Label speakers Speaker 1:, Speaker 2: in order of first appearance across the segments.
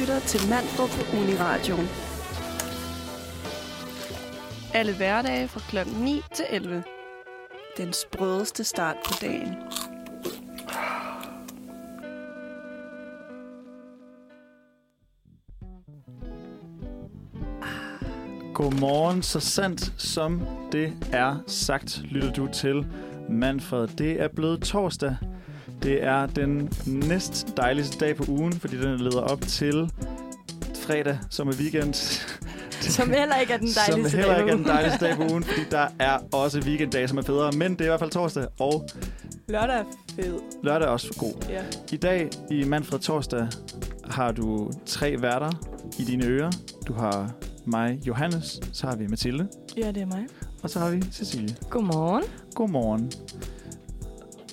Speaker 1: lytter til Manfred på Uniradioen. Alle hverdage fra kl. 9 til 11. Den sprødeste start på dagen.
Speaker 2: Godmorgen, så sandt som det er sagt, lytter du til Manfred. Det er blevet torsdag. Det er den næst dejligste dag på ugen, fordi den leder op til fredag, som er weekend.
Speaker 3: Som heller ikke er den
Speaker 2: som
Speaker 3: dejligste
Speaker 2: heller
Speaker 3: dag
Speaker 2: ikke er den
Speaker 3: ugen.
Speaker 2: dejligste dag på ugen, fordi der er også weekenddage, som er federe. Men det er i hvert fald torsdag, og
Speaker 3: Lørdag er fed.
Speaker 2: lørdag er også god.
Speaker 3: Ja.
Speaker 2: I dag i Manfred Torsdag har du tre værter i dine ører. Du har mig, Johannes, så har vi Mathilde,
Speaker 3: ja, det er mig.
Speaker 2: og så har vi Cecilie.
Speaker 3: Godmorgen.
Speaker 2: Godmorgen.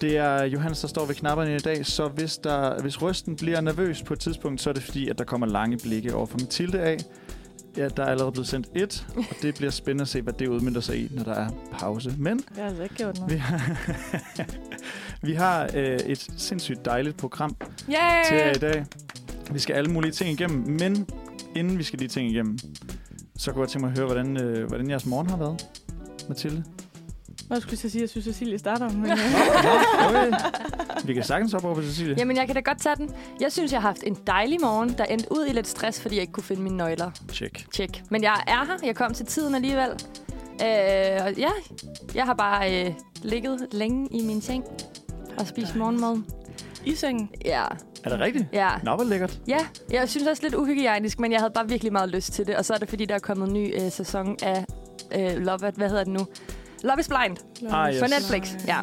Speaker 2: Det er Johannes, der står ved knapperne i dag, så hvis, der, hvis røsten bliver nervøs på et tidspunkt, så er det fordi, at der kommer lange blikke over for Mathilde af. Ja, der er allerede blevet sendt et, og det bliver spændende at se, hvad det udmyndter sig i, når der er pause. Men
Speaker 3: Jeg har altså ikke gjort noget.
Speaker 2: vi har, vi har øh, et sindssygt dejligt program
Speaker 3: Yay!
Speaker 2: til jer i dag. Vi skal alle mulige ting igennem, men inden vi skal de ting igennem, så kunne jeg tænke mig at høre, hvordan, øh, hvordan jeres morgen har været, Mathilde.
Speaker 3: Nå, jeg skulle til at sige, at jeg synes, Cecilie starter. Men, øh,
Speaker 2: Okay. Vi kan sagtens hoppe over på Cecilie.
Speaker 4: Jamen, jeg kan da godt tage den. Jeg synes, jeg har haft en dejlig morgen, der endte ud i lidt stress, fordi jeg ikke kunne finde mine nøgler.
Speaker 2: Check.
Speaker 4: Tjek. Men jeg er her. Jeg kom til tiden alligevel. Øh, og ja, jeg har bare øh, ligget længe i min seng og spist morgenmad.
Speaker 3: I sengen.
Speaker 4: Ja,
Speaker 2: Er det rigtigt?
Speaker 4: ja.
Speaker 2: Nå, hvor lækkert.
Speaker 4: Ja, jeg synes også lidt uhygiejnisk, men jeg havde bare virkelig meget lyst til det. Og så er det, fordi der er kommet en ny øh, sæson af øh, Love, at- hvad hedder det nu? Love is Blind
Speaker 2: Ah, yes.
Speaker 4: på Netflix. Ja.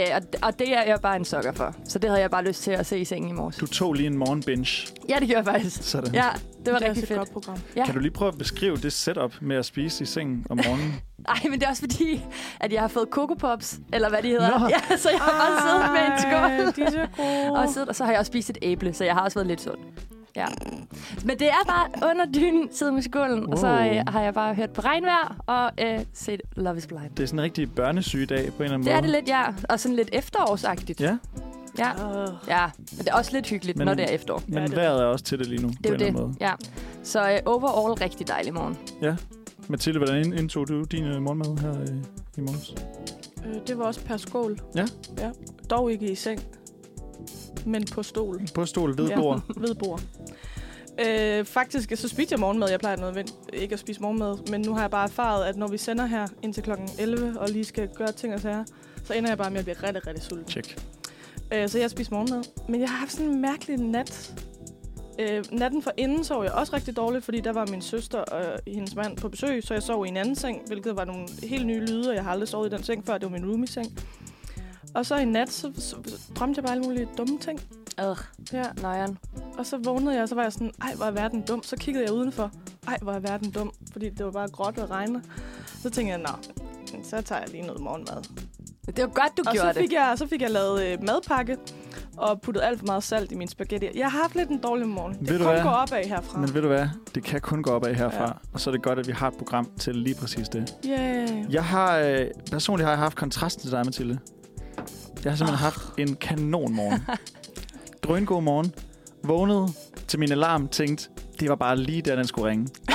Speaker 4: Øh, og, og det er jeg bare en sokker for. Så det havde jeg bare lyst til at se i sengen i morges.
Speaker 2: Du tog lige en morgenbinge.
Speaker 4: Ja, det gjorde jeg faktisk.
Speaker 2: Sådan.
Speaker 4: Ja, det var
Speaker 3: Det er
Speaker 4: rigtig
Speaker 3: også et
Speaker 4: fedt.
Speaker 3: godt program.
Speaker 4: Ja.
Speaker 2: Kan du lige prøve at beskrive det setup med at spise i sengen om morgenen?
Speaker 4: Ej, men det er også fordi, at jeg har fået Coco Pops, eller hvad de hedder.
Speaker 2: Nå.
Speaker 4: Ja, så jeg har bare siddet med en skål.
Speaker 3: Ej, de er så gode.
Speaker 4: Og, siddet, og så har jeg også spist et æble, så jeg har også været lidt sund. Ja. Men det er bare under dynen, sidde med skålen, wow. og så
Speaker 2: Wow.
Speaker 4: øh, har jeg bare hørt på regnvejr og øh, set Love is Blind.
Speaker 2: Det er sådan en rigtig børnesygedag på en eller anden
Speaker 4: Det
Speaker 2: måde.
Speaker 4: er det lidt, ja. Og sådan lidt efterårsagtigt.
Speaker 2: Ja,
Speaker 4: Ja.
Speaker 3: Åh.
Speaker 4: ja. Men det er også lidt hyggeligt,
Speaker 2: Men-
Speaker 4: men, når det er efterår.
Speaker 2: men
Speaker 3: det er
Speaker 2: vejret er også til det lige nu
Speaker 4: Det er
Speaker 2: på en
Speaker 4: jo
Speaker 2: eller anden måde.
Speaker 4: det. Ja. Så øh, overall rigtig dejlig morgen.
Speaker 2: Mathilde, hvordan ind- indtog du din øh, morgenmad her øh, i morges?
Speaker 3: Øh, det var også per skål.
Speaker 2: Ja.
Speaker 3: ja. Dog ikke i seng, men på stol.
Speaker 2: På stol ved bord.
Speaker 3: Ja, ved bord. Øh, faktisk, så spiste jeg morgenmad. Jeg plejer noget, ikke at spise morgenmad, men nu har jeg bare erfaret, at når vi sender her indtil kl. 11 og lige skal gøre ting og sager, så ender jeg bare med at blive rigtig, rigtig sulten.
Speaker 2: Check.
Speaker 3: Øh, så jeg spiste morgenmad. Men jeg har haft sådan en mærkelig nat. Øh, natten for inden sov jeg også rigtig dårligt, fordi der var min søster og hendes mand på besøg, så jeg sov i en anden seng, hvilket var nogle helt nye lyde, og jeg har aldrig sovet i den seng før, det var min roomie-seng. Og så i nat, så, så, så drømte jeg bare alle mulige dumme ting.
Speaker 4: Øh,
Speaker 3: Ja.
Speaker 4: nøjeren.
Speaker 3: Og så vågnede jeg, og så var jeg sådan, ej, hvor er verden dum. Så kiggede jeg udenfor, ej, hvor er verden dum, fordi det var bare gråt og regner. Så tænkte jeg, nå, så tager jeg lige noget morgenmad.
Speaker 4: Det var godt, du
Speaker 3: og
Speaker 4: gjorde
Speaker 3: så fik,
Speaker 4: det.
Speaker 3: jeg, så fik jeg lavet øh, madpakke og puttet alt for meget salt i min spaghetti. Jeg har haft lidt en dårlig morgen.
Speaker 2: Ved
Speaker 3: Det
Speaker 2: du
Speaker 3: kun
Speaker 2: hvad?
Speaker 3: gå opad herfra.
Speaker 2: Men ved du hvad? Det kan kun gå opad herfra.
Speaker 3: Ja.
Speaker 2: Ja. Og så er det godt, at vi har et program til lige præcis det.
Speaker 3: Yeah.
Speaker 2: Jeg har, øh, personligt har jeg haft kontrasten til dig, Mathilde. Jeg har simpelthen
Speaker 4: Ah.
Speaker 2: oh. haft en kanon morgen. Drøngod morgen. Vågnede til min alarm, tænkte, det var bare lige der, den skulle ringe.
Speaker 4: Ej,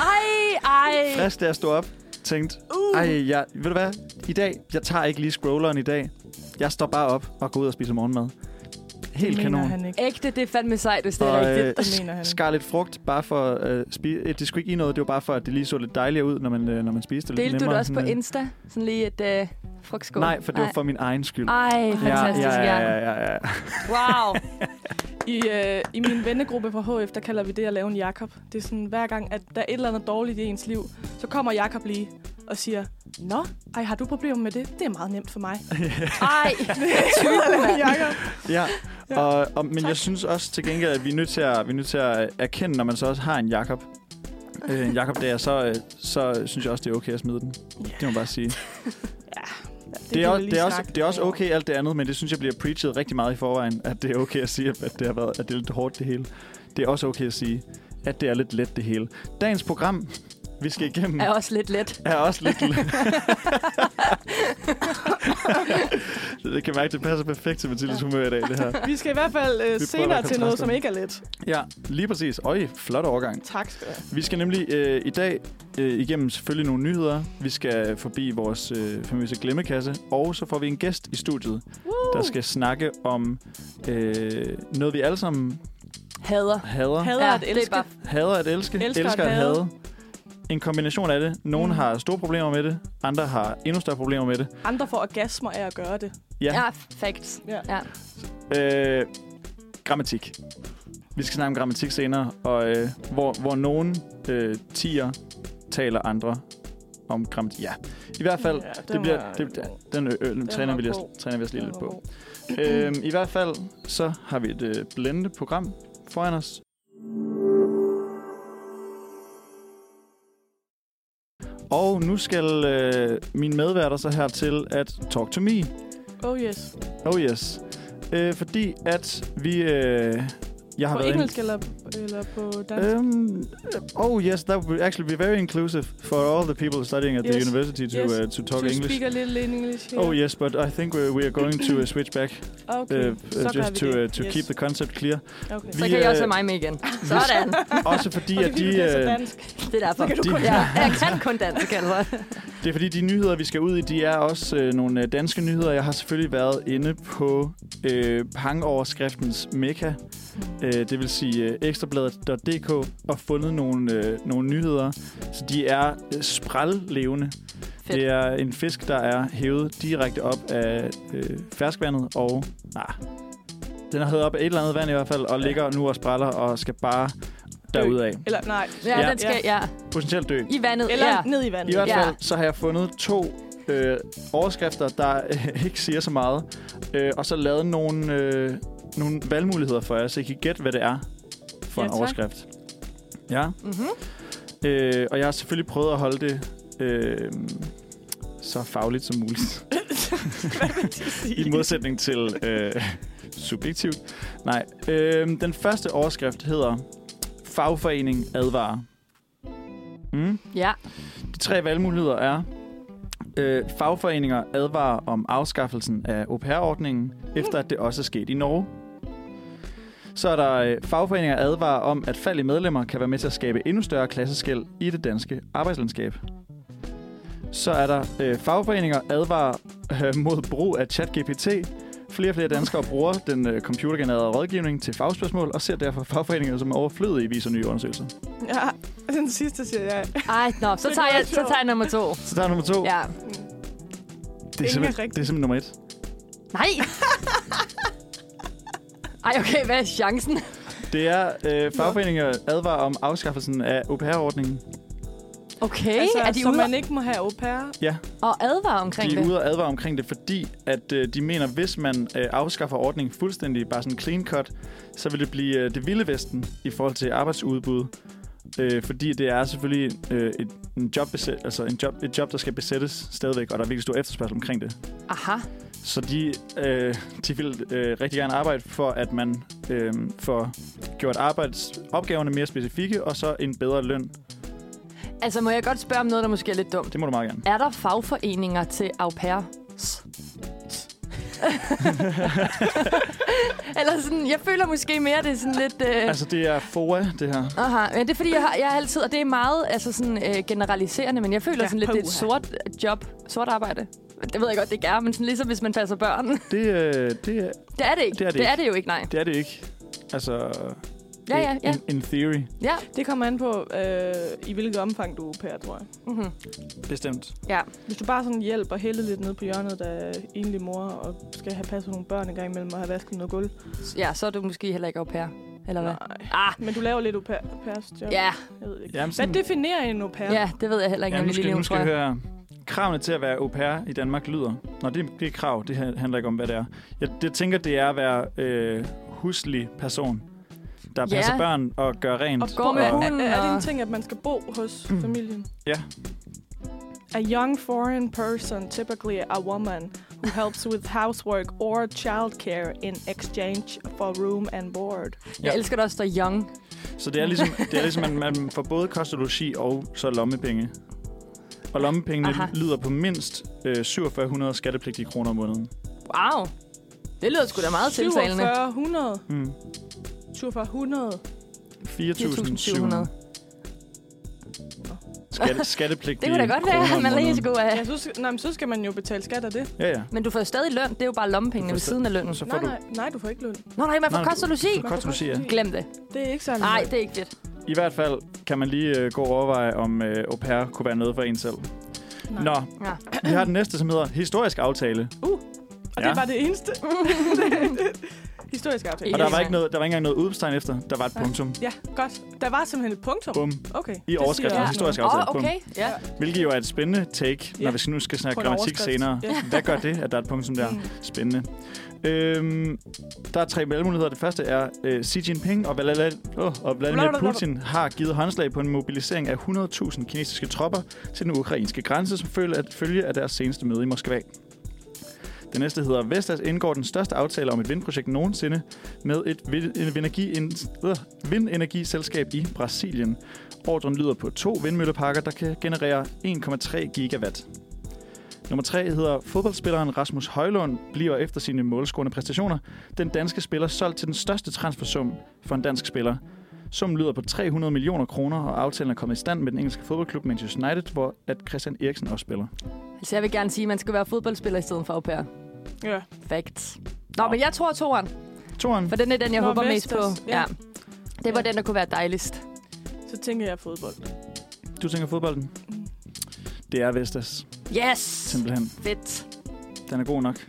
Speaker 4: ej.
Speaker 2: Frisk, da jeg stod op, tænkte,
Speaker 4: Uh.
Speaker 2: ej, jeg, ved du hvad, i dag, jeg tager ikke lige scrolleren i dag. Jeg står bare op og går ud og spiser morgenmad. Helt
Speaker 3: det
Speaker 2: kanon.
Speaker 3: Mener han ikke.
Speaker 4: Ægte, det er fandme sejt, hvis det er
Speaker 2: Og,
Speaker 4: rigtigt.
Speaker 2: øh,
Speaker 3: Det mener han.
Speaker 2: skar lidt frugt, bare for øh, spi- øh, det skulle ikke i noget, det var bare for, at det lige så lidt dejligere ud, når man, øh, når man spiste det lidt
Speaker 4: Delte du det
Speaker 2: nemmere,
Speaker 4: også på
Speaker 2: sådan, øh.
Speaker 4: Insta? Sådan lige et øh, frugtskål?
Speaker 2: Nej, for det var for min egen skyld.
Speaker 4: Ej, fantastisk,
Speaker 2: ja, ja,
Speaker 4: Jørgen.
Speaker 2: ja, ja, ja.
Speaker 4: Wow.
Speaker 3: I, øh, I min vennegruppe fra HF, der kalder vi det at lave en Jakob. Det er sådan, hver gang, at der er et eller andet dårligt i ens liv, så kommer Jakob lige og siger, Nå, ej, har du problemer med det? Det er meget nemt for mig.
Speaker 4: Ej,
Speaker 3: Jakob.
Speaker 2: ja.
Speaker 3: Ja.
Speaker 2: Og, og, men jeg synes også til gengæld, at vi er nødt til at, vi er nødt til at erkende, når man så også har en Jakob. Øh, en Jakob der, så, øh, så synes jeg også, det er okay at smide den. Det må man bare sige. Det, det, er, også, det, er også, det er også okay alt det andet, men det synes jeg bliver preachet rigtig meget i forvejen, at det er okay at sige, at det har været at det er lidt hårdt det hele. Det er også okay at sige, at det er lidt let det hele. Dagens program vi skal igennem,
Speaker 4: er også lidt let.
Speaker 2: er også lidt... Så det kan jeg mærke, det passer perfekt til Mathildes humør i dag, det her.
Speaker 5: Vi skal i hvert fald øh,
Speaker 2: prøver
Speaker 5: senere
Speaker 2: at
Speaker 5: til noget, som
Speaker 2: kontraste.
Speaker 5: ikke er let.
Speaker 2: Ja, lige præcis. Øj, flot overgang.
Speaker 5: Tak skal du have.
Speaker 2: Vi skal nemlig øh, i dag øh, igennem selvfølgelig nogle nyheder. Vi skal forbi vores øh, famøse glemmekasse, og så får vi en gæst i studiet, der skal snakke om øh, noget, vi alle sammen
Speaker 4: Hader.
Speaker 2: hader.
Speaker 5: Hader at
Speaker 4: det er
Speaker 5: elske.
Speaker 4: bare
Speaker 2: Hader at elske, elsker, elsker at hade. En kombination af det. Nogle
Speaker 5: Mm.
Speaker 2: mm. har store problemer med det, andre har endnu større problemer med det.
Speaker 5: Andre får orgasmer af at gøre det.
Speaker 2: Ja.
Speaker 4: ja. facts.
Speaker 5: Ja.
Speaker 4: Ja.
Speaker 2: Øh, grammatik. Vi skal snakke om grammatik senere, og øh, hvor, hvor nogen øh, tiger taler andre om grammatik. Ja, i hvert fald,
Speaker 5: Ja, den
Speaker 2: det bliver,
Speaker 5: var-
Speaker 2: det, den, øh, øh, den træner,
Speaker 5: var
Speaker 2: vi lige,
Speaker 5: god.
Speaker 2: træner vi os lige lidt
Speaker 5: den var
Speaker 2: på.
Speaker 5: god.
Speaker 2: Øhm, I hvert fald, så har vi et øh, blændende program foran os. Og nu skal øh, min medværter så her til at talk to me.
Speaker 5: Oh yes.
Speaker 2: Oh yes. Øh, fordi at vi... Øh, jeg har
Speaker 5: På
Speaker 2: været
Speaker 5: engelsk eller, eller på dansk?
Speaker 2: Um, oh yes, that would actually be very inclusive for all the people studying at the
Speaker 5: Yes.
Speaker 2: university to
Speaker 5: Yes.
Speaker 2: uh, to talk
Speaker 5: to
Speaker 2: English.
Speaker 5: speak a little in English here.
Speaker 2: Oh yes, but I think we we are going to uh, switch back uh,
Speaker 5: Okay.
Speaker 2: uh,
Speaker 5: så gør
Speaker 2: just
Speaker 5: vi
Speaker 2: to
Speaker 5: det.
Speaker 2: uh, to
Speaker 5: yes.
Speaker 2: keep the concept clear.
Speaker 5: Okay.
Speaker 4: Så
Speaker 2: Vi,
Speaker 4: kan I
Speaker 2: øh,
Speaker 4: også have mig med igen. Sådan.
Speaker 2: Også fordi
Speaker 5: Okay,
Speaker 2: at de
Speaker 5: vi bliver så
Speaker 2: øh,
Speaker 5: dansk.
Speaker 4: Det er derfor.
Speaker 5: Så kan du
Speaker 2: de-
Speaker 4: kun, ja, jeg kan kun dansk, altså.
Speaker 2: det er fordi de nyheder vi skal ud i, de er også øh, nogle øh, danske nyheder. Jeg har selvfølgelig været inde på øh, hangoverskriftens mekka, øh, det vil sige øh, ekstrabladet.dk og fundet nogle øh, nogle nyheder, så de er øh, sprællevende.
Speaker 4: Fedt.
Speaker 2: Det er en fisk, der er hævet direkte op af øh, ferskvandet, og nej, den er hævet op af et eller andet vand i hvert fald, og
Speaker 5: Ja.
Speaker 2: ligger nu og spræller og skal bare derudad.
Speaker 5: Eller nej.
Speaker 4: Ja,
Speaker 2: Ja.
Speaker 4: den skal, ja.
Speaker 2: Potentielt dø.
Speaker 4: I vandet.
Speaker 5: Eller
Speaker 4: ja.
Speaker 5: ned i
Speaker 2: I
Speaker 5: vandet.
Speaker 2: hvert
Speaker 4: Ja.
Speaker 2: fald, så har jeg fundet to øh, overskrifter, der øh, ikke siger så meget, øh, og så lavet nogle, øh, nogle valgmuligheder for jer, så I kan gætte, hvad det er for
Speaker 5: Ja,
Speaker 2: en
Speaker 5: tak. Mhm.
Speaker 2: overskrift. Ja.
Speaker 4: Mm-hmm.
Speaker 2: Øh, og jeg har selvfølgelig prøvet at holde det øh, så fagligt som muligt. I modsætning til øh, subjektivt. Nej. Øh, den første overskrift hedder Fagforening advarer. Mm.
Speaker 4: Ja.
Speaker 2: De tre valgmuligheder er øh, fagforeninger advarer om afskaffelsen af au pair-ordningen, efter at det også er sket i Norge. Så er der øh, fagforeninger advarer om, at fald i medlemmer kan være med til at skabe endnu større klasseskæld i det danske arbejdslandskab. Så er der øh, fagforeninger advarer øh, mod brug af ChatGPT. Flere og flere danskere bruger den øh, computergenererede rådgivning til fagspørgsmål og ser derfor fagforeninger som overflødige, viser nye undersøgelser.
Speaker 5: Ja, den sidste siger jeg.
Speaker 4: Ej, nå, så
Speaker 5: Det
Speaker 4: tager
Speaker 5: var
Speaker 4: jeg,
Speaker 5: sjovt.
Speaker 4: så tager jeg nummer to.
Speaker 2: Så der er nummer to.
Speaker 4: Ja.
Speaker 2: det, er
Speaker 5: Ingen er
Speaker 2: simpelthen,
Speaker 5: rigtig.
Speaker 2: det er simpelthen nummer et.
Speaker 4: Nej. Ej, okay, hvad er chancen?
Speaker 2: Det er øh, fagforeninger advarer om afskaffelsen af au pair-ordningen.
Speaker 4: Okay, altså, er de
Speaker 5: så
Speaker 4: ude
Speaker 5: man ikke må have au pair.
Speaker 2: Ja,
Speaker 4: og advare omkring
Speaker 2: de
Speaker 4: det?
Speaker 2: er ude og advare omkring det, fordi at øh, de mener, hvis man øh, afskaffer ordningen fuldstændig, bare sådan clean cut, så vil det blive øh, det vilde vesten i forhold til arbejdsudbud. Øh, fordi det er selvfølgelig øh, et, en job besæt, altså en job, et job, der skal besættes stadigvæk, og der er virkelig stor efterspørgsel omkring det.
Speaker 4: Aha.
Speaker 2: Så de, øh, de vil øh, rigtig gerne arbejde for, at man øh, får gjort arbejdsopgaverne mere specifikke, og så en bedre løn.
Speaker 4: Altså, må jeg godt spørge om noget, der måske er lidt dumt?
Speaker 2: Det må du meget gerne.
Speaker 4: Er der fagforeninger til au pair? Eller sådan, jeg føler måske mere, det er sådan lidt... Øh...
Speaker 2: Altså, det er FOA, det her.
Speaker 4: Aha, men det er fordi, jeg har, jeg har altid, og det er meget altså sådan, øh, generaliserende, men jeg føler
Speaker 5: Ja,
Speaker 4: ja, sådan lidt, det er et
Speaker 5: puha.
Speaker 4: sort øh, job, sort arbejde. Det ved jeg godt, det ikke er, men sådan ligesom hvis man passer børn.
Speaker 2: Det, øh, det, er-
Speaker 4: Det er det ikke.
Speaker 2: Det er det
Speaker 4: det, er
Speaker 2: ikke.
Speaker 4: det jo ikke, nej.
Speaker 2: det er det ikke. Altså,
Speaker 4: Ja, ja, ja.
Speaker 2: In, in theory.
Speaker 4: ja.
Speaker 5: Det kommer an på, øh, i hvilket omfang du er au pair, tror jeg.
Speaker 4: Mm-hmm.
Speaker 2: Bestemt.
Speaker 4: ja.
Speaker 5: Hvis du bare sådan hjælper Helle lidt ned på hjørnet, der er enlig mor, og skal have passet nogle børn en gang imellem og have vasket noget gulv.
Speaker 4: Ja, så er du måske heller ikke au pair, eller hvad?
Speaker 5: Nej.
Speaker 4: Ah,
Speaker 5: Men du laver lidt au pair, pairs job.
Speaker 4: ja,
Speaker 5: Jeg ved ikke.
Speaker 2: Jamen,
Speaker 5: Hvad
Speaker 2: sådan,
Speaker 5: definerer en au pair?
Speaker 4: ja, det ved jeg heller ikke,
Speaker 2: ja,
Speaker 4: om
Speaker 2: nu
Speaker 4: jeg lige
Speaker 2: skal, nu
Speaker 4: nævner, tror
Speaker 2: skal jeg
Speaker 4: jeg.
Speaker 2: høre her. Kravene til at være au pair i Danmark lyder... Nå, det, er- det er krav. Det her handler ikke om, hvad det er. Jeg det tænker, det er at være øh, huslig person, der
Speaker 4: Ja.
Speaker 2: passer børn og gør rent.
Speaker 5: Og
Speaker 4: Går Ah. Mm.
Speaker 5: bor-
Speaker 4: med
Speaker 5: er,
Speaker 4: hunden
Speaker 5: er, er det en
Speaker 4: og-
Speaker 5: ting, at man skal bo hos familien?
Speaker 2: Ja.
Speaker 5: A young foreign person, typically a woman, who helps with housework or childcare in exchange for room and board.
Speaker 4: Jeg elsker, der står young.
Speaker 2: Så det er ligesom, det er ligesom at man får både kost og logi og så lommepenge. Og lommepengene
Speaker 4: Aha.
Speaker 2: Aha. lyder på mindst øh, 4700 skattepligtige kroner om måneden.
Speaker 4: Wow. Det lyder sgu da meget tiltalende.
Speaker 3: 4700.
Speaker 2: Mm.
Speaker 3: 4700.
Speaker 2: 4.700 skatte,
Speaker 4: Det
Speaker 2: skattepligtige
Speaker 4: kunne da godt være,
Speaker 2: kroner
Speaker 4: at
Speaker 2: om
Speaker 4: man lige
Speaker 2: måneden.
Speaker 4: skulle have...
Speaker 3: Ja, så, skal- nej, men så skal man jo betale skat af det.
Speaker 2: Ja, ja.
Speaker 4: Men du får jo stadig løn. Det er jo bare lommepengene
Speaker 2: Du får
Speaker 4: ved siden af lønnen.
Speaker 2: Så får
Speaker 3: Nej,
Speaker 2: du...
Speaker 3: nej, nej, du får ikke løn.
Speaker 4: Nå nej, man får
Speaker 2: Nej,
Speaker 4: kost og logi.
Speaker 2: Du får kost og logi, ja.
Speaker 4: Glem det.
Speaker 3: Det er ikke særlig
Speaker 4: Nej,
Speaker 3: meget.
Speaker 4: det er ikke fedt.
Speaker 2: I hvert fald kan man lige øh, gå og overveje, om øh, au pair kunne være noget for en selv.
Speaker 3: Nej.
Speaker 2: Nå,
Speaker 4: Ja.
Speaker 2: vi har den næste, som hedder historisk aftale.
Speaker 4: Uh,
Speaker 3: Og
Speaker 2: Ja.
Speaker 3: det var det eneste. Historisk aftale.
Speaker 2: Og der
Speaker 4: Yes.
Speaker 2: var, ikke noget, der var ikke engang noget udbestegn efter. Der var et
Speaker 3: Nej.
Speaker 2: punktum.
Speaker 3: Ja, godt. Der var simpelthen et punktum.
Speaker 2: Bum.
Speaker 3: Okay.
Speaker 2: I overskriften.
Speaker 3: siger-
Speaker 2: Ja. Historisk
Speaker 4: Åh,
Speaker 2: aftale.
Speaker 4: oh, okay. Ja.
Speaker 2: Bum. Hvilket jo er et spændende take,
Speaker 3: Ja.
Speaker 2: når vi skal- nu skal
Speaker 3: På
Speaker 2: snakke
Speaker 3: en
Speaker 2: grammatik
Speaker 3: overskrift.
Speaker 2: senere.
Speaker 3: Ja.
Speaker 2: Hvad gør det, at der er et punktum der?
Speaker 3: Mm.
Speaker 2: Spændende. Øhm, der er tre valgmuligheder. Det første er, øh, Xi Jinping og Valala- åh, og Vladimir
Speaker 3: Blablabla.
Speaker 2: Putin har givet håndslag på en mobilisering af 100.000 kinesiske tropper til den ukrainske grænse, som følge at følge af deres seneste møde i Moskva. Den næste hedder, Vestas indgår den største aftale om et vindprojekt nogensinde med et vin- en vindenergi- en- øh, vindenergiselskab i Brasilien. Ordren lyder på to vindmølleparker, der kan generere 1,3 gigawatt. Nummer 3 hedder fodboldspilleren Rasmus Højlund bliver efter sine målscorende præstationer den danske spiller solgt til den største transfersum for en dansk spiller. Summen lyder på 300 millioner kroner, og aftalen er kommet i stand med den engelske fodboldklub Manchester United, hvor at Christian Eriksen også spiller.
Speaker 4: Altså, jeg vil gerne sige, at man skal være fodboldspiller i stedet for au pair.
Speaker 3: Ja.
Speaker 4: Facts. Nå, men jeg tror toeren,
Speaker 2: Toren.
Speaker 4: for den er den, jeg
Speaker 3: Nå,
Speaker 4: håber mest på.
Speaker 3: Vestas, ja.
Speaker 4: Ja. Det var
Speaker 3: Ja.
Speaker 4: den, der kunne være dejligst.
Speaker 3: Så tænker jeg fodbold.
Speaker 2: Du tænker fodbolden? Det er Vestas,
Speaker 4: Yes!
Speaker 2: simpelthen.
Speaker 4: Fedt.
Speaker 2: Den er god nok.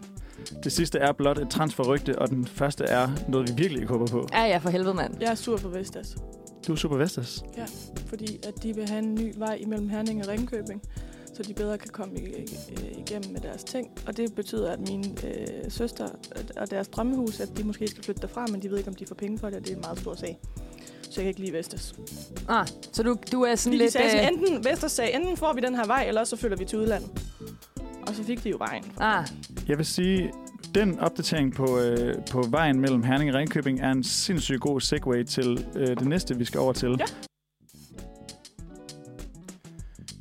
Speaker 2: Det sidste er blot et transferrygte, og den første er noget, vi virkelig ikke håber på.
Speaker 4: Ja, ja, for helvede, mand.
Speaker 3: Jeg er sur på Vestas,
Speaker 2: Du er super Vestas.
Speaker 3: fordi at de vil have en ny vej imellem Herning og Ringkøbing, så de bedre kan komme i- i- igennem med deres ting. Og det betyder, at mine øh, søster og deres drømmehus, at de måske skal flytte derfra, men de ved ikke, om de får penge for det, og det er en meget stor sag. Så jeg kan ikke lide Vestas.
Speaker 4: Ah, så du, du er sådan
Speaker 3: Fordi de
Speaker 4: lidt...
Speaker 3: sagde
Speaker 4: øh,
Speaker 3: sådan, enten, Vestas sagde, enten får vi den her vej, eller så flytter vi til udlandet. Og så fik de jo vejen.
Speaker 4: Ah,
Speaker 2: Jeg vil sige, den opdatering på, øh, på vejen mellem Herning og Ringkøbing er en sindssygt god segue til øh, det næste, vi skal over til.
Speaker 3: Ja.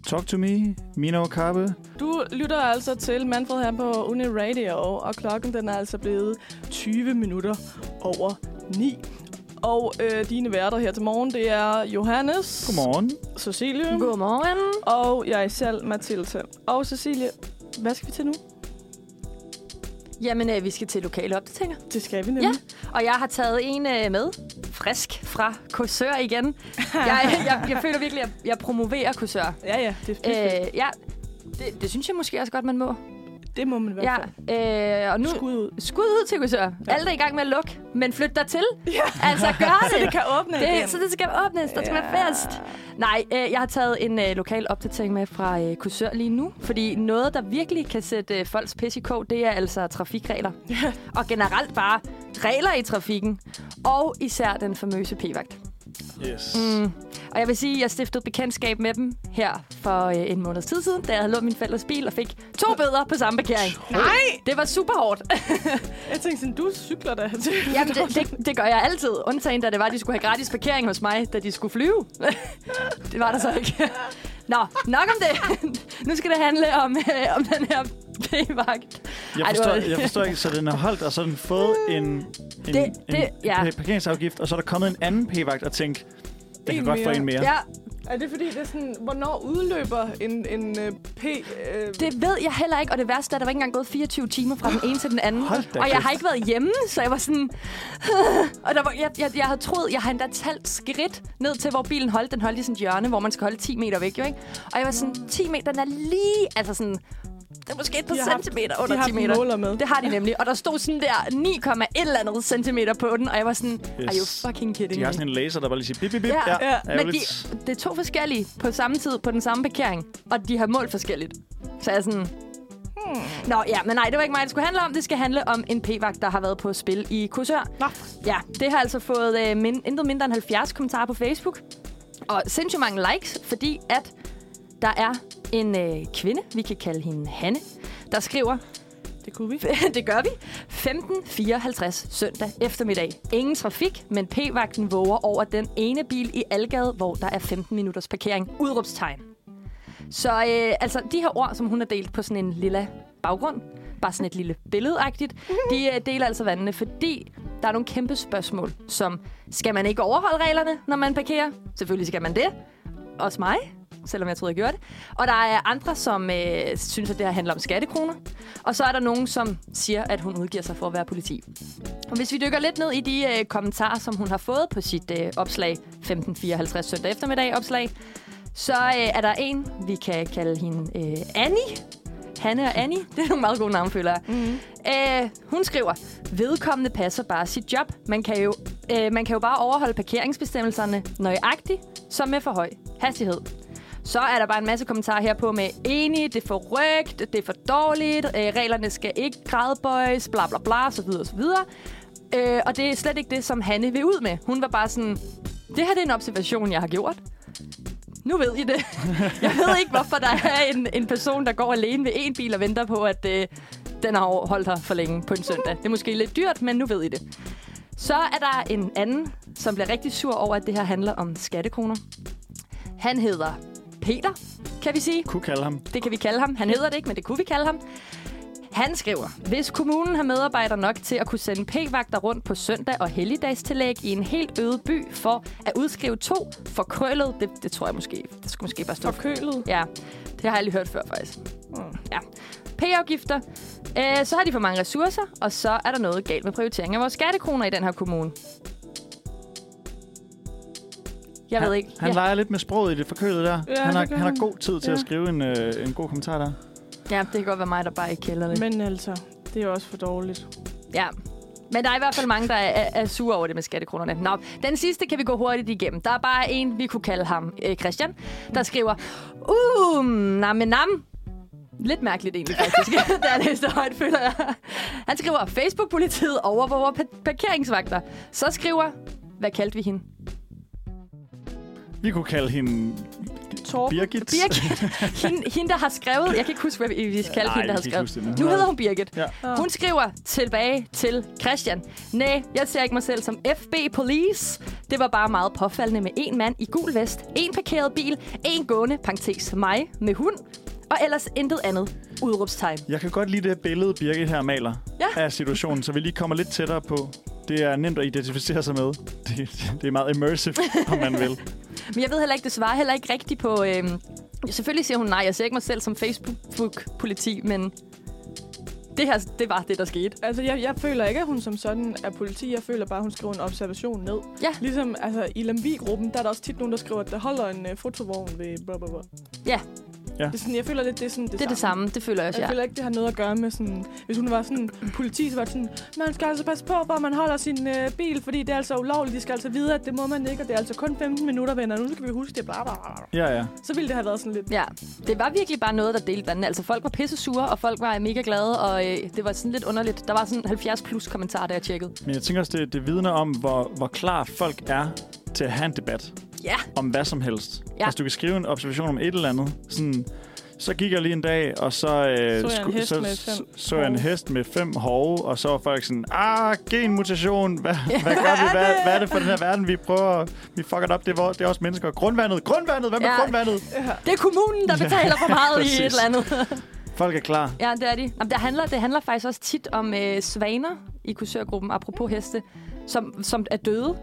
Speaker 2: Talk to me, Mino Kappe.
Speaker 3: Du lytter altså til Manfred her på Uni Radio, og klokken den er altså blevet 20 minutter over 9. Og øh, dine værter her til morgen, det er Johannes,
Speaker 2: Godmorgen.
Speaker 3: Cecilie
Speaker 4: godmorgen.
Speaker 3: og jeg selv, Mathilde. Og Cecilie, hvad skal vi til nu?
Speaker 4: Jamen, øh, vi skal til lokale opdateringer.
Speaker 3: Det skal vi nemlig.
Speaker 4: Og jeg har taget en øh, med, frisk fra Korsør igen. Jeg, jeg, jeg føler virkelig, at jeg promoverer Korsør.
Speaker 3: Ja, ja, det, det, øh,
Speaker 4: Øh, ja, det, det synes jeg måske også godt, man må.
Speaker 3: det må man i hvert
Speaker 4: Ja,
Speaker 3: fald.
Speaker 4: øh, og nu...
Speaker 3: Skud ud.
Speaker 4: Skud ud til Korsør.
Speaker 3: Ja.
Speaker 4: Ja. Alle er i gang med at lukke, men flyt dig til. Ja. Altså, gør
Speaker 3: Så
Speaker 4: det.
Speaker 3: det kan åbne igen.
Speaker 4: Det, så det skal åbnes, der skal
Speaker 3: Ja.
Speaker 4: ja. være fest. Nej, øh, jeg har taget en øh, lokal opdatering med fra øh, Kursør lige nu, fordi noget, der virkelig kan sætte øh, folks pis i kog, det er altså trafikregler. Og generelt bare regler i trafikken, og især den famøse p-vagt.
Speaker 2: Yes.
Speaker 4: Mm. Og jeg vil sige, at jeg stiftede bekendtskab med dem her for øh, en måneds tid siden, da jeg havde lånt min fælles bil og fik to bøder på samme parkering.
Speaker 3: Nej!
Speaker 4: Det var super hårdt.
Speaker 3: Jeg tænkte sådan, du cykler da.
Speaker 4: Jamen, det, det, det gør jeg altid. Undtagen, da det var, at de skulle have gratis parkering hos mig, da de skulle flyve. det var der så ikke. Nå, nok om det. nu skal det handle om, øh, om den her p-vagt.
Speaker 2: Jeg,
Speaker 4: Ej, det
Speaker 2: forstår,
Speaker 4: var- Mm.
Speaker 2: jeg forstår ikke, så den har holdt, og så har den fået en, en,
Speaker 4: Det-
Speaker 2: en,
Speaker 4: det- ja.
Speaker 2: en parkeringsafgift, og så er der kommet en anden p-vagt og tænkt, det
Speaker 3: En
Speaker 2: kan godt få
Speaker 3: mere.
Speaker 2: en mere.
Speaker 4: Ja,
Speaker 3: Er det fordi, det er sådan, hvornår udløber en, en øh, P... Øh,
Speaker 4: det ved jeg heller ikke. Og det værste er, at der var ikke engang gået 24 timer fra den ene til den anden.
Speaker 2: Hold da
Speaker 4: og jeg
Speaker 2: kæft.
Speaker 4: har ikke været hjemme, så jeg var sådan... og der var, jeg, jeg, jeg havde troet, jeg havde endda talt skridt ned til, hvor bilen holdt. Den holdt i sådan et hjørne, hvor man skal holde 10 meter væk, jo ikke? Og jeg var sådan, 10 meter, den er lige... Altså sådan... Det er måske et par
Speaker 3: De har haft-
Speaker 4: centimeter
Speaker 3: de
Speaker 4: under
Speaker 3: har
Speaker 4: 10
Speaker 3: haft
Speaker 4: meter.
Speaker 3: måler med.
Speaker 4: Det har de nemlig. Og der stod sådan der 9, et eller andet centimeter på den, og jeg var sådan, are you
Speaker 2: Yes.
Speaker 4: fucking kidding
Speaker 2: De har
Speaker 4: me?
Speaker 2: sådan en laser, der bare lige siger bip, bip, bip.
Speaker 4: Ja,
Speaker 3: ja.
Speaker 4: Men de,
Speaker 2: ærgerligt.
Speaker 4: det er to forskellige på samme tid på den samme parkering, og de har målt forskelligt. Så jeg er sådan... Hmm. Nå ja, men nej, det var ikke mig, det skulle handle om. Det skal handle om en p-vagt, der har været på spil i Korsør.
Speaker 3: Nå.
Speaker 4: Ja, det har altså fået øh, min, intet mindre end 70 kommentarer på Facebook. Og sindssygt mange likes, fordi at der er en øh, kvinde, vi kan kalde hende Hanne, der skriver,
Speaker 3: Det kunne vi.
Speaker 4: det gør vi. 15.54 søndag eftermiddag. Ingen trafik, men p-vagten våger over den ene bil i Algade, hvor der er 15 minutters parkering. Udrupstegn. Så øh, altså, de her ord, som hun har delt på sådan en lilla baggrund, bare sådan et lille billedagtigt, de øh, deler altså vandene, fordi der er nogle kæmpe spørgsmål, som skal man ikke overholde reglerne, når man parkerer? Selvfølgelig skal man det. Også mig, selvom jeg troede, jeg gjorde det. Og der er andre, som øh, synes, at det her handler om skattekroner. Og så er der nogen, som siger, at hun udgiver sig for at være politi. Og hvis vi dykker lidt ned i de øh, kommentarer, som hun har fået på sit øh, opslag 15.54 søndag eftermiddag opslag, så øh, er der en, vi kan kalde hende øh, Annie. Hanne og Annie, det er nogle meget gode navne, føler jeg.
Speaker 5: Mm.
Speaker 4: Øh, hun skriver, vedkommende passer bare sit job. Man kan, jo, øh, man kan jo bare overholde parkeringsbestemmelserne nøjagtigt, som med for høj hastighed. Så er der bare en masse kommentarer her på med enig, det er for rygt, det er for dårligt, øh, reglerne skal ikke gradbøjes, bla bla bla, så videre, så videre. Øh, og det er slet ikke det, som Hanne vil ud med. Hun var bare sådan, det her det er en observation, jeg har gjort. Nu ved I det. jeg ved ikke, hvorfor der er en, en person, der går alene ved en bil og venter på, at øh, den har holdt her for længe på en søndag. Det er måske lidt dyrt, men nu ved I det. Så er der en anden, som bliver rigtig sur over, at det her handler om skattekroner. Han hedder Peter, kan vi sige.
Speaker 2: Kunne kalde ham.
Speaker 4: Det kan vi kalde ham. Han hedder det ikke, men det kunne vi kalde ham. Han skriver, hvis kommunen har medarbejdere nok til at kunne sende p-vagter rundt på søndag og helligdagstillæg i en helt øde by for at udskrive to forkrøllet, det, det tror jeg måske, det skulle måske bare stå
Speaker 5: Forkølet.
Speaker 4: Ja, det har jeg aldrig hørt før, faktisk.
Speaker 5: Mm.
Speaker 4: Ja. P-afgifter. Øh, så har de for mange ressourcer, og så er der noget galt med prioriteringen af vores skattekroner i den her kommune. Jeg ved ikke.
Speaker 2: Han
Speaker 4: ja.
Speaker 2: leger lidt med sproget i det forkølet der.
Speaker 5: Ja,
Speaker 2: han, har,
Speaker 5: det gør
Speaker 2: han har
Speaker 5: han.
Speaker 2: god tid til
Speaker 5: Ja.
Speaker 2: at skrive en, øh, en god kommentar der.
Speaker 4: ja, det kan godt være mig, der bare ikke kælder det. Men,
Speaker 5: Men altså, det er også for dårligt.
Speaker 4: ja. Men der er i hvert fald mange, der er, er, er sure over det med skattekronerne. Nå, den sidste kan vi gå hurtigt igennem. Der er bare en, vi kunne kalde ham øh, Christian, der skriver, uh, nam, nam. Lidt mærkeligt egentlig faktisk, da jeg læste højt, føler jeg. Han skriver, Facebook-politiet overvåger pa- parkeringsvagter. Så skriver, hvad kaldte vi hende?
Speaker 2: Vi kunne kalde hende
Speaker 5: Torben.
Speaker 2: Birgit.
Speaker 4: Birgit. hende, hende, der har skrevet... Jeg kan ikke huske, hvad vi vi kaldte
Speaker 2: Nej,
Speaker 4: hende, der
Speaker 2: vi
Speaker 4: har
Speaker 2: kan ikke
Speaker 4: skrevet.
Speaker 2: huske det nu.
Speaker 4: Nu hedder hun Birgit.
Speaker 2: Ja.
Speaker 4: Hun skriver tilbage til Christian. Nej, jeg ser ikke mig selv som FB Police. Det var bare meget påfaldende med en mand i gul vest, en parkeret bil, en gående, parentes mig, med hund, og ellers intet andet. Udråbstegn.
Speaker 2: Jeg kan godt lide det billede, Birgit her maler
Speaker 4: Ja.
Speaker 2: af situationen, så vi lige kommer lidt tættere på. Det er nemt at identificere sig med. Det, det er meget immersive, om man vil.
Speaker 4: Men jeg ved heller ikke, det svarer heller ikke rigtigt på... Øhm, selvfølgelig siger hun nej, jeg ser ikke mig selv som Facebook-politi, men det her, det var det, der skete.
Speaker 5: Altså, jeg, jeg føler ikke, at hun som sådan er politi. Jeg føler bare, at hun skriver en observation ned.
Speaker 4: Ja.
Speaker 5: Ligesom altså, i Lambi-gruppen, der er der også tit nogen, der skriver, at der holder en uh, fotovogn ved blah, blah, blah.
Speaker 4: Ja.
Speaker 2: Ja.
Speaker 5: Det er sådan, jeg føler lidt, det er sådan det,
Speaker 4: Det er det samme, det føler jeg også,
Speaker 5: Jeg
Speaker 4: Altså, ja.
Speaker 5: føler ikke, det har noget at gøre med sådan... Hvis hun var sådan politi, så var det sådan... Man skal altså passe på, hvor man holder sin øh, bil, fordi det er altså ulovligt. De skal altså vide, at det må man ikke, og det er altså kun 15 minutter, venner. Nu skal vi huske det, bla, bla, bla. bla.
Speaker 2: Ja, ja.
Speaker 5: Så ville det have været sådan lidt...
Speaker 4: Ja, det var virkelig bare noget, der delte vandene. Altså, folk var pisse sure, og folk var mega glade, og øh, det var sådan lidt underligt. Der var sådan 70 plus kommentarer, da jeg tjekkede.
Speaker 2: Men jeg tænker også, det, det vidner om, hvor, hvor klar folk er til at have en debat
Speaker 4: Ja,
Speaker 2: om hvad som helst.
Speaker 4: Ja.
Speaker 2: Altså, du kan skrive en observation om et eller andet. Sådan, så gik jeg lige en dag, og så, øh, så,
Speaker 5: en hest
Speaker 2: så,
Speaker 5: med
Speaker 2: så,
Speaker 5: fem
Speaker 2: så jeg en
Speaker 5: hove.
Speaker 2: hest med fem hove, og så var folk sådan, ah, genmutation, hvad, hvad gør vi, hvad, hvad er det for den her verden, vi prøver, vi fucker det op, det er, vor- det er også mennesker. Grundvandet, grundvandet, hvad med
Speaker 4: Ja.
Speaker 2: ja. grundvandet?
Speaker 4: det er kommunen, der betaler for meget i et
Speaker 2: præcis.
Speaker 4: eller andet.
Speaker 2: Folk er klar.
Speaker 4: ja, det er de. Jamen, det, handler, det handler faktisk også tit om øh, svaner i kursørgruppen, apropos heste, som, som er døde.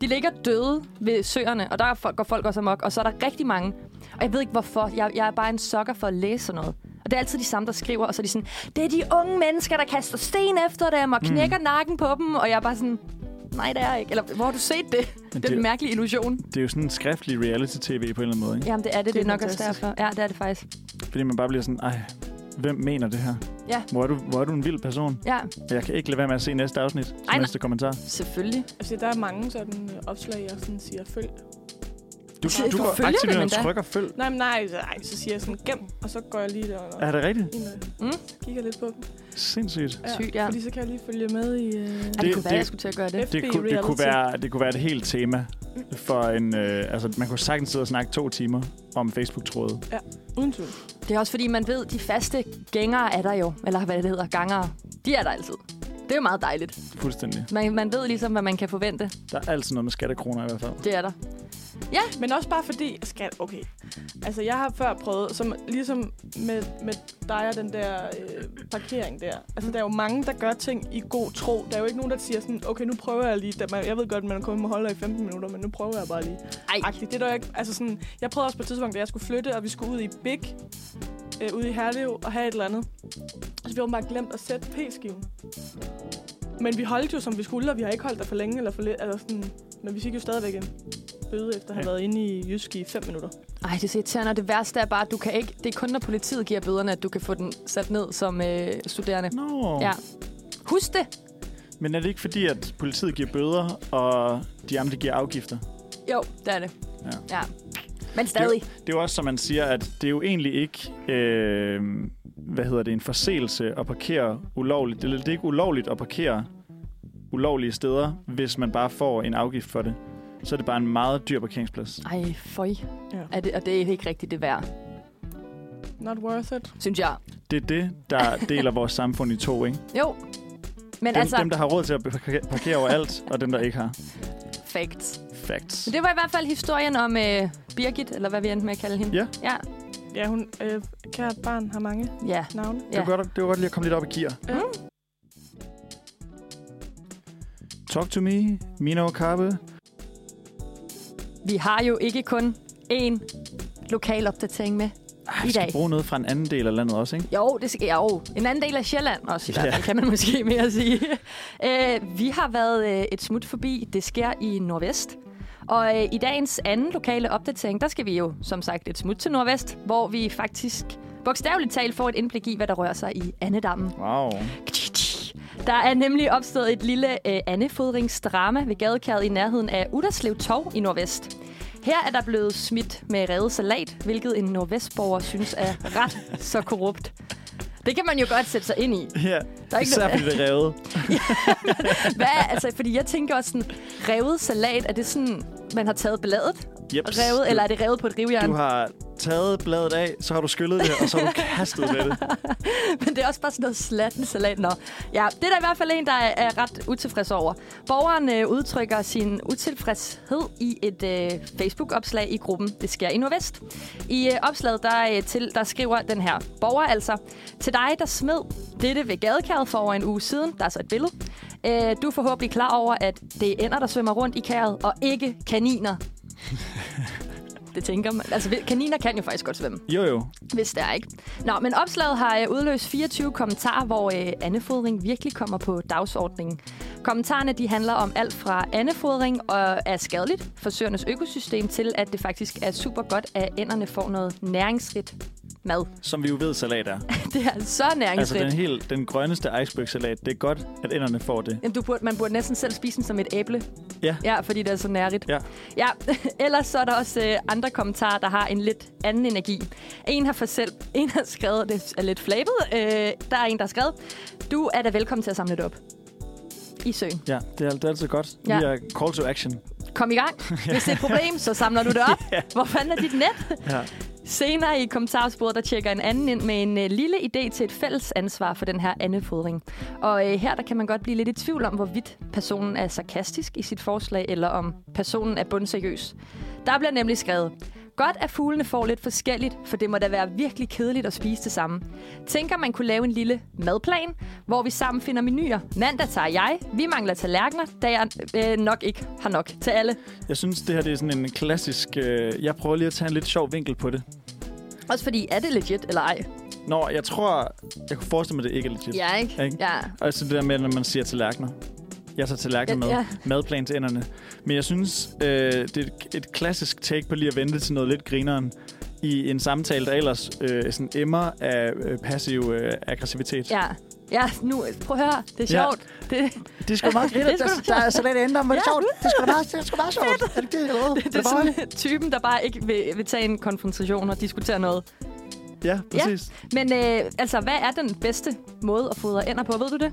Speaker 4: De ligger døde ved søerne, og der er folk, går folk også amok, og så er der rigtig mange. Og jeg ved ikke hvorfor, jeg, jeg er bare en sokker for at læse sådan noget. Og det er altid de samme, der skriver, og så er de sådan, det er de unge mennesker, der kaster sten efter dem og knækker mm. nakken på dem, og jeg er bare sådan, nej, det er jeg ikke. Eller, hvor har du set det? Det er
Speaker 2: det-
Speaker 4: en mærkelig illusion.
Speaker 2: Det er jo sådan en skriftlig reality-tv på en eller anden måde, ikke?
Speaker 4: Jamen, det er det, det,
Speaker 5: Det
Speaker 4: det
Speaker 5: er
Speaker 4: er nok også
Speaker 5: fantastisk.
Speaker 4: derfor. Ja, det er det faktisk.
Speaker 2: Fordi man bare bliver sådan, ej, hvem mener det her?
Speaker 4: Ja.
Speaker 2: Hvor er du, hvor er du en vild person?
Speaker 4: Ja,
Speaker 2: Jeg kan ikke lade være med at se næste afsnit, som
Speaker 4: nej.
Speaker 2: næste kommentar.
Speaker 4: selvfølgelig.
Speaker 5: Altså, der er mange sådan øh, opslag, jeg sådan siger, følg.
Speaker 2: Du,
Speaker 4: Ja,
Speaker 2: du
Speaker 4: du
Speaker 2: går
Speaker 4: følger
Speaker 2: aktivt
Speaker 4: dem
Speaker 2: ind og
Speaker 4: endda.
Speaker 2: trykker følg.
Speaker 5: Nej, men nej, så, ej, så siger jeg sådan, gem, og så går jeg lige der og
Speaker 2: Er det rigtigt?
Speaker 5: mm.
Speaker 4: Mm.
Speaker 5: kigger lidt på dem.
Speaker 2: Sindssygt.
Speaker 4: Sygt, ja.
Speaker 5: Fordi så kan jeg lige følge med i... Øh,
Speaker 4: Det, det
Speaker 2: Det-
Speaker 4: kunne være,
Speaker 2: det-
Speaker 4: jeg skulle til at gøre det.
Speaker 2: Det,
Speaker 5: FB
Speaker 2: kunne, det, kunne
Speaker 5: reality.
Speaker 2: være, det kunne være et helt tema for en... Øh, altså, man kunne sagtens sidde og snakke to timer om Facebook-tråde.
Speaker 5: Uden tvivl.
Speaker 4: Det er også fordi, man ved, de faste gængere er der jo. Eller hvad det hedder, gangere. De er der altid. Det er jo meget dejligt.
Speaker 2: Fuldstændig.
Speaker 4: Man, man ved ligesom, hvad man kan forvente.
Speaker 2: Der er altid noget med skattekroner i hvert fald.
Speaker 4: Det er der.
Speaker 5: Men også bare fordi, skat, okay. Altså, jeg har før prøvet, som, ligesom med, med dig og den der øh, parkering der. Altså, der er jo mange, der gør ting i god tro. Der er jo ikke nogen, der siger sådan, okay, nu prøver jeg lige. Da man, jeg ved godt, man kun må holde i 15 minutter, men nu prøver jeg bare lige.
Speaker 4: Ej.
Speaker 5: Agtigt. Det er der jo ikke, altså sådan, jeg prøvede også på et tidspunkt, da jeg skulle flytte, og vi skulle ud i Big, øh, ude i Herlev, og have et eller andet. Og så vi bare glemt at sætte p-skiven. Men vi holdt jo, som vi skulle, og vi har ikke holdt der for længe eller for lidt. Altså sådan, men vi fik jo stadigvæk en bøde, efter at have
Speaker 2: Ja.
Speaker 5: været inde i Jysk i 5 minutter.
Speaker 4: Ej, det er så irriterende, og det værste er bare, at du kan ikke, det er kun, når politiet giver bøderne, at du kan få den sat ned som øh, studerende.
Speaker 2: No.
Speaker 4: Ja. Husk det.
Speaker 2: Men er det ikke fordi, at politiet giver bøder, og de andre giver afgifter?
Speaker 4: Jo, det er det.
Speaker 2: Ja.
Speaker 4: ja. Men stadig.
Speaker 2: Det er jo også, som man siger, at det er jo egentlig ikke... Øh, hvad hedder det? En forseelse at parkere ulovligt. Det er, det er ikke ulovligt at parkere ulovlige steder, hvis man bare får en afgift for det. Så er det bare en meget dyr parkeringsplads.
Speaker 4: Ej, føj.
Speaker 5: Ja.
Speaker 4: Er det, og det er ikke rigtigt det værd,
Speaker 5: Not worth it.
Speaker 4: synes jeg.
Speaker 2: Det er det, der deler vores samfund i to, ikke?
Speaker 4: Jo. Men
Speaker 2: Dem,
Speaker 4: altså,
Speaker 2: dem der har råd til at parkere- parkere overalt, og dem, der ikke har.
Speaker 4: facts.
Speaker 2: Facts.
Speaker 4: Men det var i hvert fald historien om øh, Birgit, eller hvad vi endte med at kalde hende.
Speaker 2: Ja.
Speaker 4: Ja.
Speaker 5: Ja, hun, øh, kære barn har mange
Speaker 4: ja.
Speaker 5: navne. Øh,
Speaker 2: Det var,
Speaker 4: Ja.
Speaker 2: godt, det var godt lige at komme lidt op i gear.
Speaker 5: Ja.
Speaker 2: Talk to me, Mino Kappe.
Speaker 4: Vi har jo ikke kun én lokal opdatering med.
Speaker 2: Ej,
Speaker 4: I
Speaker 2: Ah, vi
Speaker 4: dag.
Speaker 2: skal bruge noget fra en anden del af landet også, ikke?
Speaker 4: Jo, det skal jeg jo. En anden del af Sjælland også, i hvert fald,
Speaker 2: Ja.
Speaker 4: kan man måske mere sige. Øh, vi har været øh, et smut forbi. Det sker i Nordvest. Og øh, i dagens anden lokale opdatering, der skal vi jo som sagt et smut til Nordvest, hvor vi faktisk bogstaveligt talt får et indblik i, hvad der rører sig i Annedammen.
Speaker 2: Wow.
Speaker 4: Der er nemlig opstået et lille øh, andefodringsdrama ved gadekæret i nærheden af Udderslev Torv i Nordvest. Her er der blevet smidt med revet salat, hvilket en nordvestborger synes er ret så korrupt. Det kan man jo godt sætte sig ind i.
Speaker 2: Ja,
Speaker 4: Der er ikke
Speaker 2: især
Speaker 4: noget-
Speaker 2: fordi det er revet.
Speaker 4: Hvad, er- altså, fordi jeg tænker også sådan, revet salat, er det sådan, man har taget bladet
Speaker 2: Yep.
Speaker 4: revet, eller er det revet på et rivjern?
Speaker 2: Du har taget bladet af, så har du skyllet det, og så har du kastet med det.
Speaker 4: Men det er også bare sådan noget slatten salat. Nå. Ja, det er der i hvert fald en, der er, er ret utilfreds over. Borgeren øh, udtrykker sin utilfredshed i et øh, Facebook-opslag i gruppen Det sker i Nordvest. I øh, opslaget, der, øh, til, der skriver den her borger altså, til dig, der smed dette ved gadekæret for over en uge siden, der er så et billede, øh, du er forhåbentlig klar over, at det er ænder, der svømmer rundt i kæret, og ikke kaniner. det tænker man. Altså, kaniner kan jo faktisk godt svømme.
Speaker 2: Jo, jo.
Speaker 4: Hvis det er ikke. Nå, men opslaget har øh, udløst 24 kommentarer, hvor øh, andefodring virkelig kommer på dagsordningen. Kommentarerne de handler om alt fra andefodring og er skadeligt for søernes økosystem, til at det faktisk er super godt, at ænderne får noget næringsrigt mad.
Speaker 2: Som vi jo ved, salat er.
Speaker 4: Det er så
Speaker 2: Altså,
Speaker 4: næringsrigt.
Speaker 2: den,
Speaker 4: Altså,
Speaker 2: helt, den grønneste iceberg-salat, det er godt, at enderne får det.
Speaker 4: Jamen, du burde, man burde næsten selv spise den som et æble.
Speaker 2: Ja.
Speaker 4: Ja, fordi det er så nærigt.
Speaker 2: Ja.
Speaker 4: Ja, ellers så er der også øh, andre kommentarer, der har en lidt anden energi. En har for selv, en har skrevet, det er lidt flabet, øh, der er en, der har skrevet, du er da velkommen til at samle det op i søen.
Speaker 2: Ja, det er, det er altid godt.
Speaker 4: Ja.
Speaker 2: Ja. Vi er call to action.
Speaker 4: Kom i gang. Hvis det er et problem, så samler du det op. Hvor fanden er dit net?
Speaker 2: Ja.
Speaker 4: Senere i kommentarsporet, der tjekker en anden ind med en øh, lille idé til et fælles ansvar for den her andefodring. Og øh, her der kan man godt blive lidt i tvivl om, hvorvidt personen er sarkastisk i sit forslag, eller om personen er bundseriøs. Der bliver nemlig skrevet, Godt, at fuglene får lidt forskelligt, for det må da være virkelig kedeligt at spise det samme. Tænker, man kunne lave en lille madplan, hvor vi sammen finder menuer. Mandag tager jeg, vi mangler tallerkener, da jeg øh, nok ikke har nok til alle.
Speaker 2: Jeg synes, det her det er sådan en klassisk... Øh, jeg prøver lige at tage en lidt sjov vinkel på det.
Speaker 4: Også fordi, er det legit eller ej?
Speaker 2: Nå, jeg tror... Jeg kunne forestille mig, det ikke er legit.
Speaker 4: Ja, ikke?
Speaker 2: Ikke?
Speaker 4: Ja.
Speaker 2: Og så det der med, når man siger tallerkener. Jeg tager tallerkener
Speaker 4: Ja,
Speaker 2: med. Madplan til enderne. Men jeg synes, øh, det er et, et klassisk take på lige at vente til noget lidt grineren i en samtale, der ellers øh, sådan emmer af øh, passiv øh, aggressivitet.
Speaker 4: Ja. Ja, nu, prøv at høre. Det er
Speaker 2: Ja.
Speaker 4: sjovt. Det,
Speaker 2: Det er sgu meget
Speaker 4: Det er
Speaker 2: grineren.
Speaker 4: sgu
Speaker 2: Der, der er salat i enden, hvor det
Speaker 4: Ja.
Speaker 2: er sjovt. Det er sgu da meget, det er sgu meget sjovt. Er det det, eller hvad?
Speaker 4: det, det er sådan typen, der bare ikke vil, vil tage en konfrontation og diskutere noget.
Speaker 2: Ja, præcis.
Speaker 4: Men øh, altså, hvad er den bedste måde at fodre ænder på? Ved du det?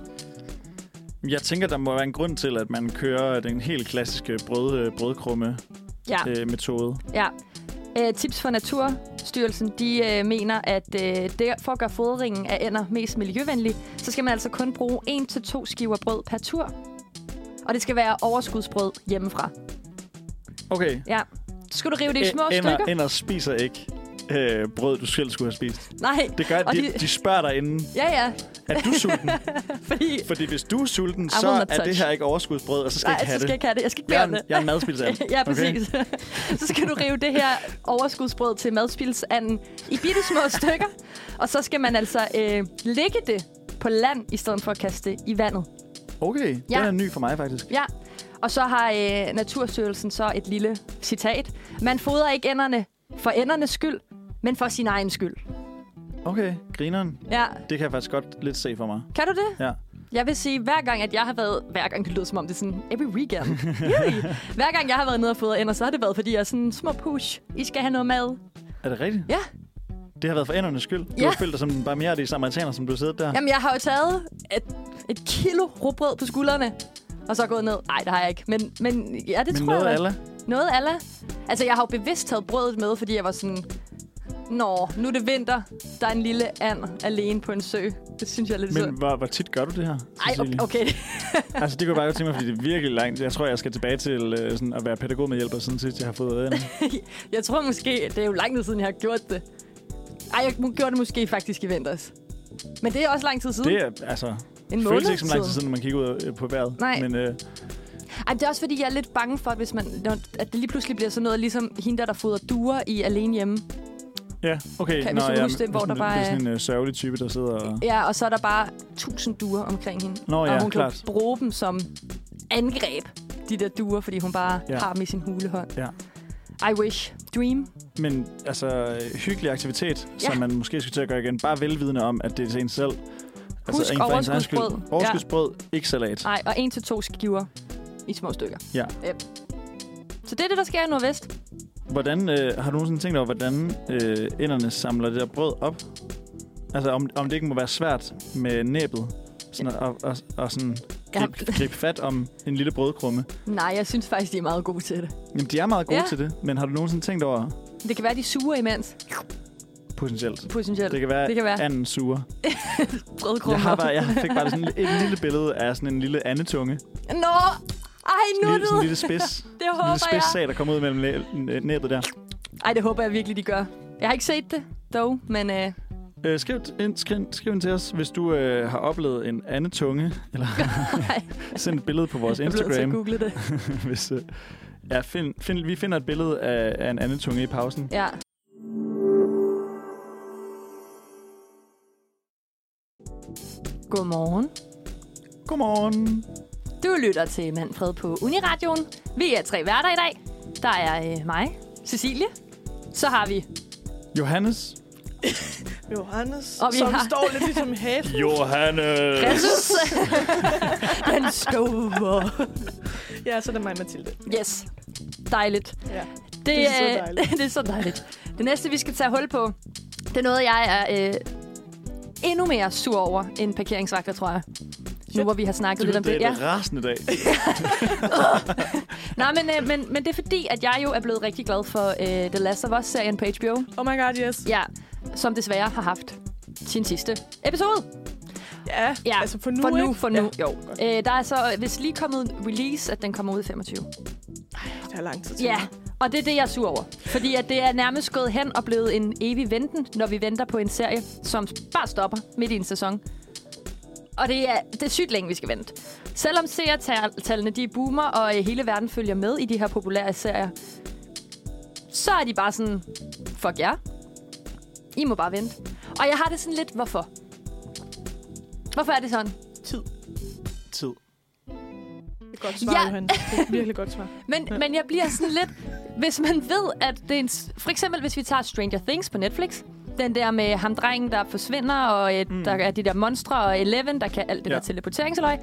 Speaker 2: Jeg tænker, der må være en grund til, at man kører den helt klassiske brød, øh, brødkrumme-metode.
Speaker 4: Ja.
Speaker 2: Øh, metode.
Speaker 4: Ja. Øh, tips fra Naturstyrelsen, de øh, mener, at øh, der, for at gøre fodringen af ænder mest miljøvenlig, så skal man altså kun bruge 1-2 skiver brød per tur. Og det skal være overskudsbrød hjemmefra.
Speaker 2: Okay.
Speaker 4: Ja. Så skal du rive det i små
Speaker 2: Æ- ænder,
Speaker 4: stykker?
Speaker 2: ænder spiser ikke øh, brød, du selv skulle have spist.
Speaker 4: Nej.
Speaker 2: Det gør,
Speaker 4: Og
Speaker 2: de,
Speaker 4: de-
Speaker 2: de spørger dig inden,
Speaker 4: Ja, ja.
Speaker 2: er du sulten?
Speaker 4: Fordi...
Speaker 2: Fordi hvis du er sulten,
Speaker 4: I
Speaker 2: så
Speaker 4: will not
Speaker 2: er det
Speaker 4: touch.
Speaker 2: her ikke overskudsbrød, og så skal
Speaker 4: Nej,
Speaker 2: jeg ikke
Speaker 4: så
Speaker 2: have
Speaker 4: skal jeg
Speaker 2: det.
Speaker 4: ikke have det. Jeg skal ikke
Speaker 2: Jeg er,
Speaker 4: bære
Speaker 2: en,
Speaker 4: det.
Speaker 2: jeg er en madspildsand.
Speaker 4: Ja, præcis. så skal du rive det her overskudsbrød til madspildsanden i bitte små stykker. Og så skal man altså øh, lægge det på land, i stedet for at kaste det i vandet.
Speaker 2: Okay, ja.
Speaker 4: Ja.
Speaker 2: den er ny for mig faktisk.
Speaker 4: Ja, og så har øh, Naturstyrelsen så et lille citat. Man fodrer ikke enderne for endernes skyld, men for sin egen skyld.
Speaker 2: Okay, grineren.
Speaker 4: Ja,
Speaker 2: Det kan jeg faktisk godt lidt se for mig.
Speaker 4: kan du det?
Speaker 2: Ja.
Speaker 4: Jeg vil sige, hver gang, at jeg har været... Hver gang, det lyder som om, det er sådan every weekend. Really? hver gang, jeg har været nede og fodret ender, så har det været, fordi jeg er sådan, små push, I skal have noget mad.
Speaker 2: Er det rigtigt?
Speaker 4: Ja.
Speaker 2: Det har været for endernes skyld. Du
Speaker 4: Ja.
Speaker 2: har følt dig som den barmhjertige samaritaner, som du sidder der.
Speaker 4: Jamen, jeg har jo taget et, et kilo rugbrød på skuldrene, og så gået ned. Nej, det har jeg ikke. Men, men ja, det
Speaker 2: Men
Speaker 4: tror
Speaker 2: noget
Speaker 4: jeg. da.
Speaker 2: alle.
Speaker 4: Noget alla. Altså, jeg har jo bevidst taget brødet med, fordi jeg var sådan... Nå, nu er det vinter. Der er en lille and alene på en sø. Det synes jeg er lidt
Speaker 2: Men
Speaker 4: sødt.
Speaker 2: hvor, hvor tit gør du det her?
Speaker 4: Ej,
Speaker 2: Cecilie?
Speaker 4: okay. okay.
Speaker 2: Altså, det kunne jeg bare godt tænke mig, fordi det er virkelig langt. Jeg tror, jeg skal tilbage til øh, sådan at være pædagog med hjælper, siden sidst jeg har fået det.
Speaker 4: Altså, Jeg tror måske, det er jo lang tid siden, jeg har gjort det. Ej, jeg mu- gjorde det måske faktisk i vinters. Men det er også lang tid siden.
Speaker 2: Det er, altså,
Speaker 4: en
Speaker 2: føles
Speaker 4: måned
Speaker 2: ikke som lang tid siden, når man kigger ud øh, på vejret.
Speaker 4: Nej.
Speaker 2: Men øh,
Speaker 4: Ej, det er også fordi, jeg er lidt bange for, at, hvis man, når- at det lige pludselig bliver sådan noget, ligesom hende der, der fodrer duer i alene hjemme.
Speaker 2: ja, okay.
Speaker 4: Kan- hvis du husker det, hvor der bare
Speaker 2: Det er
Speaker 4: er-
Speaker 2: sådan en øh, sørgelig type, der sidder og...
Speaker 4: Ja, og så er der bare tusind duer omkring hende.
Speaker 2: Nå
Speaker 4: og
Speaker 2: ja,
Speaker 4: hun
Speaker 2: klart.
Speaker 4: kan bruge dem som angreb, de der duer, fordi hun bare
Speaker 2: Ja.
Speaker 4: ja. har dem i sin hulehånd.
Speaker 2: Ja.
Speaker 4: I wish. Dream.
Speaker 2: Men altså, hyggelig aktivitet, ja. som
Speaker 4: Ja.
Speaker 2: man måske skal til at gøre igen. Bare velvidende om, at det er til en selv. Altså,
Speaker 4: Husk
Speaker 2: en for ens egen skyld.
Speaker 4: overskudsbrød. Ja.
Speaker 2: Overskudsbrød, ja. ikke salat.
Speaker 4: Nej, og en til to skiver i små stykker.
Speaker 2: Ja.
Speaker 4: Yep. Så det er det, der sker i Nordvest.
Speaker 2: Hvordan, øh, har du nogensinde tænkt over, hvordan øh, enderne samler det der brød op? Altså, om, om det ikke må være svært med næbet. Sådan at, og, og, og sådan
Speaker 4: Jeg har-
Speaker 2: gribe, gribe fat om en lille brødkrumme.
Speaker 4: Nej, jeg synes faktisk, de er meget gode til det.
Speaker 2: Jamen, de er meget gode ja.
Speaker 4: Ja.
Speaker 2: til det, men har du nogensinde tænkt over
Speaker 4: Det kan være, de suger imens,
Speaker 2: potentielt?
Speaker 4: potentielt.
Speaker 2: Det kan være,
Speaker 4: det kan være.
Speaker 2: anden suger.
Speaker 4: Brødkrummer.
Speaker 2: Jeg, har bare, jeg fik bare sådan et lille billede af sådan en lille andetunge.
Speaker 4: Nå! Ej, nu
Speaker 2: Sådan en lille, sådan en lille
Speaker 4: det.
Speaker 2: spids.
Speaker 4: Det
Speaker 2: lille
Speaker 4: håber
Speaker 2: spids
Speaker 4: jeg.
Speaker 2: sag, der kommer ud mellem næ- næbet der.
Speaker 4: Ej, det håber jeg virkelig, de gør. Jeg har ikke set det, dog, men øh,
Speaker 2: Øh, skriv, ind, skriv, skriv ind til os, hvis du øh, har oplevet en anden tunge, eller send et billede på vores
Speaker 4: jeg bliver nødt til at
Speaker 2: Instagram.
Speaker 4: google det.
Speaker 2: Hvis, øh, ja, find, find, vi finder et billede af, af en anden tunge i pausen.
Speaker 4: Ja. Godmorgen.
Speaker 2: Godmorgen.
Speaker 4: Du lytter til Manfred på Uniradioen. Vi er tre værter i dag. Der er øh, mig, Cecilie. Så har vi...
Speaker 2: Johannes.
Speaker 5: Johannes,
Speaker 4: Og vi
Speaker 5: som
Speaker 4: har-
Speaker 5: står lidt ligesom hæft.
Speaker 2: Johannes.
Speaker 4: Jesus! Den store.
Speaker 5: Ja, så er det mig, Mathilde.
Speaker 4: Yes. Dejligt.
Speaker 5: Ja.
Speaker 4: Det,
Speaker 5: er så
Speaker 4: øh,
Speaker 5: dejligt.
Speaker 4: det er så dejligt. Det næste, vi skal tage hul på, det er noget, jeg er øh, endnu mere sur over end parkeringsvagter, tror jeg. Nu hvor vi har snakket lidt om det.
Speaker 2: Det er en rasende dag.
Speaker 4: Nej, men, øh, men, men det er fordi, at jeg jo er blevet rigtig glad for øh, The Last of Us-serien på HBO.
Speaker 5: Oh my god, yes.
Speaker 4: Ja, som desværre har haft sin sidste episode.
Speaker 5: Ja,
Speaker 4: Ja,
Speaker 5: altså for nu,
Speaker 4: for nu,
Speaker 5: ikke?
Speaker 4: for nu. Ja. Jo. Øh, der er så øh, vist lige kommet en release, at den kommer ud i 25.
Speaker 5: Det er lang tid til.
Speaker 4: Ja, og det er det, jeg er sur over. Fordi at det er nærmest gået hen og blevet en evig venten, når vi venter på en serie, som bare stopper midt i en sæson. Og det er, det er sygt længe, vi skal vente. Selvom seertallene de boomer, og øh, hele verden følger med i de her populære serier, så er de bare sådan, fuck jer. I må bare vente. Og jeg har det sådan lidt, hvorfor? Hvorfor er det sådan?
Speaker 2: Tid. Tid.
Speaker 5: Det er et godt svar,
Speaker 4: Ja.
Speaker 5: ja. Johannes. Det er et virkelig godt svar.
Speaker 4: Men, ja. men jeg bliver sådan lidt... Hvis man ved, at det er en... s- For eksempel, hvis vi tager Stranger Things på Netflix. Den der med ham drengen, der forsvinder, og øh, mm. der er de der monstre, og Eleven, der kan alt det
Speaker 2: Ja.
Speaker 4: ja. der teleporteringsløg.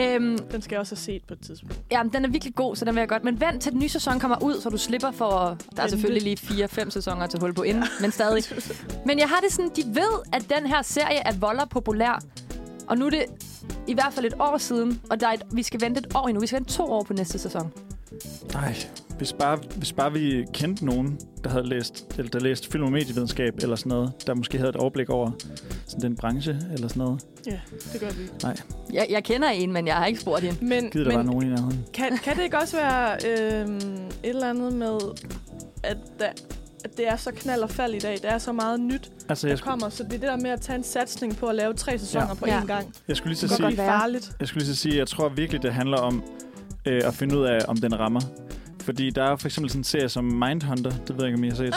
Speaker 4: Øhm,
Speaker 5: Den skal jeg også have set på et tidspunkt.
Speaker 4: jamen, den er virkelig god, så den vil jeg godt. Men vent til den nye sæson kommer ud, så du slipper for... Der er
Speaker 5: Vente.
Speaker 4: selvfølgelig lige 4-5 sæsoner til hul på inden, men stadig. Men jeg har det sådan, de ved, at den her serie er volder populær. Og nu er det i hvert fald et år siden, og der er et, vi skal vente et år endnu. Vi skal vente to år på næste sæson.
Speaker 2: Nej, hvis bare, hvis bare vi kendte nogen, der havde læst, eller der læste film og medievidenskab eller sådan noget, der måske havde et overblik over sådan den branche eller sådan noget.
Speaker 3: Det gør vi.
Speaker 4: Jeg, jeg kender en, men jeg har ikke spurgt hende.
Speaker 3: Men,
Speaker 2: Gider der var
Speaker 3: men
Speaker 2: nogen i nærheden.
Speaker 3: kan, kan det ikke også være øhm, et eller andet med, at, der, at det er så knald og fald i dag? Der er så meget nyt,
Speaker 2: Altså,
Speaker 3: der
Speaker 2: jeg, skulle,
Speaker 3: kommer. Så det er det der med at tage en satsning på at lave tre sæsoner
Speaker 2: Ja.
Speaker 3: på
Speaker 4: Ja.
Speaker 3: én gang. Det
Speaker 2: jeg skulle lige så
Speaker 3: kan
Speaker 4: Godt,
Speaker 2: sige,
Speaker 3: godt blive
Speaker 4: være.
Speaker 3: farligt.
Speaker 2: Jeg skulle lige så sige, jeg tror virkelig, det handler om øh, at finde ud af, om den rammer. Fordi der er for eksempel sådan en serie som Mindhunter, det ved jeg ikke, om I har set.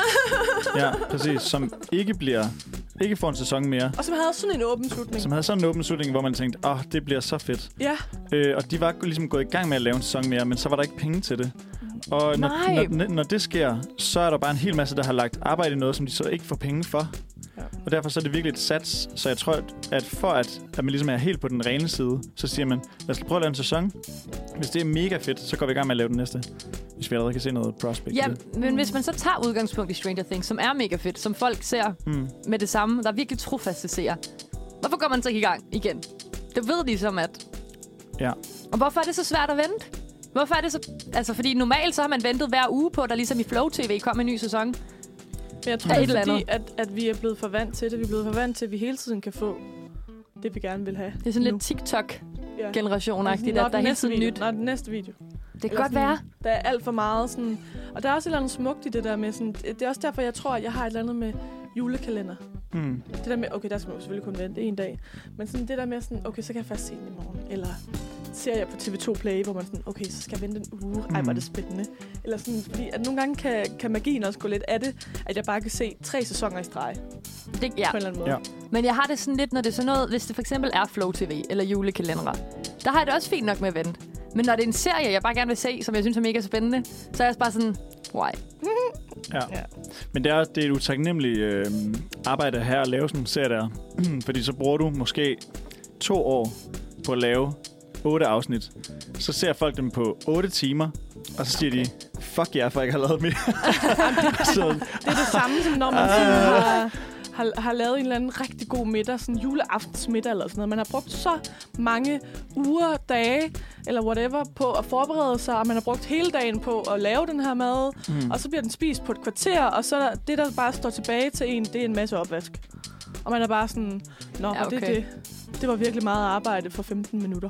Speaker 2: ja, præcis, som ikke bliver, ikke får en sæson mere.
Speaker 3: Og som havde sådan en åben slutning.
Speaker 2: Som havde sådan en åben slutning, hvor man tænkte, åh, oh, det bliver så fedt.
Speaker 3: Ja,
Speaker 2: Øh, og de var ligesom gået i gang med at lave en sæson mere, men så var der ikke penge til det. Og når,
Speaker 4: Nej.
Speaker 2: når, når det sker, så er der bare en hel masse, der har lagt arbejde i noget, som de så ikke får penge for.
Speaker 3: Ja.
Speaker 2: Ja. Og derfor så er det virkelig et sats. Så jeg tror, at- at for at, at man ligesom er helt på den rene side, så siger man, lad os lige prøve at lave en sæson. Hvis det er mega fedt, så går vi i gang med at lave den næste. Hvis vi allerede kan se noget prospect.
Speaker 4: Ja,
Speaker 2: i det.
Speaker 4: men hvis man så tager udgangspunkt i Stranger Things, som er mega fedt, som folk ser
Speaker 2: Mm.
Speaker 4: med det samme, der er virkelig trofaste seere, hvorfor går man så ikke i gang igen? Det ved de som at...
Speaker 2: Ja.
Speaker 4: Og hvorfor er det så svært at vente? Hvorfor er det så... Altså, fordi normalt så har man ventet hver uge på, at der ligesom i Flow TV kom en ny sæson.
Speaker 3: men jeg tror,
Speaker 4: Af
Speaker 3: det
Speaker 4: et
Speaker 3: er
Speaker 4: eller
Speaker 3: fordi, at, at vi er blevet for vant til det. Vi er blevet for vant til, at vi hele tiden kan få det, vi gerne vil have.
Speaker 4: Det er sådan
Speaker 3: Nu.
Speaker 4: lidt TikTok-generation-agtigt,
Speaker 3: Ja.
Speaker 4: at der er hele tiden
Speaker 3: video.
Speaker 4: nyt.
Speaker 3: Når den næste video.
Speaker 4: Det kan
Speaker 3: Eller
Speaker 4: godt
Speaker 3: sådan-
Speaker 4: være.
Speaker 3: Der er alt for meget sådan... Og der er også et eller andet smukt i det der med sådan... Det er også derfor, jeg tror, at jeg har et eller andet med julekalender.
Speaker 2: Mm.
Speaker 3: Det der med, okay, der skal man jo selvfølgelig kun vente en dag. Men sådan det der med sådan, okay, så kan jeg først se den i morgen. Eller ser jeg på TV2 Play, hvor man sådan, okay, så skal jeg vente en uge. Ej, hvor er det spændende. Eller sådan, fordi at nogle gange kan, kan magien også gå lidt af det, at jeg bare kan se tre sæsoner i streg ja.
Speaker 4: Det, ja.
Speaker 3: på en eller anden måde.
Speaker 2: Ja.
Speaker 4: Men jeg har det sådan lidt, når det er sådan noget, hvis det for eksempel er Flow TV eller julekalendere, der har jeg det også fint nok med at vente. Men når det er en serie, jeg bare gerne vil se, som jeg synes er mega spændende, så er jeg også bare sådan, why?
Speaker 2: Ja.
Speaker 3: Ja.
Speaker 2: ja. Men det er, det er et utaknemmeligt øh, arbejde her at lave sådan en serie der. Fordi så bruger du måske to år på at lave otte afsnit. Så ser folk dem på 8 timer, og så siger okay. de, fuck jer, for jeg ikke har lavet mere. så,
Speaker 3: Det er det samme, som når man sådan har, har, har lavet en eller anden rigtig god middag, sådan en juleaftensmiddag eller sådan noget. Man har brugt så mange uger, dage eller whatever på at forberede sig, og man har brugt hele dagen på at lave den her mad, mm. og så bliver den spist på et kvarter, og så er der- det, der bare står tilbage til en, det er en masse opvask. Og man er bare sådan, nå,
Speaker 4: Ja,
Speaker 3: ja, okay. det,
Speaker 4: okay.
Speaker 3: det, det var virkelig meget arbejde for 15 minutter.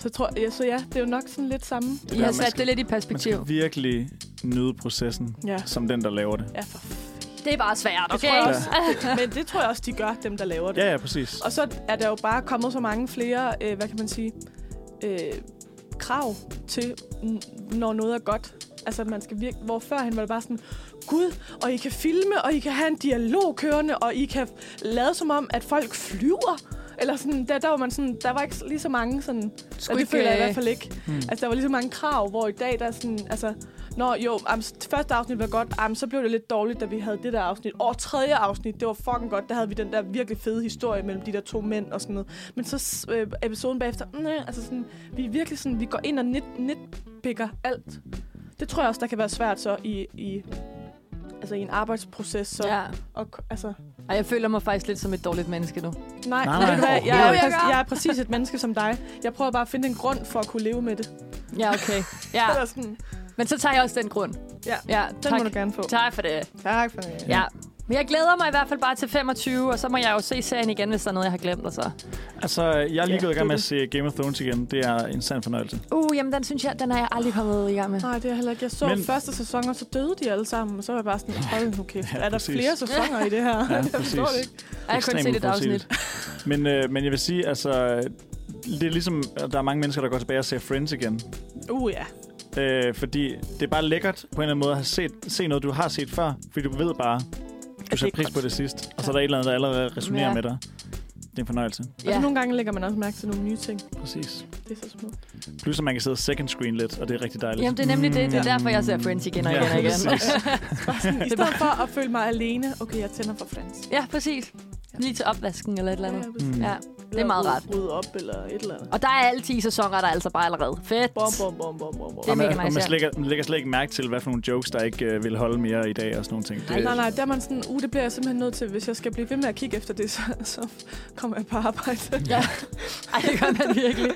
Speaker 3: Så, tror, ja, så ja, det er jo nok sådan lidt samme.
Speaker 4: I
Speaker 2: der,
Speaker 4: har
Speaker 2: man
Speaker 4: sat
Speaker 2: skal-
Speaker 4: det lidt i
Speaker 2: man
Speaker 4: perspektiv.
Speaker 2: skal virkelig nyde processen,
Speaker 3: Ja,
Speaker 2: som den, der laver det.
Speaker 3: ja for f-
Speaker 4: Det er bare svært,
Speaker 3: Det
Speaker 4: okay?
Speaker 3: tror jeg også. Men det tror jeg også, de gør, dem der laver det.
Speaker 2: Ja, ja, præcis.
Speaker 3: Og så er der jo bare kommet så mange flere, øh, hvad kan man sige, øh, krav til, n- når noget er godt. Altså, at man skal virke, hvor førhen var det bare sådan, Gud, og I kan filme, og I kan have en dialog kørende, og I kan lade som om, at folk flyver. Eller sådan, der, der var man sådan, der var ikke lige så mange sådan, og det føler jeg i
Speaker 4: øh,
Speaker 3: hvert fald ikke.
Speaker 2: Hmm.
Speaker 3: Altså, der var lige så mange krav, hvor i dag, der er sådan, altså, Nå, jo, am, s- første afsnit var godt, am, så blev det lidt dårligt, da vi havde det der afsnit. Og tredje afsnit, det var fucking godt, der havde vi den der virkelig fede historie mellem de der to mænd og sådan noget. Men så s- øh, episoden bagefter, mm, øh, altså sådan, vi er virkelig sådan, vi går ind og nit, nitpikker alt. Det tror jeg også, der kan være svært så i, i altså i en arbejdsproces. Så, ja.
Speaker 4: Ja.
Speaker 3: og, k- altså,
Speaker 4: Og jeg føler mig faktisk lidt som et dårligt menneske nu.
Speaker 2: Nej,
Speaker 3: nej, nej, ved
Speaker 2: nej.
Speaker 3: du hvad, jeg,
Speaker 4: Jo,
Speaker 3: er,
Speaker 4: jeg
Speaker 3: præ-
Speaker 4: gør.
Speaker 3: jeg er præcis et menneske som dig. Jeg prøver bare at finde en grund for at kunne leve med det.
Speaker 4: Ja, okay. Ja.
Speaker 3: Eller sådan,
Speaker 4: Men så tager jeg også den grund.
Speaker 3: Ja,
Speaker 4: ja
Speaker 3: den
Speaker 4: tak.
Speaker 3: må du gerne få.
Speaker 4: Tak for det.
Speaker 3: Tak for det.
Speaker 4: Ja. Men jeg glæder mig i hvert fald bare til 25, og så må jeg jo se serien igen, hvis der er noget, jeg har glemt. Og så.
Speaker 2: Altså, jeg er lige ja,
Speaker 3: Ja,
Speaker 2: gået i
Speaker 3: det er
Speaker 2: gang med at
Speaker 3: det.
Speaker 2: se Game of Thrones igen. Det er en sand fornøjelse.
Speaker 4: Uh, jamen den synes jeg, den har jeg aldrig kommet i gang med.
Speaker 3: Nej, det er heller ikke. Jeg så Men...
Speaker 2: Men-
Speaker 3: første sæson, og så døde de alle sammen. Og så var jeg bare sådan, hold nu kæft,
Speaker 2: Ja,
Speaker 3: er der
Speaker 2: præcis.
Speaker 3: flere sæsoner i det her?
Speaker 2: Ja,
Speaker 3: jeg forstår det
Speaker 2: præcis.
Speaker 3: ikke.
Speaker 4: Jeg har kun
Speaker 2: Ekstremt
Speaker 4: set et afsnit.
Speaker 2: uforudsigeligt. Men, øh, men jeg vil sige, altså, det er ligesom, at der er mange mennesker, der går tilbage og ser Friends igen.
Speaker 3: Uh, ja.
Speaker 2: Øh, fordi det er bare lækkert på en eller anden måde at have set, se noget, du har set før. Fordi du ved bare, du
Speaker 3: det
Speaker 2: sætter
Speaker 3: ikke
Speaker 2: pris
Speaker 3: godt?
Speaker 2: på det sidst. Og så
Speaker 3: Ja.
Speaker 2: er der et eller andet, der allerede resonerer
Speaker 4: Ja.
Speaker 2: ja. med dig. Det er en fornøjelse.
Speaker 3: Og så
Speaker 4: Ja.
Speaker 3: nogle gange lægger man også mærke til nogle nye ting.
Speaker 2: Præcis.
Speaker 3: Det er så smukt.
Speaker 2: Plus at man kan sidde second screen lidt, og det er rigtig dejligt. Mm.
Speaker 4: Jamen, det er nemlig det. Det er derfor, jeg ser Friends igen og igen og igen.
Speaker 2: præcis.
Speaker 3: Bare sådan, I
Speaker 4: Det var-
Speaker 3: stedet for at føle mig alene, okay, jeg tænder for Friends.
Speaker 4: Ja, præcis. Lige til opvasken eller et eller andet.
Speaker 2: Mm.
Speaker 4: Ja,
Speaker 2: Ja.
Speaker 4: det er meget rart.
Speaker 3: Rydde op eller et eller andet.
Speaker 4: Og der er alle 10 sæsoner, der er altså bare allerede. Fedt.
Speaker 3: Bom, bom, bom, bom, bom, bom.
Speaker 4: Det er
Speaker 2: Og man,
Speaker 4: mega
Speaker 2: og
Speaker 4: nice,
Speaker 2: man,
Speaker 4: ja.
Speaker 2: slet ikke, man lægger slet ikke mærke til, hvad for nogle jokes, der ikke øh, vil holde mere i dag og sådan nogle ting. Det,
Speaker 3: Nej, nej, der er man sådan, uh, det bliver jeg simpelthen nødt til. Hvis jeg skal blive ved med at kigge efter det, så, så kommer jeg på arbejde.
Speaker 4: Ja. Ej, det gør man virkelig.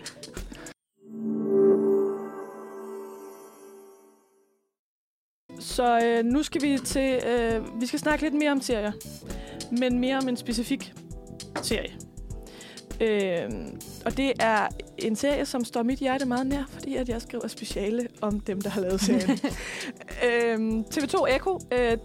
Speaker 3: Så øh, nu skal vi til... Øh, vi skal snakke lidt mere om serier. Men mere om en specifik serie. Øh, og det er en serie, som står mit hjerte meget nær, fordi at jeg skriver speciale om dem, der har lavet serien. øh, TV2 Echo øh,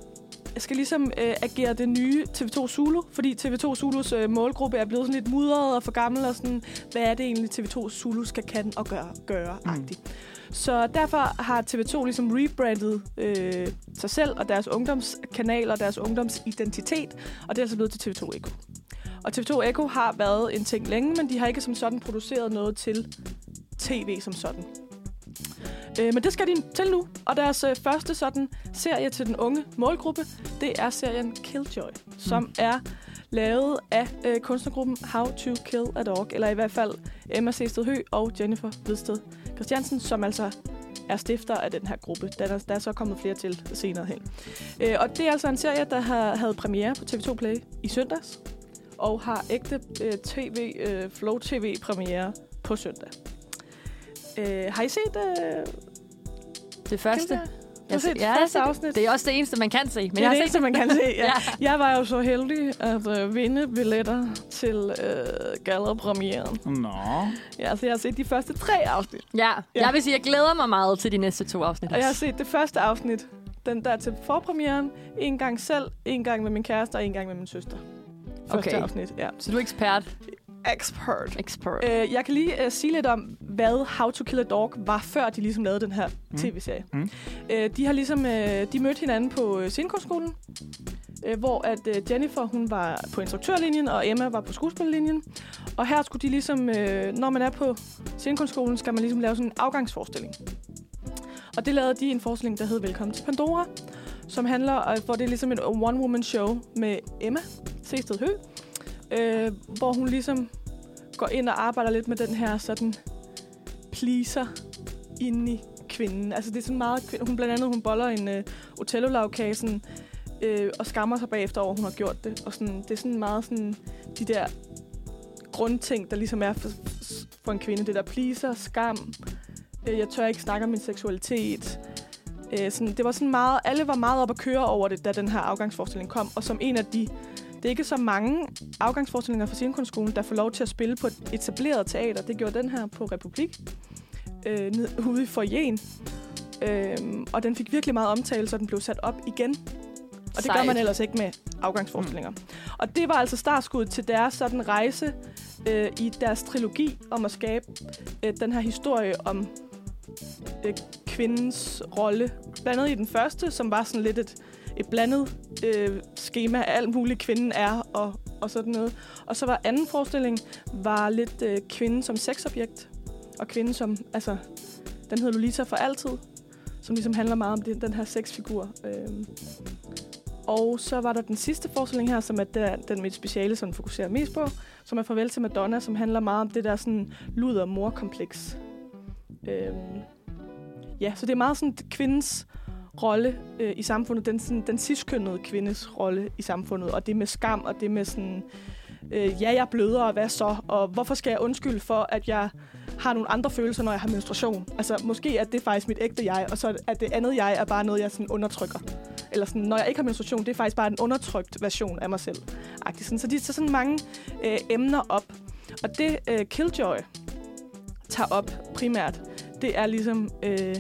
Speaker 3: skal ligesom øh, agere det nye TV2 Zulu, fordi TV2 Zulus øh, målgruppe er blevet sådan lidt mudret og for gammel, og sådan, hvad er det egentlig, TV2 Zulu skal kan og gøre, gøre agtigt. Mm. Så derfor har TV2 ligesom rebrandet øh, sig selv og deres ungdomskanal og deres ungdomsidentitet, og det er så blevet til TV2 Echo. Og TV2 Echo har været en ting længe, men de har ikke som sådan produceret noget til tv som sådan. Øh, men det skal de til nu, og deres øh, første sådan serie til den unge målgruppe, det er serien Killjoy, som er lavet af øh, kunstnergruppen How to Kill a Dog, eller i hvert fald Emma Sested Hø og Jennifer Vedsted Christiansen, som altså er stifter af den her gruppe. Der, der, der er så kommet flere til senere hen. Øh, og det er altså en serie, der har, havde premiere på TV2 Play i søndags, og har ægte øh, TV, øh, Flow TV premiere på søndag. Øh, har I set øh,
Speaker 4: Det første.
Speaker 3: Kildberg? Du har
Speaker 4: Jeg
Speaker 3: set
Speaker 4: ja, jeg har
Speaker 3: første
Speaker 4: set det.
Speaker 3: afsnit.
Speaker 4: Det er også det eneste, man kan se. Men
Speaker 3: det
Speaker 4: jeg
Speaker 3: er
Speaker 4: har
Speaker 3: det
Speaker 4: set
Speaker 3: eneste, man kan se. Ja.
Speaker 4: Ja.
Speaker 3: Jeg var jo så heldig at øh, vinde billetter til øh, gallerpremieren.
Speaker 2: Nå.
Speaker 3: Ja, altså, jeg har set de første tre afsnit.
Speaker 4: Ja,
Speaker 3: Ja.
Speaker 4: jeg vil sige, jeg glæder mig meget til de næste to afsnit.
Speaker 3: Og jeg har set det første afsnit, den der til forpremieren, en gang selv, en gang med min kæreste og en gang med min søster. Første
Speaker 4: Okay.
Speaker 3: afsnit, ja.
Speaker 4: Så du er ekspert.
Speaker 3: Expert.
Speaker 4: Expert.
Speaker 3: Øh, jeg kan lige øh, sige lidt om, hvad How to Kill a Dog var, før de ligesom lavede den her
Speaker 2: Mm.
Speaker 3: tv-serie.
Speaker 2: Mm.
Speaker 3: Øh, de har ligesom, øh, de mødte hinanden på øh, scenekunstskolen, øh, hvor at øh, Jennifer, hun var på instruktørlinjen, og Emma var på skuespillerlinjen. Og her skulle de ligesom, øh, når man er på scenekunstskolen, skal man ligesom lave sådan en afgangsforestilling. Og det lavede de en forestilling, der hed Velkommen til Pandora, som handler, øh, hvor det er ligesom et one-woman-show med Emma Sehsted Hø, øh, hvor hun ligesom går ind og arbejder lidt med den her sådan pleaser inde i kvinden. Altså det er sådan meget kvinde. Hun blandt andet hun boller en øh, otello sådan, øh, og skammer sig bagefter over, at hun har gjort det. Og sådan, det er sådan meget sådan de der grundting, der ligesom er for, for en kvinde. Det der pleaser, skam, øh, jeg tør ikke snakke om min seksualitet. Øh, sådan, det var sådan meget, alle var meget op at køre over det, da den her afgangsforestilling kom. Og som en af de det er ikke så mange afgangsforestillinger fra scenekunstskolen, der får lov til at spille på et etableret teater. Det gjorde den her på Republik, øh, ned, ude i forjen. Øhm, og den fik virkelig meget omtale, så den blev sat op igen. Og det gør
Speaker 4: Sejt.
Speaker 3: man ellers ikke med afgangsforestillinger. Og det var altså startskuddet til deres sådan rejse øh, i deres trilogi om at skabe øh, den her historie om øh, kvindens rolle. Blandt andet i den første, som var sådan lidt et, et blandet øh, schema af alt muligt, kvinden er og, og sådan noget. Og så var anden forestilling, var lidt øh, kvinden som sexobjekt, og kvinden som, altså, den hedder Lolita for altid, som ligesom handler meget om den, den her sexfigur. Øh. Og så var der den sidste forestilling her, som er der, den mit speciale sådan fokuserer mest på, som er Farvel til Madonna, som handler meget om det der sådan luder-mor-kompleks. Øhm, ja, så det er meget sådan kvindens rolle øh, i samfundet, den, sådan, den ciskønnede kvindes rolle i samfundet, og det med skam, og det med sådan, øh, ja, jeg bløder, og hvad så, og hvorfor skal jeg undskylde for, at jeg har nogle andre følelser, når jeg har menstruation? Altså, måske er det faktisk mit ægte jeg, og så er det andet jeg er bare noget, jeg sådan undertrykker. Eller sådan, når jeg ikke har menstruation, det er faktisk bare en undertrykt version af mig selv. Agtigt. Sådan, så de tager sådan mange øh, emner op. Og det øh, Killjoy tager op primært, det er ligesom øh,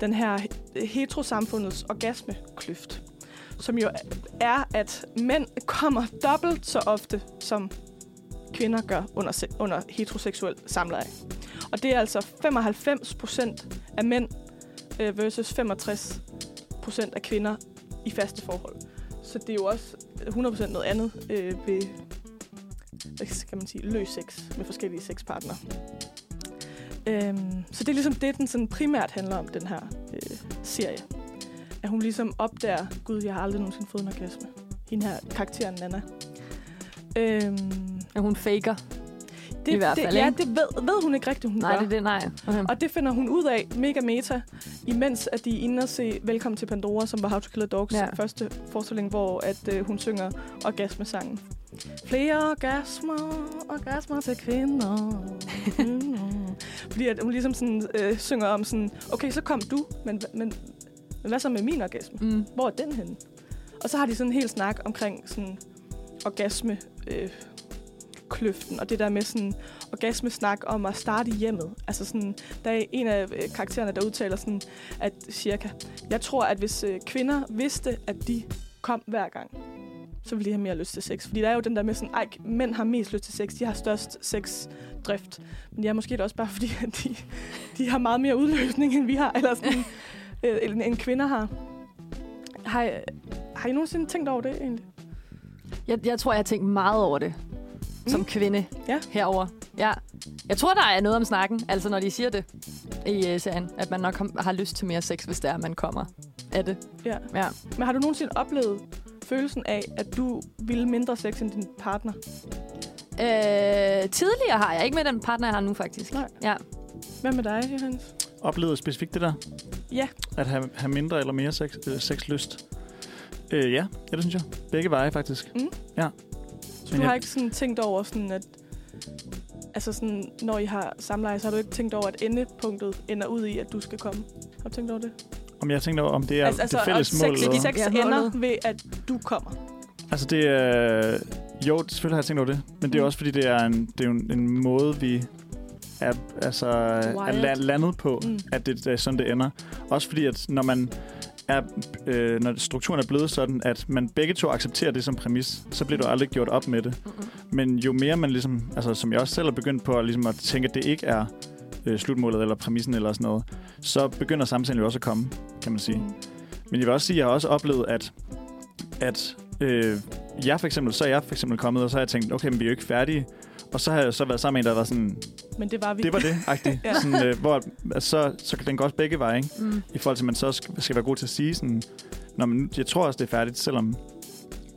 Speaker 3: den her heterosamfundets orgasmekløft. Som jo er, at mænd kommer dobbelt så ofte, som kvinder gør under, se- under heteroseksuel samleje. Og det er altså 95 procent af mænd øh, versus 65 procent af kvinder i faste forhold. Så det er jo også 100 procent noget andet øh, ved, hvad skal man sige, løs sex med forskellige sexpartnere. Øhm, så det er ligesom det, den sådan primært handler om, den her øh, serie. At hun ligesom opdager, gud, jeg har aldrig nogensinde fået en orgasme. Hende her karakteren Nana. Øhm,
Speaker 4: Og hun faker.
Speaker 3: det,
Speaker 4: I hvert
Speaker 3: det,
Speaker 4: fald,
Speaker 3: Ja,
Speaker 4: ikke?
Speaker 3: det ved, ved hun ikke rigtigt, hun
Speaker 4: Nej,
Speaker 3: gør.
Speaker 4: det er det, nej. Okay.
Speaker 3: Og det finder hun ud af, mega meta, imens at de er inde og se Velkommen til Pandora, som var How to Kill a Dogs ja.
Speaker 4: Ja.
Speaker 3: første forestilling, hvor at, øh, hun synger orgasmesangen. Flere orgasmer, orgasmer til kvinder. Mm. Fordi at hun ligesom sådan, øh, synger om sådan, okay, så kom du, men, men, Men hvad så med min orgasme?
Speaker 4: Mm.
Speaker 3: Hvor er den henne? Og så har de sådan en hel snak omkring sådan orgasme øh, kløften, og det der med sådan orgasmesnak om at starte i hjemmet. Altså sådan, der er en af øh, karaktererne, der udtaler sådan, at cirka, jeg tror, at hvis øh, kvinder vidste, at de kom hver gang, så ville de have mere lyst til sex. Fordi der er jo den der med sådan, ej, mænd har mest lyst til sex, de har størst sexdrift. Men det er måske da også bare fordi, at de, de har meget mere udløsning, end vi har, eller sådan, øh, end, end kvinder har. Har, I- har I nogensinde tænkt over det egentlig?
Speaker 4: Jeg, jeg tror, jeg har tænkt meget over det. Som
Speaker 3: Mm.
Speaker 4: kvinde
Speaker 3: Ja.
Speaker 4: herover. Ja. Jeg tror, der er noget om snakken, altså når de siger det i uh, serien, at man nok har- har lyst til mere sex, hvis det er, man kommer af det.
Speaker 3: Ja.
Speaker 4: Ja.
Speaker 3: Men har du nogensinde oplevet følelsen af, at du ville mindre sex end din partner?
Speaker 4: Øh, tidligere har jeg, ikke med den partner, jeg har nu faktisk.
Speaker 3: Nej.
Speaker 4: Ja.
Speaker 3: Hvad med dig, Johannes?
Speaker 2: Oplevede specifikt det der?
Speaker 3: Ja.
Speaker 2: At have, have mindre eller mere sex, øh, sexlyst? Øh, ja. ja, det synes jeg. Begge veje, faktisk.
Speaker 3: Så
Speaker 2: Men
Speaker 3: Mm. du
Speaker 2: jeg-
Speaker 3: har ikke sådan tænkt over, sådan at, altså sådan, når I har samleje, så har du ikke tænkt over, at endepunktet ender ud i, at du skal komme? Har du tænkt over det?
Speaker 2: Om jeg tænkte over, om det er
Speaker 3: altså,
Speaker 2: altså, det fælles
Speaker 3: og
Speaker 2: mål?
Speaker 3: sex,
Speaker 2: eller-
Speaker 3: sex
Speaker 4: Ja,
Speaker 3: ender
Speaker 4: målet.
Speaker 3: ved, at du kommer.
Speaker 2: Altså det er... Jo, selvfølgelig har jeg tænkt over det. Men det er
Speaker 3: Mm.
Speaker 2: også fordi, det er en, det er jo en, en måde, vi er, altså, er
Speaker 4: Wired.
Speaker 2: la- landet på,
Speaker 3: Mm.
Speaker 2: mm. at det er sådan, det ender. Også fordi, at når man er, øh, når strukturen er blevet sådan, at man begge to accepterer det som præmis, så bliver du aldrig gjort op med det. Men jo mere man ligesom, altså som jeg også selv er begyndt på, at, ligesom at tænke, at det ikke er øh, slutmålet eller præmissen eller sådan noget, så begynder samtalen jo også at komme, kan man sige.
Speaker 3: Mm.
Speaker 2: Men jeg vil også sige, at jeg har også oplevet, at, at øh, jeg for eksempel, så er jeg for eksempel kommet, og så har jeg tænkt, okay, men vi er jo ikke færdige. Og så har jeg så været sammen med en, der var sådan,
Speaker 3: Men det var vi.
Speaker 2: det var det, agtigt.
Speaker 3: Ja.
Speaker 2: ja. sådan, øh, hvor altså, så, så kan den gå også begge veje, ikke?
Speaker 4: Mm.
Speaker 2: I forhold til, at man så skal, skal være god til at sige sådan, Nå, men nu- jeg tror også, det er færdigt, selvom...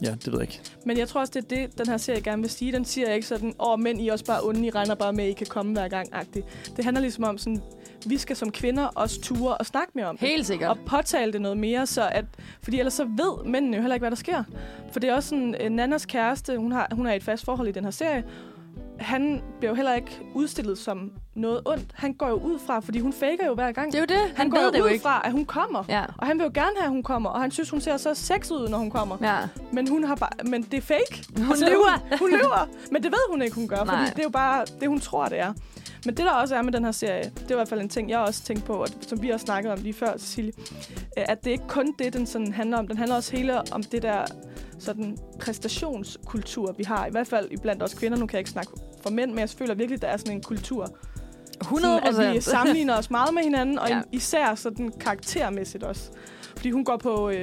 Speaker 2: Ja, det ved jeg ikke.
Speaker 3: Men jeg tror også, det er det, den her serie gerne vil sige. Den siger ikke sådan, åh, oh, men I er også bare onde, I regner bare med, at I kan komme hver gang -agtigt. Det handler ligesom om sådan, vi skal som kvinder også ture og snakke mere om det.
Speaker 4: Helt sikkert.
Speaker 3: og påtale det noget mere, så at, fordi ellers så ved mændene jo heller ikke, hvad der sker. For det er også sådan, øh, Nannas kæreste, hun, har, hun er i et fast forhold i den her serie, han bliver jo heller ikke udstillet som noget ondt. Han går jo ud fra, fordi hun faker jo hver gang.
Speaker 4: Det er jo det. Han,
Speaker 3: han går
Speaker 4: ved
Speaker 3: jo
Speaker 4: det
Speaker 3: ud
Speaker 4: jo ikke.
Speaker 3: fra, at hun kommer.
Speaker 4: Ja.
Speaker 3: Og han vil jo gerne have, at hun kommer, og han synes, hun ser så sexet ud, når hun kommer.
Speaker 4: Ja.
Speaker 3: Men, hun har bare, men det er fake.
Speaker 4: Hun
Speaker 3: Altså,
Speaker 4: lyver.
Speaker 3: Hun, hun lyver. Men det ved hun ikke, hun gør,
Speaker 4: Nej.
Speaker 3: fordi det er jo bare det, hun tror, det er. Men det, der også er med den her serie, det er i hvert fald en ting, jeg også tænkte på, og som vi også snakkede om lige før, Cecilie, øh, at det ikke kun det, den sådan handler om. Den handler også hele om det der sådan præstationskultur, vi har. I hvert fald blandt os kvinder. Nu kan jeg ikke snakke for mænd, men jeg føler virkelig, at der er sådan en kultur.
Speaker 4: 100
Speaker 3: Sådan, At vi sammenligner os meget med hinanden, og
Speaker 4: Ja.
Speaker 3: ja. især sådan karaktermæssigt også. Fordi hun går på øh,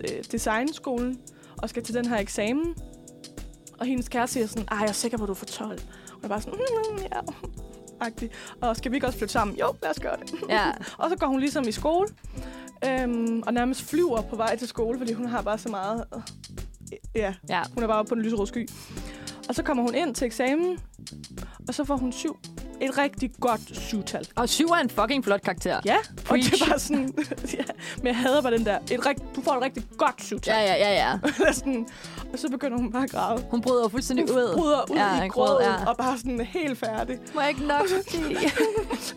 Speaker 3: øh, designskolen og skal til den her eksamen. Og hendes kæreste siger sådan, ah, jeg er sikker på, at du får 12. Hun er bare sådan, mm, mm, ja, agtig. Og skal vi ikke også flytte sammen? Jo, lad os gøre det.
Speaker 4: Ja.
Speaker 3: Og så går hun ligesom i skole, øhm, og nærmest flyver på vej til skole, fordi hun har bare så meget... Øh, ja,
Speaker 4: Ja.
Speaker 3: hun er bare oppe på den lyserøde sky. Og så kommer hun ind til eksamen, og så får hun syv. Et rigtig godt syvtal.
Speaker 4: Og syv er en fucking flot karakter.
Speaker 3: Ja, og det
Speaker 4: Preach.
Speaker 3: er bare sådan... ja, men jeg hader bare den der. Et rigt, du får et rigtig godt syvtal.
Speaker 4: Ja, ja, ja, ja.
Speaker 3: Eller sådan, og så begynder hun bare at græde.
Speaker 4: Hun bryder jo fuldstændig
Speaker 3: Hun
Speaker 4: ud.
Speaker 3: bryder ud
Speaker 4: Ja,
Speaker 3: i
Speaker 4: en gråd,
Speaker 3: gråden,
Speaker 4: ja.
Speaker 3: og bare sådan helt færdig.
Speaker 4: Må jeg ikke nok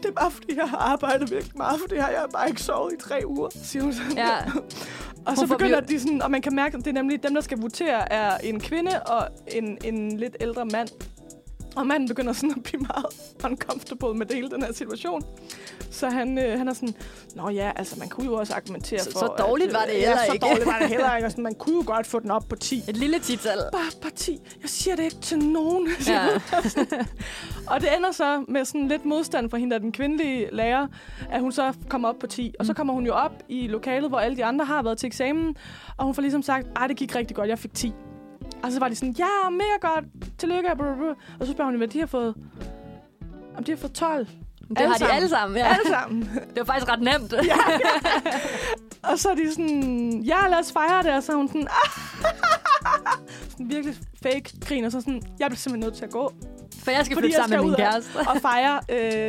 Speaker 3: Det er bare, fordi jeg har arbejdet virkelig meget, fordi jeg har bare ikke sovet i tre uger, siger hun sådan.
Speaker 4: Ja.
Speaker 3: Og
Speaker 4: Hun
Speaker 3: så
Speaker 4: får
Speaker 3: begynder
Speaker 4: blive-
Speaker 3: de sådan, og man kan mærke, at det er nemlig dem, der skal votere, er en kvinde og en, en lidt ældre mand. Og manden begynder sådan at blive meget uncomfortable med det hele den her situation. Så han, øh, han er sådan, nå ja, altså man kunne jo også argumentere
Speaker 4: Så-
Speaker 3: for...
Speaker 4: så dårligt
Speaker 3: at,
Speaker 4: var det
Speaker 3: øh,
Speaker 4: heller
Speaker 3: ja,
Speaker 4: ikke."
Speaker 3: så dårligt var det heller ikke. Og sådan, man kunne jo godt få den op på 10.
Speaker 4: Et lille tital.
Speaker 3: Bare på 10. Jeg siger det ikke til nogen.
Speaker 4: Ja.
Speaker 3: Og det ender så med sådan lidt modstand fra hende, der er den kvindelige lærer, at hun så kommer op på 10.
Speaker 4: Mm.
Speaker 3: Og så kommer hun jo op i lokalet, hvor alle de andre har været til eksamen, og hun får ligesom sagt, at det gik rigtig godt, jeg fik 10. Og så var de sådan, ja, mega godt, tillykke, blah, blah, blah. og så spørger hun, hvad de har fået. Om de har fået 12.
Speaker 4: Det
Speaker 3: Alle
Speaker 4: har de
Speaker 3: sammen.
Speaker 4: alle sammen. Ja.
Speaker 3: Alle sammen.
Speaker 4: Det var faktisk ret nemt. Ja.
Speaker 3: Og så er de sådan, ja, lad os fejre det. Og så er hun sådan, ah, sådan virkelig fake grin. Og så sådan, jeg bliver simpelthen nødt til at gå
Speaker 4: For jeg skal
Speaker 3: Fordi
Speaker 4: flytte
Speaker 3: jeg
Speaker 4: sammen med
Speaker 3: skal ud
Speaker 4: min
Speaker 3: af-
Speaker 4: kæreste.
Speaker 3: og fejre,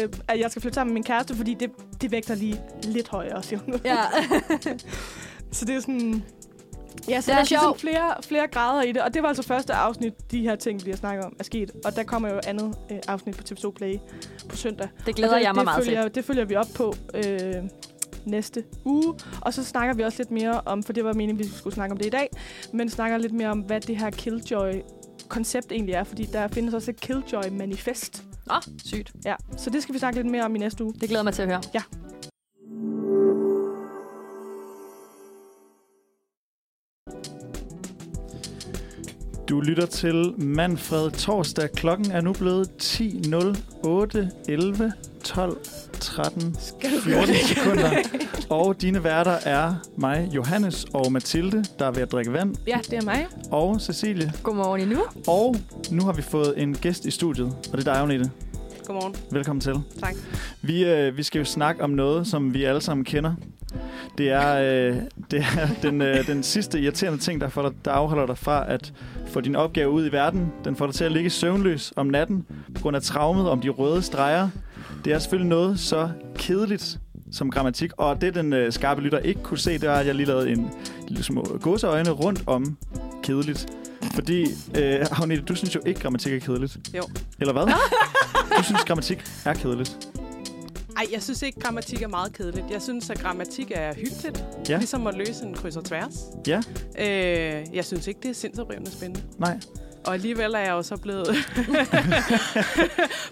Speaker 3: øh, at jeg skal flytte sammen med min kæreste, fordi det, det vægter lige lidt højere, siger hun.
Speaker 4: Ja.
Speaker 3: Så det er sådan... Ja, så der
Speaker 4: Den er
Speaker 3: er ligesom
Speaker 4: sjov.
Speaker 3: flere, flere grader i det, og det var altså første afsnit, de her ting, vi har snakket om, er sket. Og der kommer jo andet øh, afsnit på TV2 Play på søndag.
Speaker 4: Altså, Det glæder
Speaker 5: Altså,
Speaker 3: og det,
Speaker 4: jeg mig
Speaker 3: det
Speaker 4: meget til.
Speaker 3: følger, Det følger vi op på øh,
Speaker 5: næste uge. Og så snakker vi også lidt mere om, for det var meningen, vi skulle snakke om det i dag, men snakker lidt mere om, hvad det her Killjoy-koncept egentlig er, fordi der findes også et Killjoy-manifest.
Speaker 4: Nå, sygt.
Speaker 5: Ja, så det skal vi snakke lidt mere om i næste uge.
Speaker 4: Det glæder jeg mig til at høre.
Speaker 2: Du lytter til Manfred Torsdag. Klokken er nu blevet 10.08, 11, 12, 13,
Speaker 5: Skal du
Speaker 2: 14 sekunder. Og dine værter er mig, Johannes og Mathilde, der er ved at drikke vand,
Speaker 5: Ja, det er mig.
Speaker 2: og Cecilie.
Speaker 4: Godmorgen endnu.
Speaker 2: Og nu har vi fået en gæst i studiet, og det er dig, Agnete.
Speaker 5: Godmorgen.
Speaker 2: Velkommen til.
Speaker 5: Tak.
Speaker 2: Vi, øh, vi skal jo snakke om noget, som vi alle sammen kender. Det er, øh, det er den, øh, den sidste irriterende ting, der, får dig, der afholder dig fra at få din opgave ud i verden. Den får dig til at ligge søvnløs om natten på grund af traumet om de røde streger. Det er selvfølgelig noget så kedeligt som grammatik, og det den øh, skarpe lytter ikke kunne se, det var, at jeg lige lavede en lille små gåseøjne rundt om kedeligt. Fordi, øh, Agnete, du synes jo ikke, grammatik er kedeligt.
Speaker 1: Jo.
Speaker 2: Eller hvad? Du synes, grammatik er kedeligt.
Speaker 3: Ej, jeg synes ikke, grammatik er meget kedeligt. Jeg synes, at grammatik er hyggeligt.
Speaker 2: Ja.
Speaker 3: Ligesom at løse en kryds og tværs.
Speaker 2: Ja.
Speaker 3: Øh, jeg synes ikke, det er sindsoprivende spændende.
Speaker 2: Nej.
Speaker 3: Og alligevel er jeg jo så blevet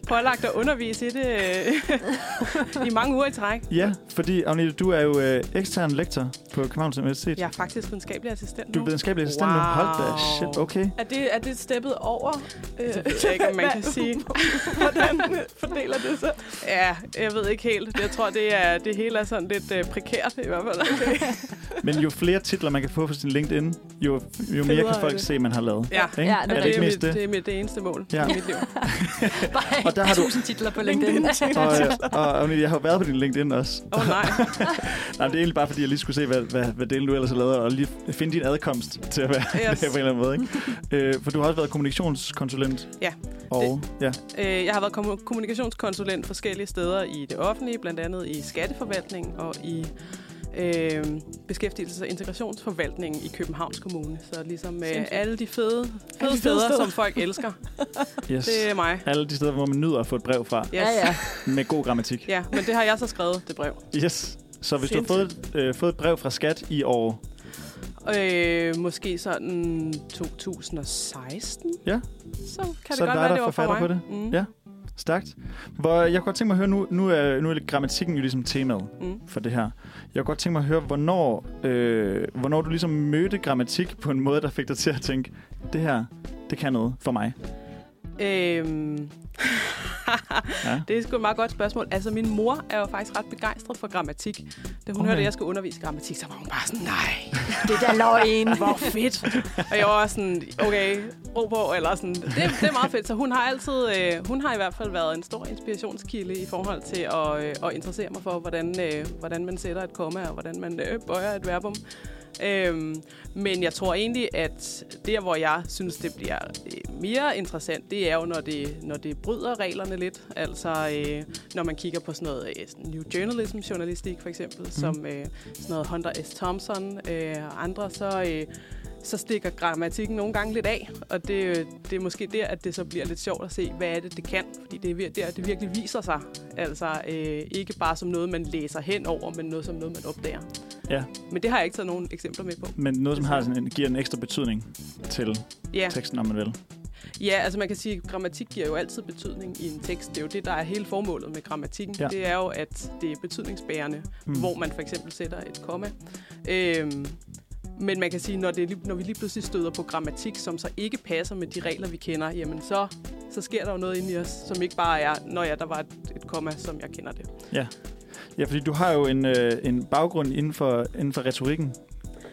Speaker 3: pålagt at undervise i det øh, i mange uger i træk.
Speaker 2: Ja, fordi Agnete, du er jo øh, ekstern lektor på Københavns Universitet.
Speaker 3: Jeg er faktisk videnskabelig assistent
Speaker 2: Du er
Speaker 3: nu.
Speaker 2: videnskabelig assistent wow. nu.
Speaker 3: Wow.
Speaker 2: Hold da, shit, okay.
Speaker 5: Er det, er det steppet over? Øh,
Speaker 3: Det ved jeg ikke, om man kan sige.
Speaker 5: Hvordan øh, fordeler det sig?
Speaker 3: Ja, jeg ved ikke helt. Jeg tror, det, er, det hele er sådan lidt øh, prekært i hvert fald.
Speaker 2: Men jo flere titler, man kan få på sin LinkedIn, jo, jo mere kan
Speaker 5: er
Speaker 2: folk
Speaker 5: det.
Speaker 2: se, man har lavet.
Speaker 3: Ja.
Speaker 2: Ikke?
Speaker 4: Ja, det
Speaker 2: er det
Speaker 4: rigtigt.
Speaker 2: ikke mest
Speaker 3: mit,
Speaker 2: det?
Speaker 3: det er mit det eneste mål
Speaker 2: Ja.
Speaker 3: i mit liv.
Speaker 4: Bare
Speaker 2: Og der har du-
Speaker 4: tusind titler på LinkedIn.
Speaker 2: Og, øh, og Agnete, jeg har jo været på din LinkedIn også.
Speaker 3: Åh oh, nej.
Speaker 2: Nej, men det er egentlig bare, fordi jeg lige skulle se, hvad, hvad, hvad delen du ellers har lavet, og lige finde din adkomst til at være yes.
Speaker 3: Yes.
Speaker 2: der på en eller anden måde. Ikke? Øh, for du har også været kommunikationskonsulent.
Speaker 3: Ja,
Speaker 2: Og, ja.
Speaker 3: Øh, Jeg har været kommu- kommunikationskonsulent forskellige steder i det offentlige, blandt andet i skatteforvaltning og i øh, beskæftigelses- og integrationsforvaltningen i Københavns Kommune. Så ligesom øh,
Speaker 5: Sindssygt.
Speaker 3: alle de fede, fede
Speaker 5: fede
Speaker 3: steder,
Speaker 5: steder.
Speaker 3: som folk elsker,
Speaker 2: Yes.
Speaker 3: det er mig.
Speaker 2: Alle de steder, hvor man nyder at få et brev fra,
Speaker 3: Yes.
Speaker 4: Ja, ja.
Speaker 2: med god grammatik.
Speaker 3: Ja, men det har jeg så skrevet, det brev.
Speaker 2: Yes. Så hvis du har fået, øh, fået et brev fra skat i år
Speaker 3: Øh, måske sådan 2016.
Speaker 2: Ja.
Speaker 3: Så kan det
Speaker 2: Så
Speaker 3: godt
Speaker 2: dig,
Speaker 3: være,
Speaker 2: der
Speaker 3: det var for
Speaker 2: forfatter på
Speaker 3: mig.
Speaker 2: det?
Speaker 3: Mm.
Speaker 2: Ja. Stærkt. Hvor jeg kunne godt tænke mig at høre, nu, nu, er, nu er grammatikken jo ligesom temaet
Speaker 3: Mm.
Speaker 2: for det her. Jeg kunne godt tænke mig at høre, hvornår, øh, hvornår du ligesom mødte grammatik på en måde, der fik dig til at tænke, det her, det kan noget for mig.
Speaker 3: Øhm.
Speaker 2: Ja.
Speaker 3: ja. Det er sgu et meget godt spørgsmål. Altså, min mor er jo faktisk ret begejstret for grammatik. Da hun
Speaker 2: Okay.
Speaker 3: okay. hørte, at jeg skulle undervise i grammatik, så var hun bare sådan, nej,
Speaker 4: Det er da løgn.
Speaker 3: hvor fedt. og jeg var også sådan, okay, ro på, eller sådan. Det, det er meget fedt. Så hun har altid, øh, hun har i hvert fald været en stor inspirationskilde i forhold til at, øh, at interessere mig for, hvordan, øh, hvordan man sætter et komma, og hvordan man øh, bøjer et verbum. Øhm, men jeg tror egentlig, at der, hvor jeg synes, det bliver øh, mere interessant, det er jo, når det, når det bryder reglerne lidt. Altså, øh, når man kigger på sådan noget øh, sådan New Journalism-journalistik, for eksempel, mm. som øh, sådan noget Hunter S. Thompson øh, og andre, så, øh, så stikker grammatikken nogle gange lidt af. Og det, øh, det er måske der, at det så bliver lidt sjovt at se, hvad er det, det kan. Fordi det er vir- der, det virkelig viser sig. Altså, øh, ikke bare som noget, man læser hen over, men noget som noget, man opdager.
Speaker 2: Ja,
Speaker 3: Men det har jeg ikke taget nogen eksempler med på.
Speaker 2: men noget, som har sådan, en- giver en ekstra betydning til
Speaker 3: Ja,
Speaker 2: teksten, om man vil.
Speaker 3: ja altså man kan sige, at grammatik giver jo altid betydning i en tekst. Det er jo det, der er hele formålet med grammatikken.
Speaker 2: Ja.
Speaker 3: Ja. Det er jo, at det er betydningsbærende,
Speaker 2: Mm.
Speaker 3: mm. hvor man for eksempel sætter et komma. Øhm, men man kan sige, når, det, er lige- når vi lige pludselig støder på grammatik, som så ikke passer med de regler, vi kender, jamen så, så sker der jo noget inde i os, som ikke bare er, når ja, der var et, et komma, som jeg kender det.
Speaker 2: Ja, fordi du har jo en, øh, en baggrund inden for, inden for retorikken.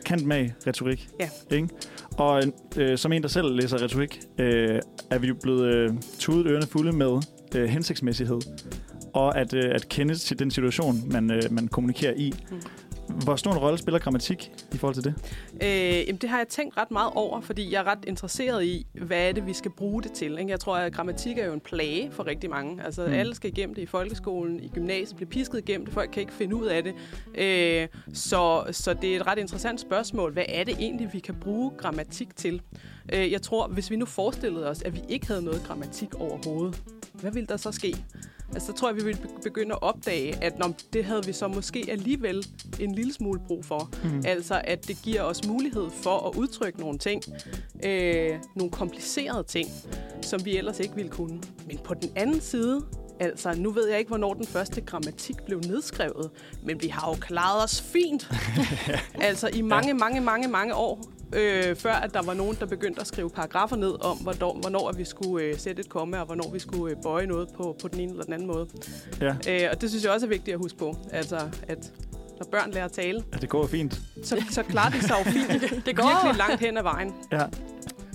Speaker 2: Kant med retorik.
Speaker 3: Ja.
Speaker 2: Ikke? Og øh, som en, der selv læser retorik, øh, er vi jo blevet øh, tudet ørerne fulde med øh, hensigtsmæssighed. Og at, øh, at kende til den situation, man, øh, man kommunikerer i.
Speaker 3: Mm.
Speaker 2: Hvor stor en rolle spiller grammatik i forhold til det?
Speaker 3: Øh, jamen det har jeg tænkt ret meget over, fordi jeg er ret interesseret i, hvad er det, vi skal bruge det til. Ikke? Jeg tror, at grammatik er jo en plage for rigtig mange. Altså
Speaker 2: Mm.
Speaker 3: mm. alle skal igennem det i folkeskolen, i gymnasiet, bliver pisket igennem det, folk kan ikke finde ud af det. Øh, så, så det er et ret interessant spørgsmål. Hvad er det egentlig, vi kan bruge grammatik til? Øh, jeg tror, hvis vi nu forestillede os, at vi ikke havde noget grammatik overhovedet, hvad ville der så ske? Altså, så tror jeg, vi ville be- begynde at opdage, at når det havde vi så måske alligevel en lille smule brug for.
Speaker 2: Mm.
Speaker 3: Altså, at det giver os mulighed for at udtrykke nogle ting, øh, nogle komplicerede ting, som vi ellers ikke ville kunne. Men på den anden side, altså, nu ved jeg ikke, hvornår den første grammatik blev nedskrevet, men vi har jo klaret os fint. altså, i mange, ja. mange, mange, mange år. Øh, før at der var nogen, der begyndte at skrive paragrafer ned om, hvornår, hvornår at vi skulle øh, sætte et komme, og hvornår vi skulle øh, bøje noget på, på den ene eller den anden måde.
Speaker 2: Ja,
Speaker 3: Øh, og det synes jeg også er vigtigt at huske på. Altså, at når børn lærer at tale,
Speaker 2: ja, det går jo fint.
Speaker 3: så, så klarer de sig jo fint.
Speaker 4: Det
Speaker 3: Virkelig langt hen ad vejen.
Speaker 2: Ja.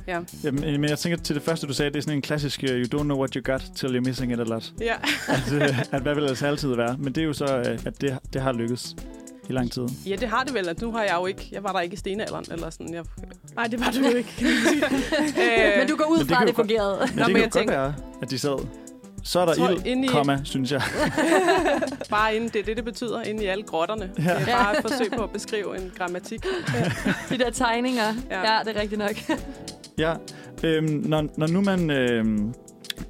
Speaker 3: Ja.
Speaker 2: Jamen, øh, men jeg tænker til det første, du sagde, det er sådan en klassisk øh, you don't know what you got till you're missing it a lot.
Speaker 3: Ja.
Speaker 2: At, øh, at hvad vil altså altid være? Men det er jo så, øh, at det, det har lykkes i lang tid.
Speaker 3: ja, det har det vel. At nu har jeg jo ikke... Jeg var der ikke i stenalderen, eller sådan. Jeg,
Speaker 5: Nej, det var du jo ikke.
Speaker 3: øh,
Speaker 4: Men du går
Speaker 2: Men
Speaker 4: ud
Speaker 2: det kan
Speaker 4: fra, at
Speaker 2: jo
Speaker 4: det fungerede.
Speaker 2: Men
Speaker 3: Nå,
Speaker 2: det
Speaker 3: men
Speaker 2: kan jo
Speaker 3: jeg
Speaker 2: godt
Speaker 3: tænker-
Speaker 2: være, at de sad. Så er der
Speaker 3: Tror
Speaker 2: ild,
Speaker 3: inde i-
Speaker 2: komma, synes jeg.
Speaker 3: bare inden, det er det, det betyder, inde i alle grotterne. Ja.
Speaker 2: Ja.
Speaker 3: Det er bare et forsøg på at beskrive en grammatik.
Speaker 4: De der tegninger.
Speaker 3: Ja.
Speaker 4: Ja, det er rigtigt nok.
Speaker 2: Ja, øhm, når, når nu man øhm,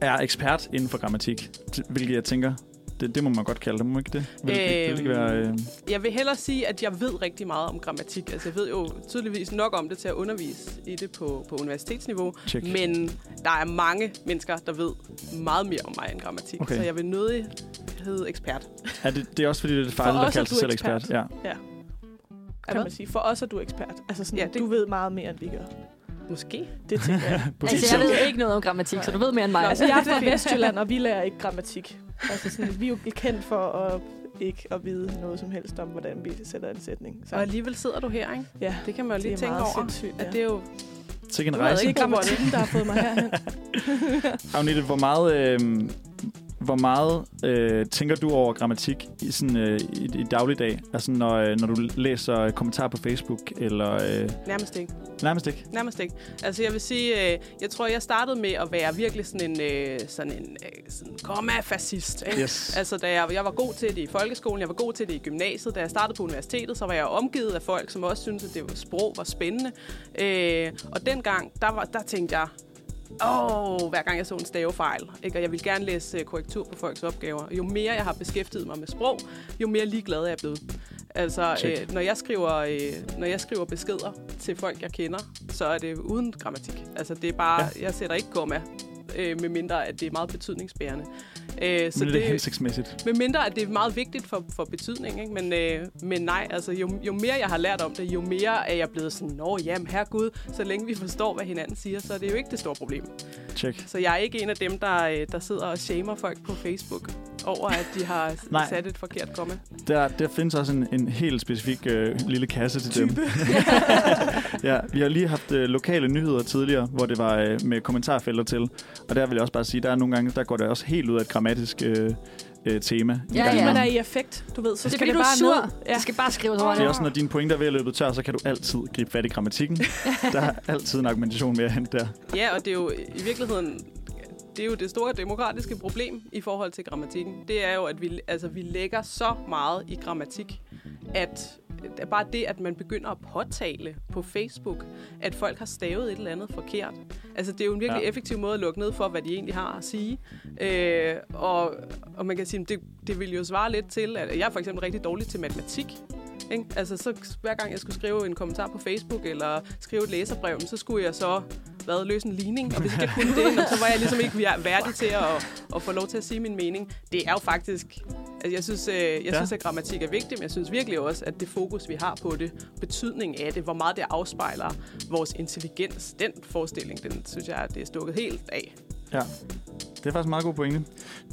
Speaker 2: er ekspert inden for grammatik, t- hvilket jeg tænker, det, det må man godt kalde det, må man ikke det? Vil, øhm, vil, vil det ikke være, øh,
Speaker 3: Jeg vil hellere sige, at jeg ved rigtig meget om grammatik. Altså, jeg ved jo tydeligvis nok om det til at undervise i det på, på universitetsniveau.
Speaker 2: check.
Speaker 3: Øhm, Men der er mange mennesker, der ved meget mere om mig end grammatik.
Speaker 2: Okay.
Speaker 3: Okay. Så jeg vil nødig hedde ekspert.
Speaker 2: Er det, det er også fordi, det er lidt farligt
Speaker 5: For
Speaker 2: at
Speaker 5: os
Speaker 2: kalde
Speaker 5: er
Speaker 2: sig
Speaker 5: du
Speaker 2: selv
Speaker 5: ekspert.
Speaker 2: ekspert. Ja.
Speaker 5: kan man sige. For os er du ekspert. Altså sådan,
Speaker 3: Ja,
Speaker 5: ja,
Speaker 3: det-
Speaker 5: det... du ved meget mere, end vi gør.
Speaker 3: Måske.
Speaker 5: Det tænker jeg.
Speaker 4: Altså, jeg ved ikke noget om grammatik, så du ved mere end mig.
Speaker 5: altså, jeg er fra Vestjylland, og vi lærer ikke grammatik. Altså sådan, vi er jo kendt for at ikke at vide noget som helst om, hvordan vi sætter en sætning.
Speaker 3: Og alligevel sidder du her, ikke?
Speaker 5: ja,
Speaker 3: Det kan man jo lige
Speaker 5: det er
Speaker 3: tænke
Speaker 5: meget
Speaker 3: over.
Speaker 5: sindssygt.
Speaker 3: At det er jo
Speaker 2: Sikke en
Speaker 3: Du havde
Speaker 2: rejse.
Speaker 3: ikke
Speaker 5: ikke grammatikken, der har fået mig herhen.
Speaker 2: Agnete, hvor meget, øh, hvor meget øh, tænker du over grammatik i, sådan, øh, i, i dagligdag? Altså når, øh, når du læser kommentarer på Facebook, eller øh,
Speaker 3: nærmest ikke.
Speaker 2: nærmest ikke?
Speaker 3: Nærmest ikke. Altså jeg vil sige, øh, jeg tror, jeg startede med at være virkelig sådan en, øh, sådan en øh, sådan komma-fascist. Ikke?
Speaker 2: Yes.
Speaker 3: Altså, da jeg, jeg var god til det i folkeskolen, jeg var god til det i gymnasiet. Da jeg startede på universitetet, så var jeg omgivet af folk, som også syntes, at det var, sprog var spændende. Øh, og dengang, der, var, der tænkte jeg, åh, hver gang jeg så en stavefejl. Ikke? Og jeg ville gerne læse øh, korrektur på folks opgaver. Jo mere jeg har beskæftiget mig med sprog, jo mere ligeglad er jeg blevet. Altså,
Speaker 2: Check.
Speaker 3: øh, når, jeg skriver, øh, når jeg skriver beskeder til folk, jeg kender, så er det uden grammatik. Altså, det er bare, ja. jeg sætter ikke komma, øh, medmindre at det er meget betydningsbærende. Øh,
Speaker 2: Så Men det er hensigtsmæssigt.
Speaker 3: med mindre, at det er meget vigtigt for, for betydning, ikke? Men, øh, men nej, altså jo, jo mere jeg har lært om det, jo mere er jeg blevet sådan, nå jamen herregud, så længe vi forstår, hvad hinanden siger, så er det jo ikke det store problem.
Speaker 2: Check.
Speaker 3: Så jeg er ikke en af dem, der, øh, der sidder og shamer folk på Facebook over, at de har
Speaker 2: Nej.
Speaker 3: sat et forkert komma.
Speaker 2: Der, der findes også en, en helt specifik øh, lille kasse til Type. dem. ja, vi har lige haft øh, lokale nyheder tidligere, hvor det var øh, med kommentarfelter til. Og der vil jeg også bare sige, der er nogle gange, der går det også helt ud af et grammatisk øh, øh, tema. i
Speaker 4: Ja,
Speaker 2: gang
Speaker 5: Fordi
Speaker 4: ja.
Speaker 2: imellem.
Speaker 5: man er i affekt, du ved, så
Speaker 4: det er
Speaker 5: skal
Speaker 4: fordi,
Speaker 5: det,
Speaker 4: du er
Speaker 5: bare
Speaker 4: sur.
Speaker 5: ned.
Speaker 4: Ja.
Speaker 5: Ja.
Speaker 4: Du skal bare skrive
Speaker 2: Det
Speaker 4: hurtigt.
Speaker 2: er også, når dine pointer er ved at løbe tør, så kan du altid gribe fat i grammatikken. der er altid en argumentation med at hente der.
Speaker 3: Ja, og det er jo i virkeligheden det er jo det store demokratiske problem i forhold til grammatikken. Det er jo, at vi, altså, vi lægger så meget i grammatik, at at bare det, at man begynder at påtale på Facebook, at folk har stavet et eller andet forkert. Altså, det er jo en virkelig
Speaker 2: Ja.
Speaker 3: ja. effektiv måde at lukke ned for, hvad de egentlig har at sige. Øh, og, og man kan sige, at det, det vil jo svare lidt til, at jeg er for eksempel rigtig dårlig til matematik. Ikke? Altså, så hver gang jeg skulle skrive en kommentar på Facebook, eller skrive et læserbrev, så skulle jeg så hvad, løse en ligning, og hvis ikke jeg kunne det, nå, så var jeg ligesom ikke vær- værdig til at, at få lov til at sige min mening. Det er jo faktisk... Altså, jeg synes, øh, jeg
Speaker 2: Ja.
Speaker 3: ja. synes, at grammatik er vigtigt, men jeg synes virkelig også, at det fokus, vi har på det, betydningen af det, hvor meget det afspejler vores intelligens, den forestilling, den synes jeg, det er stukket helt af.
Speaker 2: Ja. Det er faktisk en meget god pointe.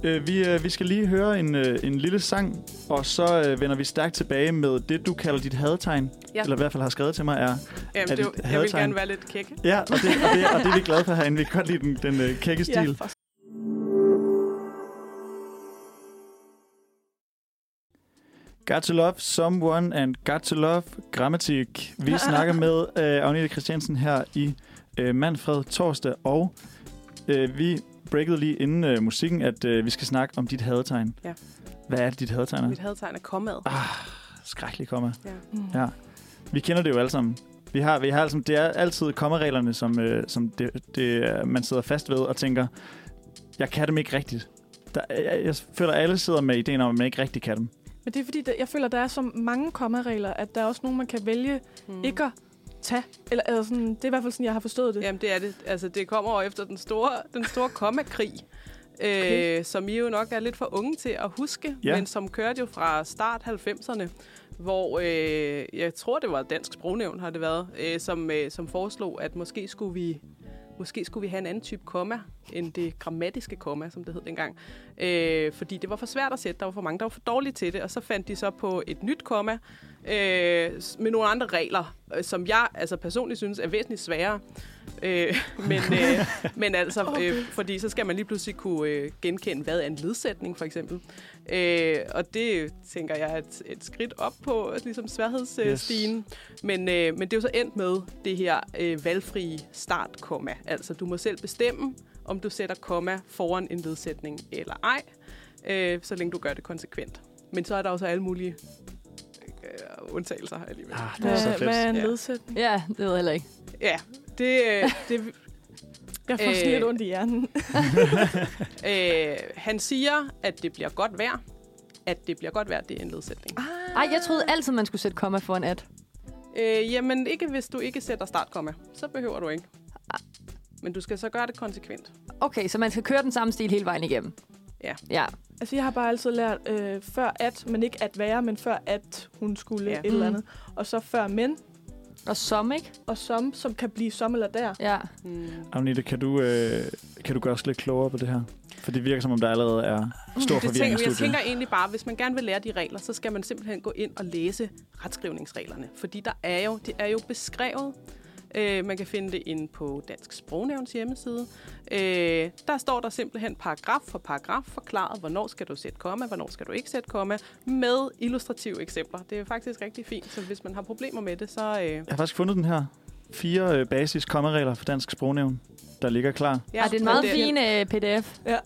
Speaker 2: Øh, vi, øh, vi skal lige høre en, øh, en lille sang, og så øh, vender vi stærkt tilbage med det, du kalder dit hadetegn.
Speaker 3: Ja.
Speaker 2: Eller i hvert fald har skrevet til mig, er...
Speaker 3: Jamen,
Speaker 2: Er
Speaker 3: det,
Speaker 2: det
Speaker 3: jeg vil
Speaker 2: hadtegn?
Speaker 3: gerne være lidt kæk.
Speaker 2: Ja, og det, og det, og det er vi glade for herinde. Vi kan godt lide den, den øh, kække
Speaker 5: Ja,
Speaker 2: stil.
Speaker 5: for
Speaker 2: Got to love someone and got to love grammatik. Vi snakker med øh, Agnete Christiansen her i øh, Manfred torsdag, og øh, vi breakede lige inden øh, musikken, at øh, vi skal snakke om dit hadetegn.
Speaker 3: Ja.
Speaker 2: Hvad er det, dit hadetegn er?
Speaker 3: Mit hadtegn er kommet.
Speaker 2: Skrækkelig komma.
Speaker 5: Mm.
Speaker 2: Ja. Vi kender det jo alle sammen. Vi har, vi har altså, det er altid kommareglerne, som, øh, som det, det, øh, man sidder fast ved og tænker, jeg kan dem ikke rigtigt. Der, jeg, jeg føler, at alle sidder med ideen om, at man ikke rigtig kan dem.
Speaker 5: Men det er fordi, der, jeg føler, der er så mange kommaregler, at der er også nogen, man kan vælge
Speaker 2: Hmm.
Speaker 3: Mm.
Speaker 5: ikke at tage. Eller, eller sådan, det er i hvert fald sådan, jeg har forstået det.
Speaker 3: Jamen det er det. Altså det kommer over efter den store, den store kommakrig. Okay. Øh, som I jo nok er lidt for unge til at huske,
Speaker 2: Ja.
Speaker 3: ja. men som kørte jo fra start 90'erne, hvor øh, jeg tror, det var Dansk Sprognævn, har det været, øh, som, øh, som foreslog, at måske skulle vi måske skulle vi have en anden type komma, end det grammatiske komma, som det hed dengang. Øh, fordi det var for svært at sætte, der var for mange, der var for dårlige til det, og så fandt de så på et nyt komma, øh, s- med nogle andre regler, øh, som jeg altså personligt synes er væsentligt sværere. Øh, men, øh, men altså, øh, fordi så skal man lige pludselig kunne øh, genkende, hvad er en ledsætning for eksempel. Øh, og det tænker jeg er et, et skridt op på ligesom sværhedsstigen.
Speaker 2: Yes.
Speaker 3: Øh, stigen. men, øh, men det er jo så endt med det her øh, valgfrie startkomma. Altså, du må selv bestemme, om du sætter komma foran en ledsætning eller ej, øh, så længe du gør det konsekvent. Men så er der også alle mulige øh, undtagelser alligevel.
Speaker 2: Ah, det er så
Speaker 5: Øh, Hvad,
Speaker 2: fedt.
Speaker 5: hvad er en
Speaker 3: Ja.
Speaker 5: ledsætning?
Speaker 4: Ja, det ved jeg heller ikke.
Speaker 3: Ja, det, øh, det,
Speaker 5: Jeg får sådan
Speaker 3: Øh.
Speaker 5: lidt ondt i hjernen.
Speaker 3: øh, han siger, at det bliver godt vejr. At det bliver godt vejr, det er en ledsætning.
Speaker 4: Ej, jeg troede altid, man skulle sætte komma foran at.
Speaker 3: Øh, jamen, ikke hvis du ikke sætter startkomma. Så behøver du ikke. Men du skal så gøre det konsekvent.
Speaker 4: Okay, så man skal køre den samme stil hele vejen igennem.
Speaker 3: Ja.
Speaker 4: Ja,
Speaker 5: Altså, jeg har bare altid lært øh, før at, men ikke at være, men før at hun skulle
Speaker 3: Ja.
Speaker 5: ja. et eller
Speaker 4: Mm.
Speaker 5: andet. Og så før men,
Speaker 4: og som, ikke?
Speaker 5: og som, som kan blive som eller der.
Speaker 4: Ja.
Speaker 3: Mm.
Speaker 2: Agnete, kan du, øh, kan du gøre os lidt klogere på det her? For det virker, som om der allerede er stor
Speaker 3: Det
Speaker 2: forvirring i
Speaker 3: tænker, jeg
Speaker 2: studiet.
Speaker 3: tænker egentlig bare, hvis man gerne vil lære de regler, så skal man simpelthen gå ind og læse retskrivningsreglerne. Fordi der er jo, det er jo beskrevet. Øh, man kan finde det inde på Dansk Sprognævns hjemmeside. Øh, der står der simpelthen paragraf for paragraf forklaret, hvornår skal du sætte komma, hvornår skal du ikke sætte komma, med illustrative eksempler. Det er faktisk rigtig fint, så hvis man har problemer med det, så... Øh,
Speaker 2: Jeg har faktisk fundet den her. Fire øh, basis kommaregler for dansk sprognævn, der ligger klar.
Speaker 4: ja. Ej, det er en meget fin øh, pdf.
Speaker 3: Ja,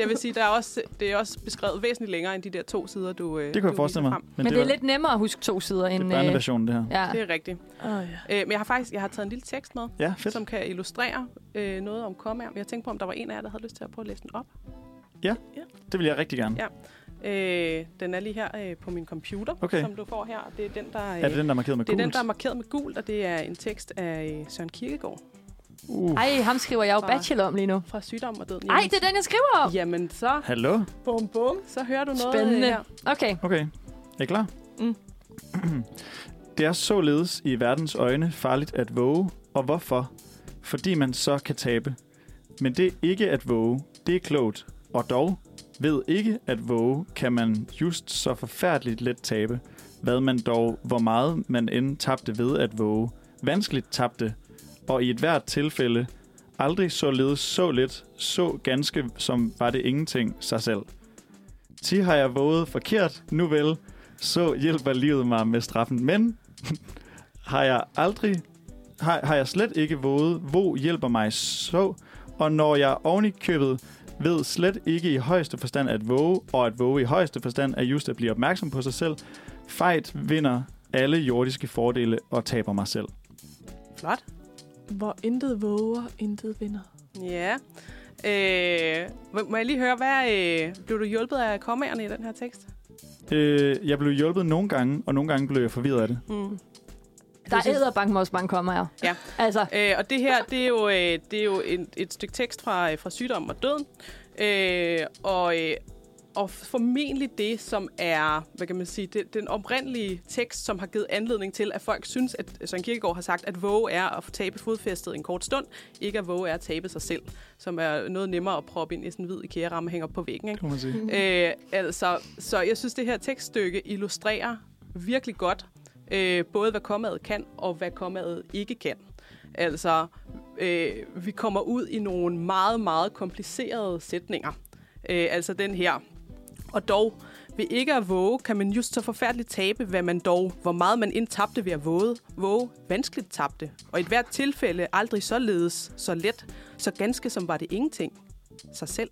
Speaker 3: det vil sige, der er også, det er også beskrevet væsentligt længere end de der to sider, du
Speaker 2: Det
Speaker 3: øh,
Speaker 2: kunne jeg
Speaker 3: du
Speaker 2: forestille mig.
Speaker 3: viser
Speaker 4: Men, det,
Speaker 2: var-
Speaker 4: er lidt nemmere at huske to sider end...
Speaker 3: øh,
Speaker 4: øh,
Speaker 2: det er børneversionen, det her.
Speaker 4: ja.
Speaker 3: Frem. Det er rigtigt.
Speaker 5: Oh, ja.
Speaker 3: Øh, men jeg har faktisk jeg har taget en lille tekst med,
Speaker 2: Ja, fedt.
Speaker 3: som kan illustrere øh, noget om kommaer. Men jeg tænkte på, om der var en af jer, der havde lyst til at prøve at læse den op.
Speaker 2: Det vil jeg rigtig gerne.
Speaker 3: Ja. Øh, den er lige her øh, på min computer,
Speaker 2: Okay.
Speaker 3: som du får her. og Det er den, der, øh,
Speaker 2: Er det den, der er markeret med
Speaker 3: det er
Speaker 2: gult?
Speaker 3: den, der er markeret med gult, og det er en tekst af øh, Søren Kierkegaard
Speaker 2: Uh,
Speaker 4: Ej, ham skriver jeg jo
Speaker 3: Fra-
Speaker 4: bachelor om lige nu.
Speaker 3: fra Sygdom og Døden.
Speaker 4: Ej, det er den, jeg skriver om.
Speaker 3: Jamen, så,
Speaker 2: hallo?
Speaker 5: Bum, bum.
Speaker 3: så hører du noget
Speaker 4: Spændende.
Speaker 3: øh, her.
Speaker 4: Okay.
Speaker 2: Okay. Er I klar?
Speaker 5: Mm.
Speaker 2: det er således i verdens øjne farligt at våge. Og hvorfor? Fordi man så kan tabe. Men det ikke at våge, det er klogt. Og dog, ved ikke at våge, kan man just så forfærdeligt let tabe. Hvad man dog, hvor meget man end tabte ved at våge. Vanskeligt tabte. Og i et hvert tilfælde, aldrig således så lidt, så ganske som var det ingenting sig selv. Ti har jeg våget forkert, nu vel, så hjælper livet mig med straffen. Men har jeg aldrig, har, har jeg slet ikke våget, hvor hjælper mig så, og når jeg oven i købet ved slet ikke i højeste forstand at våge, og at våge i højeste forstand er just at blive opmærksom på sig selv, fejt vinder alle jordiske fordele og taber mig selv.
Speaker 3: Flot.
Speaker 5: Hvor intet våger, intet vinder.
Speaker 3: Ja. Øh, må- må jeg lige høre, hvad øh, blev du hjulpet af kommaerne i den her tekst?
Speaker 2: Øh, jeg blev hjulpet nogle gange, og nogle gange blev jeg forvirret af det.
Speaker 3: Mm.
Speaker 4: Der
Speaker 3: Jeg synes-
Speaker 4: er bank med også mange kommer her.
Speaker 3: Ja.
Speaker 4: Altså,
Speaker 3: Øh, og det her, det er jo, øh, det er jo en, et stykke tekst fra, øh, fra Sygdom og Døden. Øh, og, øh, og formentlig det, som er, hvad kan man sige, det, den oprindelige tekst, som har givet anledning til, at folk synes, at Søren Kierkegaard har sagt, at våge er at tabe fodfæstet en kort stund, ikke at våge er at tabe sig selv, som er noget nemmere at proppe ind i sådan en hvid IKEA-ramme hænger på væggen. Ikke?
Speaker 2: Kunne man sige.
Speaker 3: Øh, altså, så jeg synes, det her tekststykke illustrerer virkelig godt, øh, både hvad kommaet kan, og hvad kommaet ikke kan. Altså, øh, vi kommer ud i nogle meget, meget komplicerede sætninger. Øh, altså den her. Og dog, ved ikke at våge, kan man just så forfærdeligt tabe, hvad man dog, hvor meget man indtabte ved at våge, våge vanskeligt tabte. Og i hvert tilfælde aldrig således, så let, så ganske som var det ingenting. Sig selv.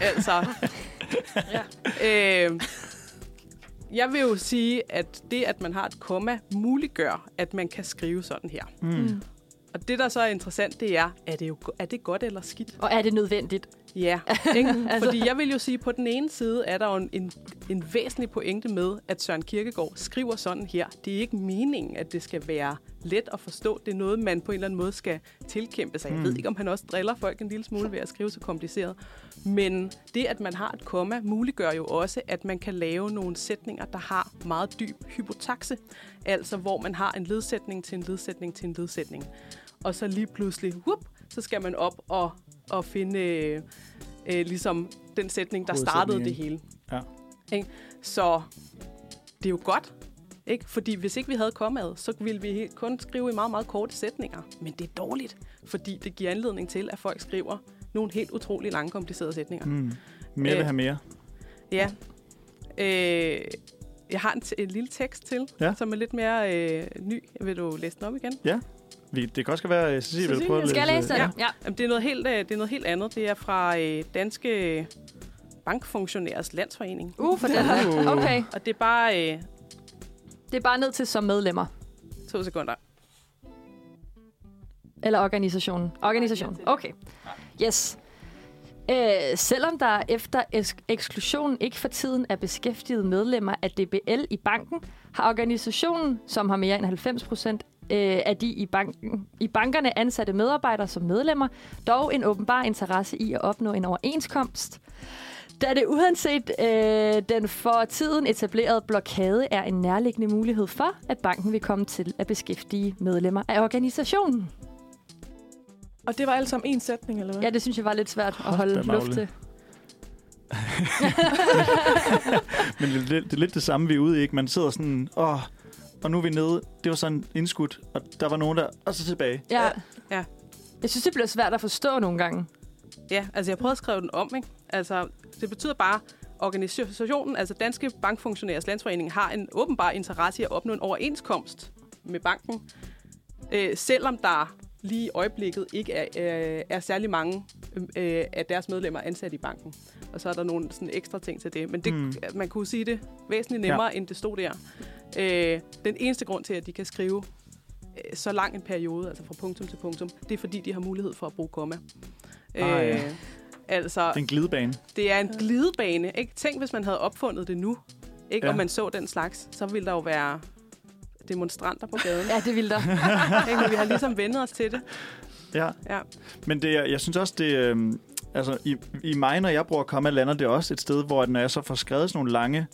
Speaker 3: Altså. ja. øh, jeg vil jo sige, at det, at man har et komma, muliggør, at man kan skrive sådan her.
Speaker 2: Mm.
Speaker 3: Og det, der så er interessant, det er, er det, jo, go- er det godt eller skidt?
Speaker 4: og er det nødvendigt?
Speaker 3: Ja, Altså. ikke? fordi jeg vil jo sige, at på den ene side er der jo en, en, en væsentlig pointe med, at Søren Kirkegaard skriver sådan her. Det er ikke meningen, at det skal være let at forstå. Det er noget, man på en eller anden måde skal tilkæmpe sig. Jeg
Speaker 2: Mm.
Speaker 3: ved ikke, om han også driller folk en lille smule ved at skrive så kompliceret. Men det, at man har et komma, muliggør jo også, at man kan lave nogle sætninger, der har meget dyb hypotakse. Altså, hvor man har en ledsætning til en ledsætning til en ledsætning. Og så lige pludselig, whoop, så skal man op og, og finde øh, øh, ligesom den sætning, der
Speaker 2: Hovedsætningen,
Speaker 3: startede det
Speaker 2: ikke?
Speaker 3: hele.
Speaker 2: Ja.
Speaker 3: Ikke? Så det er jo godt, ikke? Fordi hvis ikke vi havde kommet, så ville vi he- kun skrive i meget, meget korte sætninger. Men det er dårligt, fordi det giver anledning til, at folk skriver nogle helt utrolig lange, komplicerede sætninger. Mm.
Speaker 2: Mm. Mere vil
Speaker 3: Øh,
Speaker 2: have mere.
Speaker 3: Ja. Øh, jeg har en, t- en lille tekst til,
Speaker 2: Ja.
Speaker 3: ja. som er lidt mere øh, ny. Vil du læse den op igen?
Speaker 2: Vi, det kan også være, at Cecilie vil
Speaker 3: Cecilie,
Speaker 2: prøve at
Speaker 4: Skal jeg læse den?
Speaker 2: Ja.
Speaker 4: Ja.
Speaker 3: Jamen, det, er noget helt, øh, det er noget helt andet. Det er fra øh, Danske Bankfunktionærers Landsforening.
Speaker 4: Uh, for den.
Speaker 2: Uh.
Speaker 4: Okay,
Speaker 3: Og det er bare øh,
Speaker 4: det er bare ned til som medlemmer.
Speaker 3: to sekunder.
Speaker 4: Eller organisationen. Organisationen. Okay. Yes. Øh, selvom der efter eks- eksklusionen ikke for tiden er beskæftiget medlemmer af DBL i banken, har organisationen, som har mere end 90 procent øh, af de i, banken, i bankerne ansatte medarbejdere som medlemmer, dog en åbenbar interesse i at opnå en overenskomst. Da det uanset øh, den for tiden etablerede blokade er en nærliggende mulighed for, at banken vil komme til at beskæftige medlemmer af organisationen.
Speaker 5: Og det var alt sammen en sætning, eller hvad?
Speaker 4: Ja, det synes jeg var lidt svært at holde
Speaker 2: da,
Speaker 4: luft
Speaker 2: Magle.
Speaker 4: til.
Speaker 2: Men det, er lidt- det er lidt det samme, vi er ude i. Ikke? Man sidder sådan, åh, og nu er vi nede. Det var sådan indskudt, og der var nogen der, og så tilbage.
Speaker 4: Ja.
Speaker 3: Ja.
Speaker 4: Jeg synes, det bliver svært at forstå nogle gange.
Speaker 3: Ja, altså jeg prøvede at skrive den om, ikke? Altså, det betyder bare, organisationen, altså Danske Bankfunktionærers Landsforening, har en åbenbar interesse i at opnå en overenskomst med banken, øh, selvom der lige i øjeblikket ikke er, øh, er særlig mange øh, af deres medlemmer ansat i banken. Og så er der nogle sådan, ekstra ting til det. Men det,
Speaker 2: Mm.
Speaker 3: mm. man kunne sige det væsentligt nemmere, ja. end det stod der. Øh, den eneste grund til, at de kan skrive øh, så lang en periode, altså fra punktum til punktum, det er fordi, de har mulighed for at bruge komma.
Speaker 2: Ah, ja.
Speaker 3: altså,
Speaker 2: Det er en glidebane.
Speaker 3: det er en glidebane. Ikke? Tænk, hvis man havde opfundet det nu, ikke?
Speaker 2: Ja.
Speaker 3: Ja. og man så den slags, så ville der jo være demonstranter på gaden.
Speaker 4: Ja, det vil der.
Speaker 3: ikke? Men vi har ligesom vendet os til det.
Speaker 2: Ja.
Speaker 3: Ja.
Speaker 2: Men det, er- jeg synes også, det... Øh, altså, i, i mig, når jeg bruger komma, lander det også et sted, hvor at når jeg så får skrevet sådan nogle lange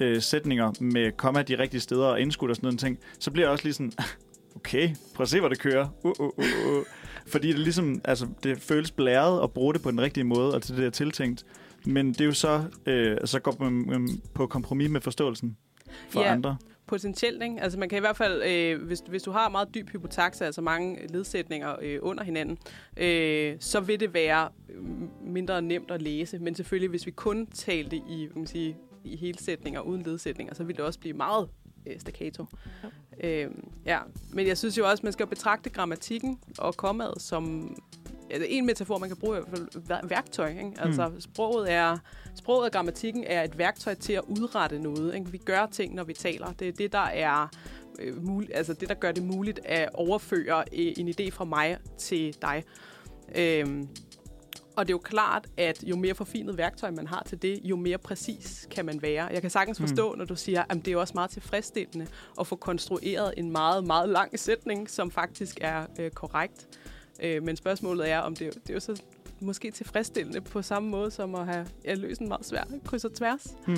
Speaker 2: øh, sætninger med komma de rigtige steder og indskudt og sådan noget ting, så bliver jeg også lige sådan, okay, prøv at se, hvor det kører. Uh, uh, uh, uh. Fordi det ligesom, altså, det føles blæret at bruge det på den rigtige måde, og til det, der er tiltænkt. Men det er jo så, øh, så går man øhm, på kompromis med forståelsen for
Speaker 3: Ja.
Speaker 2: andre.
Speaker 3: Potentielt, ikke? Altså man kan i hvert fald, øh, hvis, hvis du har meget dyb hypotaxe, altså mange ledsætninger øh, under hinanden, øh, så vil det være øh, mindre nemt at læse. Men selvfølgelig, hvis vi kun talte i, hvad man sige, i hele sætninger uden ledsætninger, så ville det også blive meget øh, staccato. Ja. Øh, ja. Men jeg synes jo også, man skal betragte grammatikken og kommaet som altså en metafor, man kan bruge er i hvert fald vær- værktøj. Ikke? Altså mm. sproget er sproget og grammatikken er et værktøj til at udrette noget. Ikke? Vi gør ting, når vi taler. Det er det, der er øh, mul- altså det, der gør det muligt at overføre øh, en idé fra mig til dig. Øhm, og det er jo klart, at jo mere forfinet værktøj man har til det, jo mere præcis kan man være. Jeg kan sagtens forstå, mm. når du siger, at det er jo også meget tilfredsstillende at få konstrueret en meget, meget lang sætning, som faktisk er øh, korrekt. Øh, men spørgsmålet er, om det, det er jo så måske tilfredsstillende på samme måde som at have ja, løst en meget svær kryds og tværs.
Speaker 2: Hmm,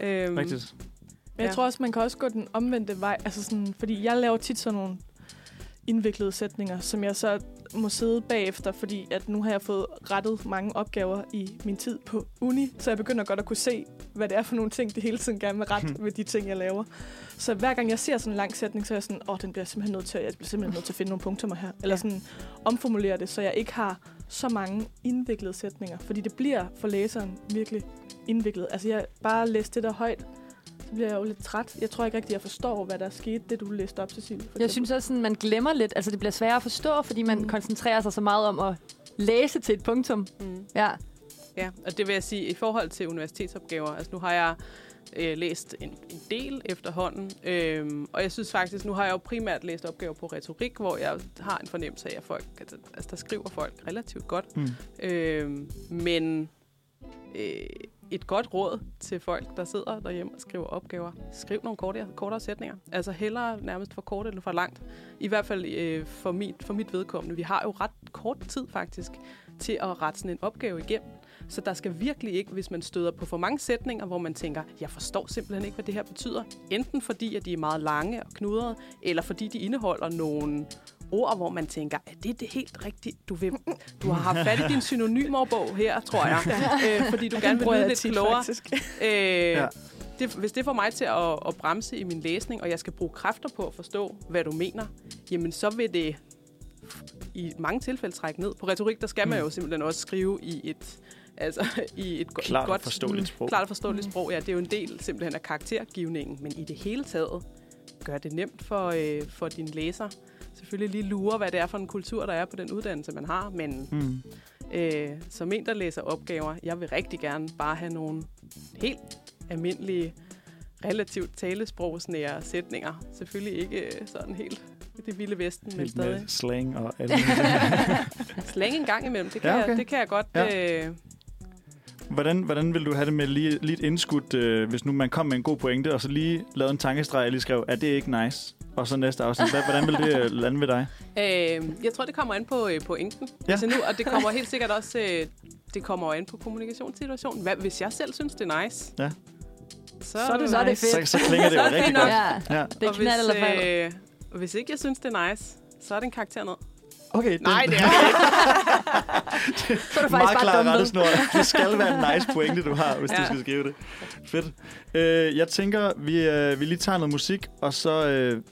Speaker 3: øhm,
Speaker 2: rigtigt.
Speaker 5: Men jeg
Speaker 3: Ja.
Speaker 5: tror også, man kan også gå den omvendte vej. Altså sådan, fordi jeg laver tit sådan nogle indviklede sætninger, som jeg så må sidde bagefter, fordi at nu har jeg fået rettet mange opgaver i min tid på uni, så jeg begynder godt at kunne se, hvad det er for nogle ting, det hele tiden gerne vil rette ved de ting, jeg laver. Så hver gang jeg ser sådan en lang sætning, så er jeg sådan, åh, den bliver jeg simpelthen nødt til, at- jeg bliver simpelthen nødt til at finde nogle punkter her. Eller sådan omformulere det, så jeg ikke har så mange indviklede sætninger, fordi det bliver for læseren virkelig indviklet. Altså jeg bare læste det der højt, så bliver jeg jo lidt træt. Jeg tror ikke rigtig, jeg forstår, hvad der skete, det du læste op, Cecilie. for
Speaker 4: Jeg
Speaker 5: eksempel.
Speaker 4: synes også, at man glemmer lidt. Altså, det bliver sværere at forstå, fordi man
Speaker 5: Mm.
Speaker 4: koncentrerer sig så meget om at læse til et punktum.
Speaker 3: Mm.
Speaker 4: Ja.
Speaker 3: Ja, og det vil jeg sige i forhold til universitetsopgaver. Altså nu har jeg øh, læst en, en del efterhånden. Øhm, og jeg synes faktisk, nu har jeg jo primært læst opgaver på retorik, hvor jeg har en fornemmelse af, at folk, altså, der skriver folk relativt godt.
Speaker 2: Mm.
Speaker 3: Øhm, men øh, et godt råd til folk, der sidder derhjemme og skriver opgaver. Skriv nogle kortere, kortere sætninger. Altså hellere nærmest for kort eller for langt. I hvert fald øh, for, mit, for mit vedkommende. Vi har jo ret kort tid faktisk til at rette sådan en opgave igennem. Så der skal virkelig ikke, hvis man støder på for mange sætninger, hvor man tænker, jeg forstår simpelthen ikke, hvad det her betyder. Enten fordi, at de er meget lange og knudrede, eller fordi de indeholder nogle ord, hvor man tænker, er det det helt rigtigt? Du, vil, du har haft fat i din synonymorbog her, tror jeg. øh, fordi du gerne vil lyde lidt klogere. Øh, ja. det, hvis det får mig til at, at bremse i min læsning, og jeg skal bruge kræfter på at forstå, hvad du mener, jamen så vil det i mange tilfælde trække ned. På retorik, der skal
Speaker 2: Mm.
Speaker 3: man jo simpelthen også skrive i et, altså, i et, go-
Speaker 2: Klart
Speaker 3: et
Speaker 2: og
Speaker 3: godt, mm.
Speaker 2: forståeligt sprog.
Speaker 3: klart og forståeligt sprog. Ja, det er jo en del simpelthen af karaktergivningen, men i det hele taget gør det nemt for, øh, for din læser. Selvfølgelig lige lure, hvad det er for en kultur, der er på den uddannelse, man har, men
Speaker 2: Mm.
Speaker 3: øh, som en, der læser opgaver, jeg vil rigtig gerne bare have nogle helt almindelige, relativt talesprogsnære sætninger. Selvfølgelig ikke øh, sådan helt i det vilde vesten, men
Speaker 2: Helt
Speaker 3: stadig.
Speaker 2: med slang og alt muligt.
Speaker 3: Slang en gang imellem, det kan,
Speaker 2: Ja,
Speaker 3: ja, okay.
Speaker 2: okay.
Speaker 3: jeg, det kan jeg godt. Ja. Øh,
Speaker 2: hvordan, hvordan vil du have det med lige, lige et indskud, øh, hvis nu man kom med en god pointe, og så lige lavede en tankestreg og lige skrev, er det ikke nice? Og så næste afsnit. Hvad- Hvordan vil det øh, lande ved dig?
Speaker 3: øh, jeg tror, det kommer an på øh, pointen.
Speaker 2: Ja.
Speaker 3: Ja. Altså nu, og det kommer helt sikkert også øh, det kommer jo an på kommunikationssituationen. Hvad, hvis jeg selv synes, det er nice,
Speaker 2: Ja.
Speaker 3: så,
Speaker 5: Så er det
Speaker 4: Så er det fedt.
Speaker 2: Så, så klinger det jo
Speaker 3: Så er det
Speaker 2: rigtig
Speaker 3: nok.
Speaker 2: godt.
Speaker 4: Ja,
Speaker 2: Ja.
Speaker 4: det er
Speaker 3: og
Speaker 4: knald eller fald.
Speaker 3: hvis, øh, og hvis ikke jeg synes, det er nice, så er det en karakter ned.
Speaker 2: Okay, den,
Speaker 3: Nej, det er det ikke.
Speaker 4: Så er
Speaker 2: meget
Speaker 4: du faktisk bare
Speaker 2: klar
Speaker 4: dumpet.
Speaker 2: rettesnor. Det skal være en nice pointe, du har, hvis ja. du
Speaker 3: Ja.
Speaker 2: skal skrive det. Fedt. Øh, jeg tænker, vi, øh, vi lige tager noget musik, og så, øh,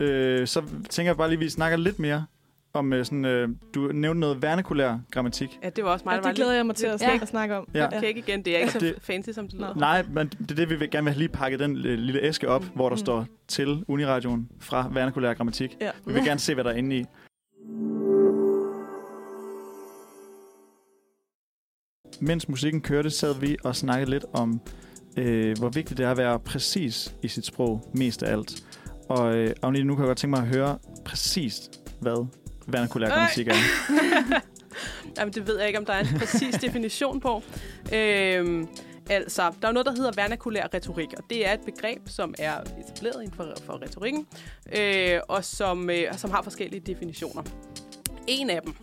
Speaker 2: øh, så tænker jeg bare lige, at vi snakker lidt mere om øh, sådan, øh, du nævnte noget vernakulær grammatik.
Speaker 3: Ja, det var også mig,
Speaker 5: Ja,
Speaker 3: der var
Speaker 5: det
Speaker 3: lidt-
Speaker 5: glæder jeg mig til at,
Speaker 4: Ja.
Speaker 5: snak- at snakke om.
Speaker 2: Ja.
Speaker 3: Okay, ikke igen. Det er ikke så
Speaker 2: Det-
Speaker 3: fancy, som det lyder.
Speaker 2: Nej, men det er det, vi vil gerne vil have lige pakket den øh, lille æske op, mm. hvor der
Speaker 5: Mm.
Speaker 2: står til Uniradioen fra vernakulær grammatik.
Speaker 5: Ja.
Speaker 2: Vi vil gerne se, hvad der er inde i. Mens musikken kørte, sad vi og snakkede lidt om, øh, hvor vigtigt det er at være præcis i sit sprog, mest af alt. Og øh, Agnete, nu kan jeg godt tænke mig at høre præcis, hvad vernakulær
Speaker 3: Øj.
Speaker 2: grammatik er.
Speaker 3: Jamen, det ved jeg ikke, om der er en præcis definition på. Øhm, altså, der er jo noget, der hedder vernakulær retorik, og det er et begreb, som er etableret inden for, for retorikken, øh, og som, øh, og som har forskellige definitioner. En af dem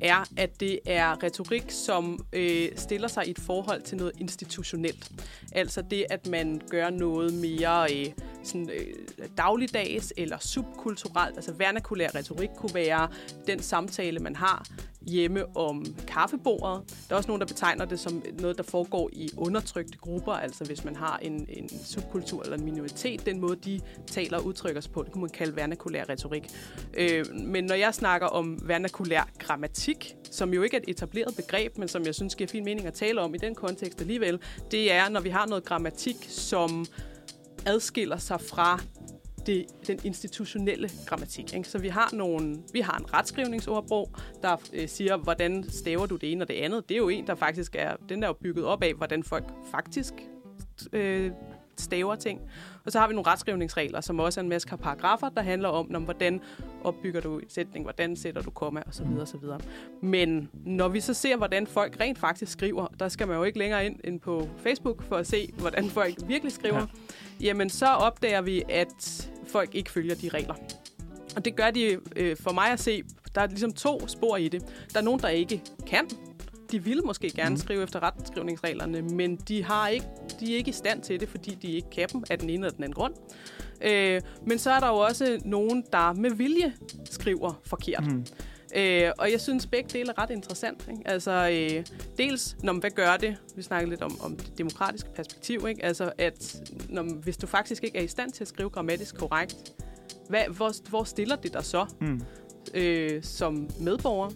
Speaker 3: er, at det er retorik, som øh, stiller sig i et forhold til noget institutionelt. Altså det, at man gør noget mere øh, sådan, øh, dagligdags eller subkulturelt. Altså vernakulær retorik kunne være den samtale, man har hjemme om kaffebordet. Der er også nogen, der betegner det som noget, der foregår i undertrykte grupper, altså hvis man har en, en subkultur eller en minoritet, den måde, de taler og udtrykker sig på, det kunne man kalde vernakulær retorik. Øh, men når jeg snakker om vernakulær grammatik, som jo ikke er et etableret begreb, men som jeg synes giver fin mening at tale om i den kontekst alligevel, det er, når vi har noget grammatik, som adskiller sig fra det, den institutionelle grammatik. Ikke? Så vi har, nogle, vi har en retskrivningsordbog, der øh, siger, hvordan staver du det ene og det andet. Det er jo en, der faktisk er, den er jo bygget op af, hvordan folk faktisk øh, staver ting. Og så har vi nogle retskrivningsregler, som også er en masse paragrafer, der handler om, om hvordan opbygger du en sætning, hvordan sætter du komma, osv. osv. Men når vi så ser, hvordan folk rent faktisk skriver, der skal man jo ikke længere ind end på Facebook for at se, hvordan folk virkelig skriver,
Speaker 2: Ja.
Speaker 3: ja. jamen så opdager vi, at folk ikke følger de regler. Og det gør de øh, for mig at se, der er ligesom to spor i det. Der er nogen, der ikke kan. De ville måske gerne
Speaker 2: Mhm.
Speaker 3: mm. skrive efter retskrivningsreglerne, men de, har ikke, de er ikke i stand til det, fordi de ikke kan dem af den ene eller den anden grund. Øh, men så er der jo også nogen, der med vilje skriver forkert.
Speaker 2: Mm.
Speaker 3: Øh, og jeg synes, begge dele er ret interessant. Ikke? Altså, øh, dels, når, hvad gør det? Vi snakkede lidt om, om det demokratiske perspektiv. Ikke? Altså, at når, hvis du faktisk ikke er i stand til at skrive grammatisk korrekt, hvad, hvor, hvor stiller det dig så
Speaker 2: Mm.
Speaker 3: øh, som medborger?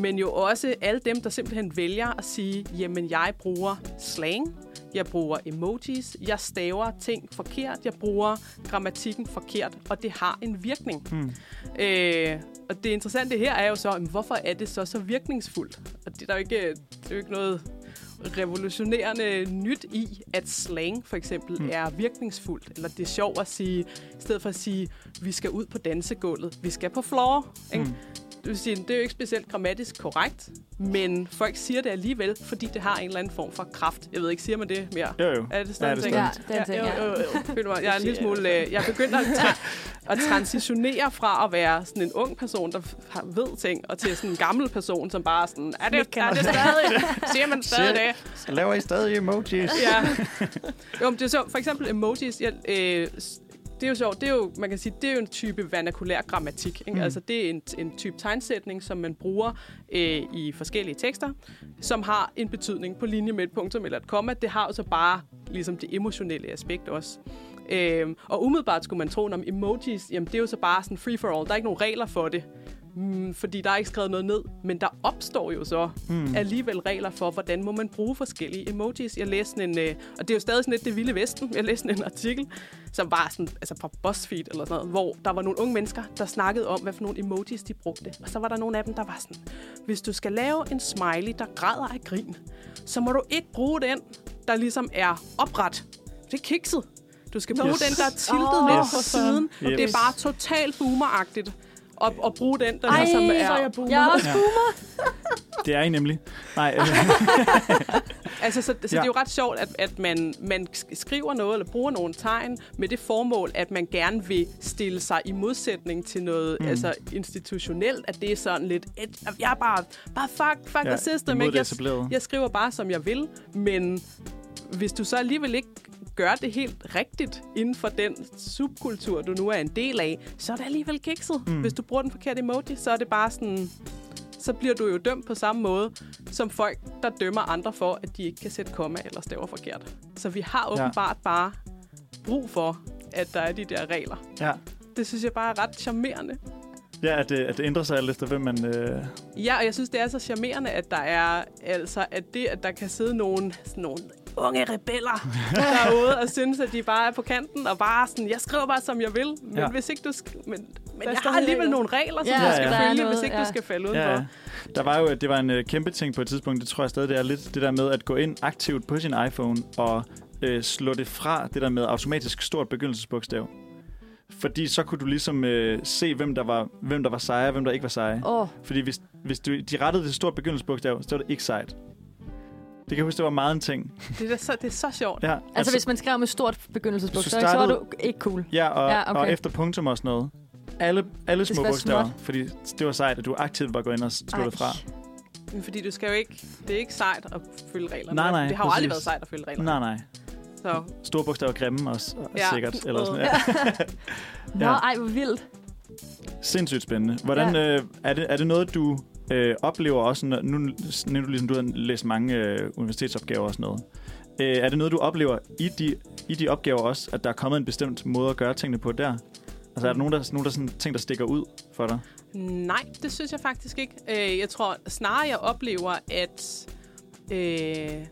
Speaker 3: Men jo også alle dem, der simpelthen vælger at sige, jamen, jeg bruger slang, jeg bruger emojis, jeg staver ting forkert, jeg bruger grammatikken forkert, og det har en virkning.
Speaker 2: Mm.
Speaker 3: Øh, og det interessante her er jo så, jamen, hvorfor er det så så virkningsfuldt? Og det er der jo ikke, det er jo ikke noget revolutionerende nyt i, at slang for eksempel
Speaker 2: Mm.
Speaker 3: mm. er virkningsfuldt. Eller det er sjovt at sige, i stedet for at sige, vi skal ud på dansegulvet, vi skal på floor. Ikke?
Speaker 2: Mm.
Speaker 3: Det, vil sige, det er jo ikke specielt grammatisk korrekt, men folk siger det alligevel, fordi det har en eller anden form for kraft. Jeg ved ikke, siger man det mere?
Speaker 2: Jo, jo.
Speaker 3: Er det
Speaker 2: Ja, det
Speaker 3: sådan, en ting?
Speaker 4: Ja,
Speaker 2: Ja,
Speaker 4: den ting, ja.
Speaker 3: jo, jo, jo. Føler mig, jeg er en lille
Speaker 5: Det siger jeg
Speaker 3: smule... øh, Jeg er begyndt at, tra- at transitionere fra at være sådan en ung person, der f- har- ved ting, og til sådan en gammel person, som bare er sådan... Er det,
Speaker 5: Ikke kan
Speaker 3: er det stadig? Siger man stadig
Speaker 2: Siger-
Speaker 3: det?
Speaker 2: Laver I stadig emojis?
Speaker 3: Ja. Jo, men det er så, for eksempel emojis, jeg, øh, s- det er jo sjovt, det er jo, man kan sige, det er jo en type vernakulær grammatik. Ikke?
Speaker 2: Mm.
Speaker 3: Mm. Altså det er en, en type tegnsætning, som man bruger øh, i forskellige tekster, som har en betydning på linje med et punktum eller et komma. Det har jo så bare ligesom det emotionelle aspekt også. Øhm, og umiddelbart skulle man tro, om emojis, jamen det er jo så bare sådan free for all. Der er ikke nogen regler for det, mm, fordi der er ikke skrevet noget ned. Men der opstår jo så mm. alligevel regler for, hvordan må man bruge forskellige emojis. Jeg læste sådan en, øh, og det er jo stadig sådan lidt det vilde vesten, jeg læste sådan en artikel, som var sådan, altså fra BuzzFeed eller sådan noget, hvor der var nogle unge mennesker, der snakkede om, hvad for nogle emojis de brugte. Og så var der nogle af dem, der var sådan, hvis du skal lave en smiley, der græder af grin, så må du ikke bruge den, der ligesom er opret. Det er kikset. Du skal bruge
Speaker 2: Yes.
Speaker 3: yes. den, der er tiltet oh,
Speaker 4: Åh,
Speaker 3: lidt
Speaker 2: for
Speaker 3: på siden.
Speaker 2: søren.
Speaker 3: Det
Speaker 2: Yes.
Speaker 3: er bare totalt boomeragtigt at, at bruge den, der
Speaker 4: Ej,
Speaker 3: ligesom er...
Speaker 4: hvor
Speaker 5: jeg boomer.
Speaker 4: Jeg er også
Speaker 2: Ja.
Speaker 4: boomer.
Speaker 2: Det er I nemlig. Nej, øh,
Speaker 3: Altså, så, så ja. det
Speaker 2: Ja.
Speaker 3: er jo ret sjovt, at, at man, man sk- skriver noget eller bruger nogle tegn med det formål, at man gerne vil stille sig i modsætning til noget
Speaker 2: Mm.
Speaker 3: mm. altså institutionelt, at det er sådan lidt, et, jeg er bare, bare fuck, fuck
Speaker 2: Ja,
Speaker 3: ja, the system,
Speaker 2: imod
Speaker 3: ikke?
Speaker 2: det
Speaker 3: Jeg,
Speaker 2: etablerede.
Speaker 3: jeg skriver bare, som jeg vil, men hvis du så alligevel ikke gør det helt rigtigt inden for den subkultur, du nu er en del af, så er det alligevel kikset. Mm. Hvis du bruger den forkerte emoji, så er det bare sådan, så bliver du jo dømt på samme måde som folk, der dømmer andre for, at de ikke kan sætte komma eller staver forkert. Så vi har
Speaker 2: Ja.
Speaker 3: åbenbart ja. bare brug for, at der er de der regler.
Speaker 2: ja.
Speaker 3: Det synes jeg bare er ret charmerende.
Speaker 2: ja at, det, at det ændrer sig alt efter, hvem man... Øh,
Speaker 3: Ja, og jeg synes, det er så charmerende, at der er, altså, at det, at der kan sidde nogle, sådan nogle unge rebeller derude og synes, at de bare er på kanten og bare sådan, jeg skriver bare, som jeg vil, men
Speaker 2: Ja.
Speaker 3: ja. hvis ikke du... Sk- men, men
Speaker 5: er
Speaker 3: jeg har
Speaker 5: stadig
Speaker 3: alligevel
Speaker 5: regler.
Speaker 3: nogle regler, som
Speaker 4: Ja,
Speaker 3: ja, du skal
Speaker 2: ja.
Speaker 3: ja,
Speaker 4: der er
Speaker 3: følge,
Speaker 4: noget,
Speaker 3: hvis ikke
Speaker 4: ja.
Speaker 3: ja. du skal falde udenfor.
Speaker 2: ja, der var jo, det var en øh, kæmpe ting på et tidspunkt, det tror jeg stadig, det er lidt det der med at gå ind aktivt på sin iPhone og øh, slå det fra, det der med automatisk stort begyndelsesbogstav. Fordi så kunne du ligesom øh, se, hvem der var, hvem der var seje, og hvem der ikke var seje.
Speaker 4: Åh, altså,
Speaker 2: Fordi hvis, hvis du, de rettede det stort begyndelsesbogstav, så var det ikke sejt. Det kan jeg huske, det var meget en ting.
Speaker 3: Det, er da så, det er så sjovt.
Speaker 2: Ja,
Speaker 4: altså hvis man skrev med stort begyndelsesbogstav,
Speaker 2: Hvis du
Speaker 4: så var
Speaker 2: startede-
Speaker 4: du ikke cool.
Speaker 2: ja, og,
Speaker 4: Ja,
Speaker 2: ja
Speaker 4: okay.
Speaker 2: okay. og efter punktum og sådan noget. Alle, alle
Speaker 4: skal
Speaker 2: små
Speaker 4: være
Speaker 2: bogstaver,
Speaker 4: småt.
Speaker 2: fordi det var sejt, at du aktivt var gået ind og slået det fra.
Speaker 3: Men Fordi du skal jo ikke... Det er ikke sejt at følge reglerne.
Speaker 2: Nej, nej,
Speaker 3: det har jo
Speaker 2: præcis.
Speaker 3: aldrig været sejt at følge reglerne.
Speaker 2: Nej, nej.
Speaker 3: Så
Speaker 2: Store bogstaver grimme også, og
Speaker 3: Ja.
Speaker 2: sikkert. Eller sådan,
Speaker 3: Øh.
Speaker 2: ja.
Speaker 4: Nå, ej, hvor vildt.
Speaker 2: Sindssygt spændende. Hvordan, ja. øh, er, det, er det noget, du øh, oplever også, når, nu nævnte du ligesom, du har læst mange øh, universitetsopgaver og sådan noget. Øh, er det noget, du oplever i de, i de opgaver også, at der er kommet en bestemt måde at gøre tingene på der? Altså er der nogen, der, nogen der sådan, ting, der stikker ud for dig?
Speaker 3: Nej, det synes jeg faktisk ikke. Øh, jeg tror snarere, jeg oplever, at, øh,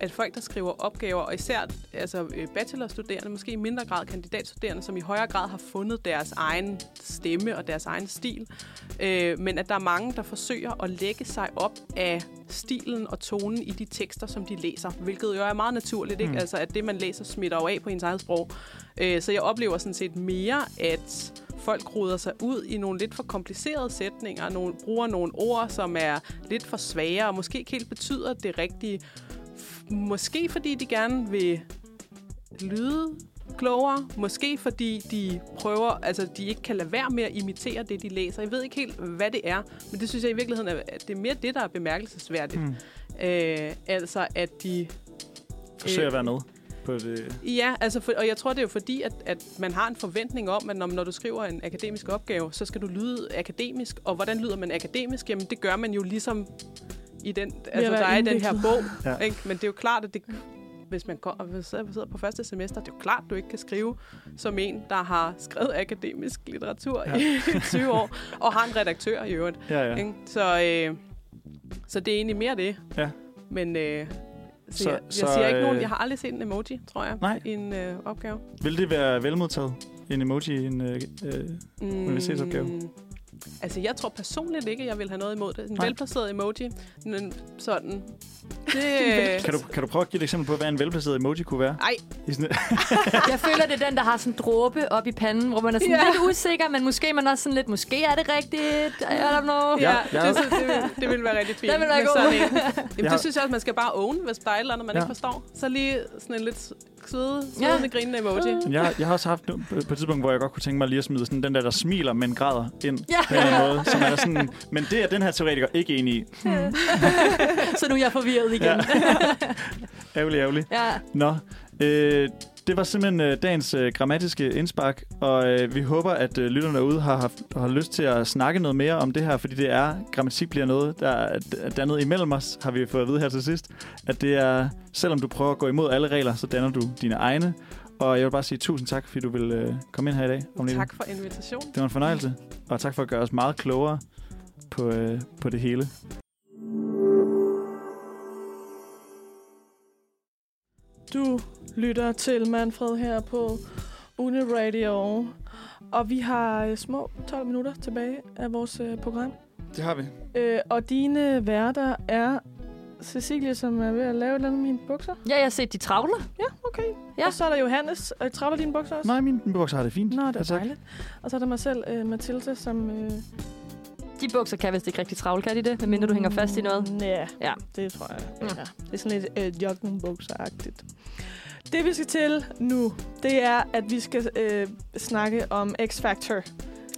Speaker 3: at folk, der skriver opgaver, og især altså, øh, bachelorstuderende, måske i mindre grad kandidatstuderende, som i højere grad har fundet deres egen stemme og deres egen stil, øh, men at der er mange, der forsøger at lægge sig op af stilen og tonen i de tekster, som de læser, hvilket jo er meget naturligt, ikke?
Speaker 2: Mm.
Speaker 3: Altså, at det, man læser, smitter jo af på ens eget sprog. Øh, så jeg oplever sådan set mere, at folk ruder sig ud i nogle lidt for komplicerede sætninger, nogle, bruger nogle ord, som er lidt for svære, og måske ikke helt betyder det rigtige. F- Måske fordi de gerne vil lyde klogere, måske fordi de prøver, altså de ikke kan lade være med at imitere det, de læser. Jeg ved ikke helt, hvad det er, men det synes jeg i virkeligheden, er, at det er mere det, der er bemærkelsesværdigt.
Speaker 2: Mm.
Speaker 3: Mm. Øh, altså at de
Speaker 2: Forsøg
Speaker 3: Øh,
Speaker 2: at være med på det.
Speaker 3: Ja, altså for, og jeg tror, det er jo fordi, at, at man har en forventning om, at når, når du skriver en akademisk opgave, så skal du lyde akademisk. Og hvordan lyder man akademisk? Jamen, det gør man jo ligesom i den, altså,
Speaker 5: være
Speaker 3: der er i den her bog.
Speaker 2: Ja.
Speaker 3: Ja. Ikke? Men det er jo klart, at det, hvis man går, hvis man sidder på første semester, det er jo klart, at du ikke kan skrive som en, der har skrevet akademisk litteratur ja. i 20 år, og har en redaktør i øvrigt.
Speaker 2: Ja, ja.
Speaker 3: Ja. Ikke? Så, øh, så det er egentlig mere det.
Speaker 2: Ja.
Speaker 3: Men øh, så,
Speaker 2: Så-
Speaker 3: så, jeg, jeg
Speaker 2: så,
Speaker 3: så, siger ikke nogen,
Speaker 2: øh,
Speaker 3: jeg har aldrig set en emoji, tror jeg,
Speaker 2: Nej.
Speaker 3: i en øh, opgave.
Speaker 2: Vil det være velmodtaget? En emoji, en... Øh, øh,
Speaker 3: Mm,
Speaker 2: Universitetsopgave.
Speaker 3: Altså, jeg tror personligt ikke, at jeg vil have noget imod det. En
Speaker 2: Nej.
Speaker 3: velplaceret emoji, men sådan Det, øh,
Speaker 2: Kan du, kan du prøve at give et eksempel på, hvad en velplaceret emoji kunne være?
Speaker 3: Ej.
Speaker 2: I sådan,
Speaker 4: Jeg føler, det er den, der har sådan en dråbe op i panden, hvor man er sådan
Speaker 3: Ja.
Speaker 4: lidt usikker, men måske man er også sådan lidt, måske er det rigtigt, I don't know.
Speaker 3: ja,
Speaker 2: ja.
Speaker 3: Det, synes- det, vil- det ville være rigtig fint.
Speaker 4: Den ville være
Speaker 3: med
Speaker 4: god.
Speaker 3: sådan en. Jamen,
Speaker 2: Ja.
Speaker 3: det synes jeg også, man skal bare own, hvis der er et eller andet, man
Speaker 2: Ja.
Speaker 3: ikke forstår. Så lige sådan en lidt søde,
Speaker 4: Ja.
Speaker 3: søde ja. grinende emoji.
Speaker 2: Men jeg, jeg har også haft nu, på på et tidspunkt, hvor jeg godt kunne tænke mig lige at smide sådan den der, der smiler, men græder ind
Speaker 4: Ja.
Speaker 2: på en eller anden måde. Som er sådan, men det er den her teoretiker ikke enig i.
Speaker 4: Mm. Så nu er jeg forvirret igen.
Speaker 2: Ja.
Speaker 4: Ja.
Speaker 2: Ærgerlig, ærgerlig.
Speaker 4: ja.
Speaker 2: Nå, øh, det var simpelthen øh, dagens øh, grammatiske indspark, og øh, vi håber, at øh, lytterne derude har, haft, har lyst til at snakke noget mere om det her, fordi det er, grammatik bliver noget, der er at der er noget imellem os, har vi fået at vide her til sidst, at det er, selvom du prøver at gå imod alle regler, så danner du dine egne. Og jeg vil bare sige tusind tak, fordi du vil øh, komme ind her i dag. Agnete.
Speaker 3: Tak for invitationen.
Speaker 2: Det var en fornøjelse, og tak for at gøre os meget klogere på, øh, på det hele.
Speaker 5: Du lytter til Manfred her på Uni Radio. Og vi har øh, små 12 minutter tilbage af vores øh, program.
Speaker 2: Det har vi.
Speaker 5: Øh, og dine værter er Cecilie, som er ved at lave et eller andet med mine bukser.
Speaker 4: ja, jeg har set de travler.
Speaker 5: Okay.
Speaker 4: Ja.
Speaker 5: Ja. Og så er der Johannes. Øh, travler dine bukser også?
Speaker 2: Nej, min min bukser har det fint.
Speaker 5: Nå, det
Speaker 2: Ja,
Speaker 5: er
Speaker 2: tak.
Speaker 5: dejligt. Og så er der mig selv, øh, Mathilde, som... Øh,
Speaker 4: De bukser kan vist ikke rigtig travle, kan de det? Medmindre du hænger fast i noget.
Speaker 5: Ja,
Speaker 4: Ja.
Speaker 5: det tror jeg.
Speaker 4: Mm.
Speaker 5: Ja. Det er sådan lidt øh, joggingbukser-agtigt. Det, vi skal til nu, det er, at vi skal øh, snakke om X-Factor.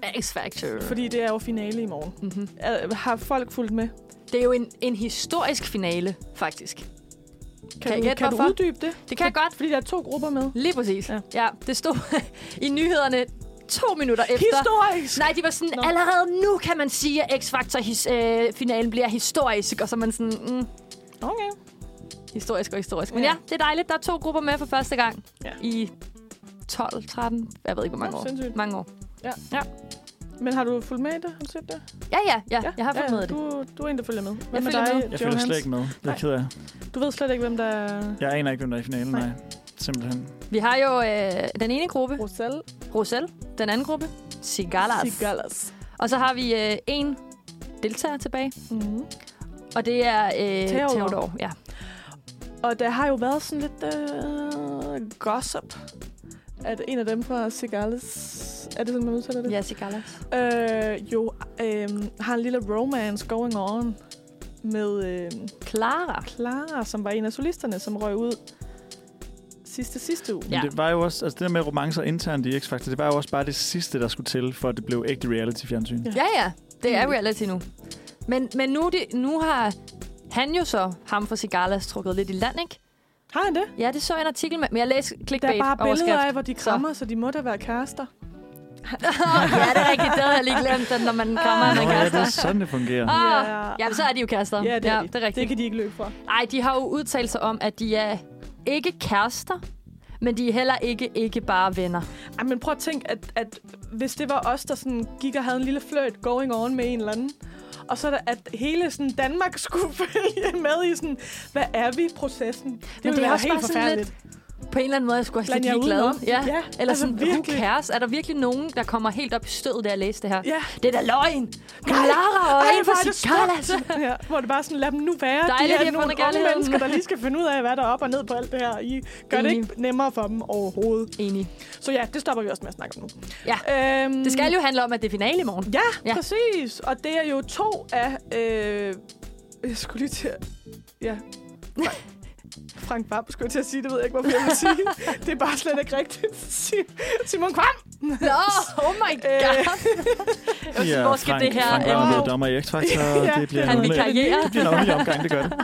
Speaker 4: X-Factor.
Speaker 5: Fordi det er jo finale i morgen.
Speaker 4: Mm-hmm.
Speaker 5: Er, har folk fulgt med?
Speaker 4: Det er jo en, en historisk finale, faktisk. Kan I
Speaker 5: Kan, kan, du,
Speaker 4: gætte,
Speaker 5: kan du
Speaker 4: hvorfor?
Speaker 5: uddybe det?
Speaker 4: Det kan jeg godt.
Speaker 5: Fordi der er to grupper med.
Speaker 4: Lige præcis. Ja,
Speaker 5: Ja.
Speaker 4: ja det stod i nyhederne to minutter efter.
Speaker 5: Historisk!
Speaker 4: Nej, de var sådan,
Speaker 5: Nå.
Speaker 4: allerede nu kan man sige, at X-Factor-finalen øh, bliver historisk. Og så er man sådan, mm,
Speaker 5: Okay.
Speaker 4: historisk og historisk. Men ja.
Speaker 5: Ja.
Speaker 4: det er dejligt. Der er to grupper med for første gang ja.
Speaker 5: Ja.
Speaker 4: i 12, 13, jeg ved ikke, hvor mange
Speaker 5: Nå,
Speaker 4: år.
Speaker 5: sindssygt.
Speaker 4: Mange år.
Speaker 5: Men har du fulgt med i det? Har du set det?
Speaker 4: Ja, ja, ja. ja. Jeg har fået ja, med det.
Speaker 5: Du, du er en, der følger med. Hvad med
Speaker 4: følger
Speaker 5: dig,
Speaker 4: med.
Speaker 2: Jeg følger
Speaker 5: Johans?
Speaker 2: slet ikke med. Det er
Speaker 5: Nej.
Speaker 2: ked af.
Speaker 5: Du ved slet ikke, hvem der er...
Speaker 2: Jeg aner ikke, hvem der er i finalen. Nej.
Speaker 5: Nej.
Speaker 2: Simpelthen.
Speaker 4: Vi har jo øh, den ene gruppe,
Speaker 5: Roselle
Speaker 4: Rosel. Den anden gruppe, Sigalas.
Speaker 5: Sigalas.
Speaker 4: Og så har vi øh, en deltager tilbage,
Speaker 5: Mm-hmm.
Speaker 4: og det er øh,
Speaker 5: Theodor.
Speaker 4: Theodor. Ja.
Speaker 5: Og der har jo været sådan lidt øh, gossip, at en af dem fra Sigalas, er det sådan, man udtaler det?
Speaker 4: ja, Sigalas.
Speaker 5: Øh, jo, øh, har en lille romance going on med øh,
Speaker 4: Clara.
Speaker 5: Clara, som var en af solisterne, som røg ud sidste, sidste uge.
Speaker 2: Men
Speaker 4: Ja.
Speaker 2: ja. det var jo også, altså det der med romancer internt i X-Factor, det var jo også bare det sidste, der skulle til, for at det blev ægte reality-fjernsyn.
Speaker 5: Ja.
Speaker 4: Ja, ja. Det er
Speaker 5: Mm.
Speaker 4: reality nu. Men, men nu, er det, nu har han jo så, ham fra Sigalas, trukket lidt i land, ikke?
Speaker 5: Har han det?
Speaker 4: Ja, det så jeg en artikel med, men jeg læste
Speaker 5: Der er
Speaker 4: clickbait
Speaker 5: bare billeder af, hvor de
Speaker 4: Så.
Speaker 5: krammer, så. så de må da være kærester.
Speaker 4: ja, det er rigtigt. Det havde jeg lige glemt, at når man
Speaker 5: Ah.
Speaker 4: krammer, man
Speaker 2: Nå, ja, det
Speaker 4: kaster.
Speaker 2: er sådan, det fungerer.
Speaker 4: Ah,
Speaker 5: Ja.
Speaker 4: ja, så er de jo kærester.
Speaker 5: Ja, det er,
Speaker 4: ja,
Speaker 5: de.
Speaker 4: det er rigtigt.
Speaker 5: Det kan de ikke løbe fra.
Speaker 4: Ej, de har jo udtalt sig om, at de er ikke kærester, men de er heller ikke, ikke bare venner.
Speaker 5: Ej, men prøv at tænke, at, at hvis det var os, der sådan gik og havde en lille fløjt going on med en eller anden, og så der, at hele sådan Danmark skulle følge med i sådan, hvad er vi i processen? Det
Speaker 4: Men
Speaker 5: ville
Speaker 4: det er
Speaker 5: være
Speaker 4: også
Speaker 5: helt
Speaker 4: bare sådan
Speaker 5: forfærdeligt.
Speaker 4: På en eller anden måde, jeg skulle have
Speaker 5: Bland
Speaker 4: lidt
Speaker 5: jer
Speaker 4: ligeglad.
Speaker 5: udenom.
Speaker 4: Ja.
Speaker 5: Ja,
Speaker 4: Eller
Speaker 5: altså
Speaker 4: sådan,
Speaker 5: virkelig.
Speaker 4: who cares? Er der virkelig nogen, der kommer helt op i stødet, da jeg læste det her?
Speaker 5: Ja.
Speaker 4: Det er da løgn! Clara og
Speaker 5: Ej,
Speaker 4: en
Speaker 5: hvor er
Speaker 4: for
Speaker 5: det
Speaker 4: sit
Speaker 5: smukt. ja, hvor det bare sådan, lad dem nu være.
Speaker 4: altså." Dejligt, at
Speaker 5: de
Speaker 4: I har
Speaker 5: er nogle
Speaker 4: fundet
Speaker 5: unge
Speaker 4: kærligheden.
Speaker 5: mennesker, der lige skal finde ud af, hvad der er op og ned på alt det her. I gør det
Speaker 4: Enig.
Speaker 5: ikke nemmere for dem overhovedet.
Speaker 4: Enig.
Speaker 5: Så ja, det stopper vi også med at snakke om nu.
Speaker 4: Ja.
Speaker 5: Øhm,
Speaker 4: Det skal jo handle om, at det er finale i morgen.
Speaker 5: Ja,
Speaker 4: Ja.
Speaker 5: ja, præcis. Og det er jo to af... Øh, jeg skulle lige til at... Ja. Fra- Frank Bam skulle jeg til at sige, det ved jeg ikke, hvorfor jeg vil sige. Det er bare slet ikke rigtigt. Si- Simon Kvam!
Speaker 4: Nå, oh my god.
Speaker 2: Ja,
Speaker 4: hvor skal
Speaker 2: Frank,
Speaker 4: det her-
Speaker 2: Frank Ravn blev
Speaker 5: Wow.
Speaker 2: dommer i X-Factor,
Speaker 5: Ja,
Speaker 2: og det bliver
Speaker 4: Han
Speaker 2: en
Speaker 4: vil
Speaker 2: underlig-
Speaker 4: karriere.
Speaker 2: det bliver en underlig omgang, det gør det.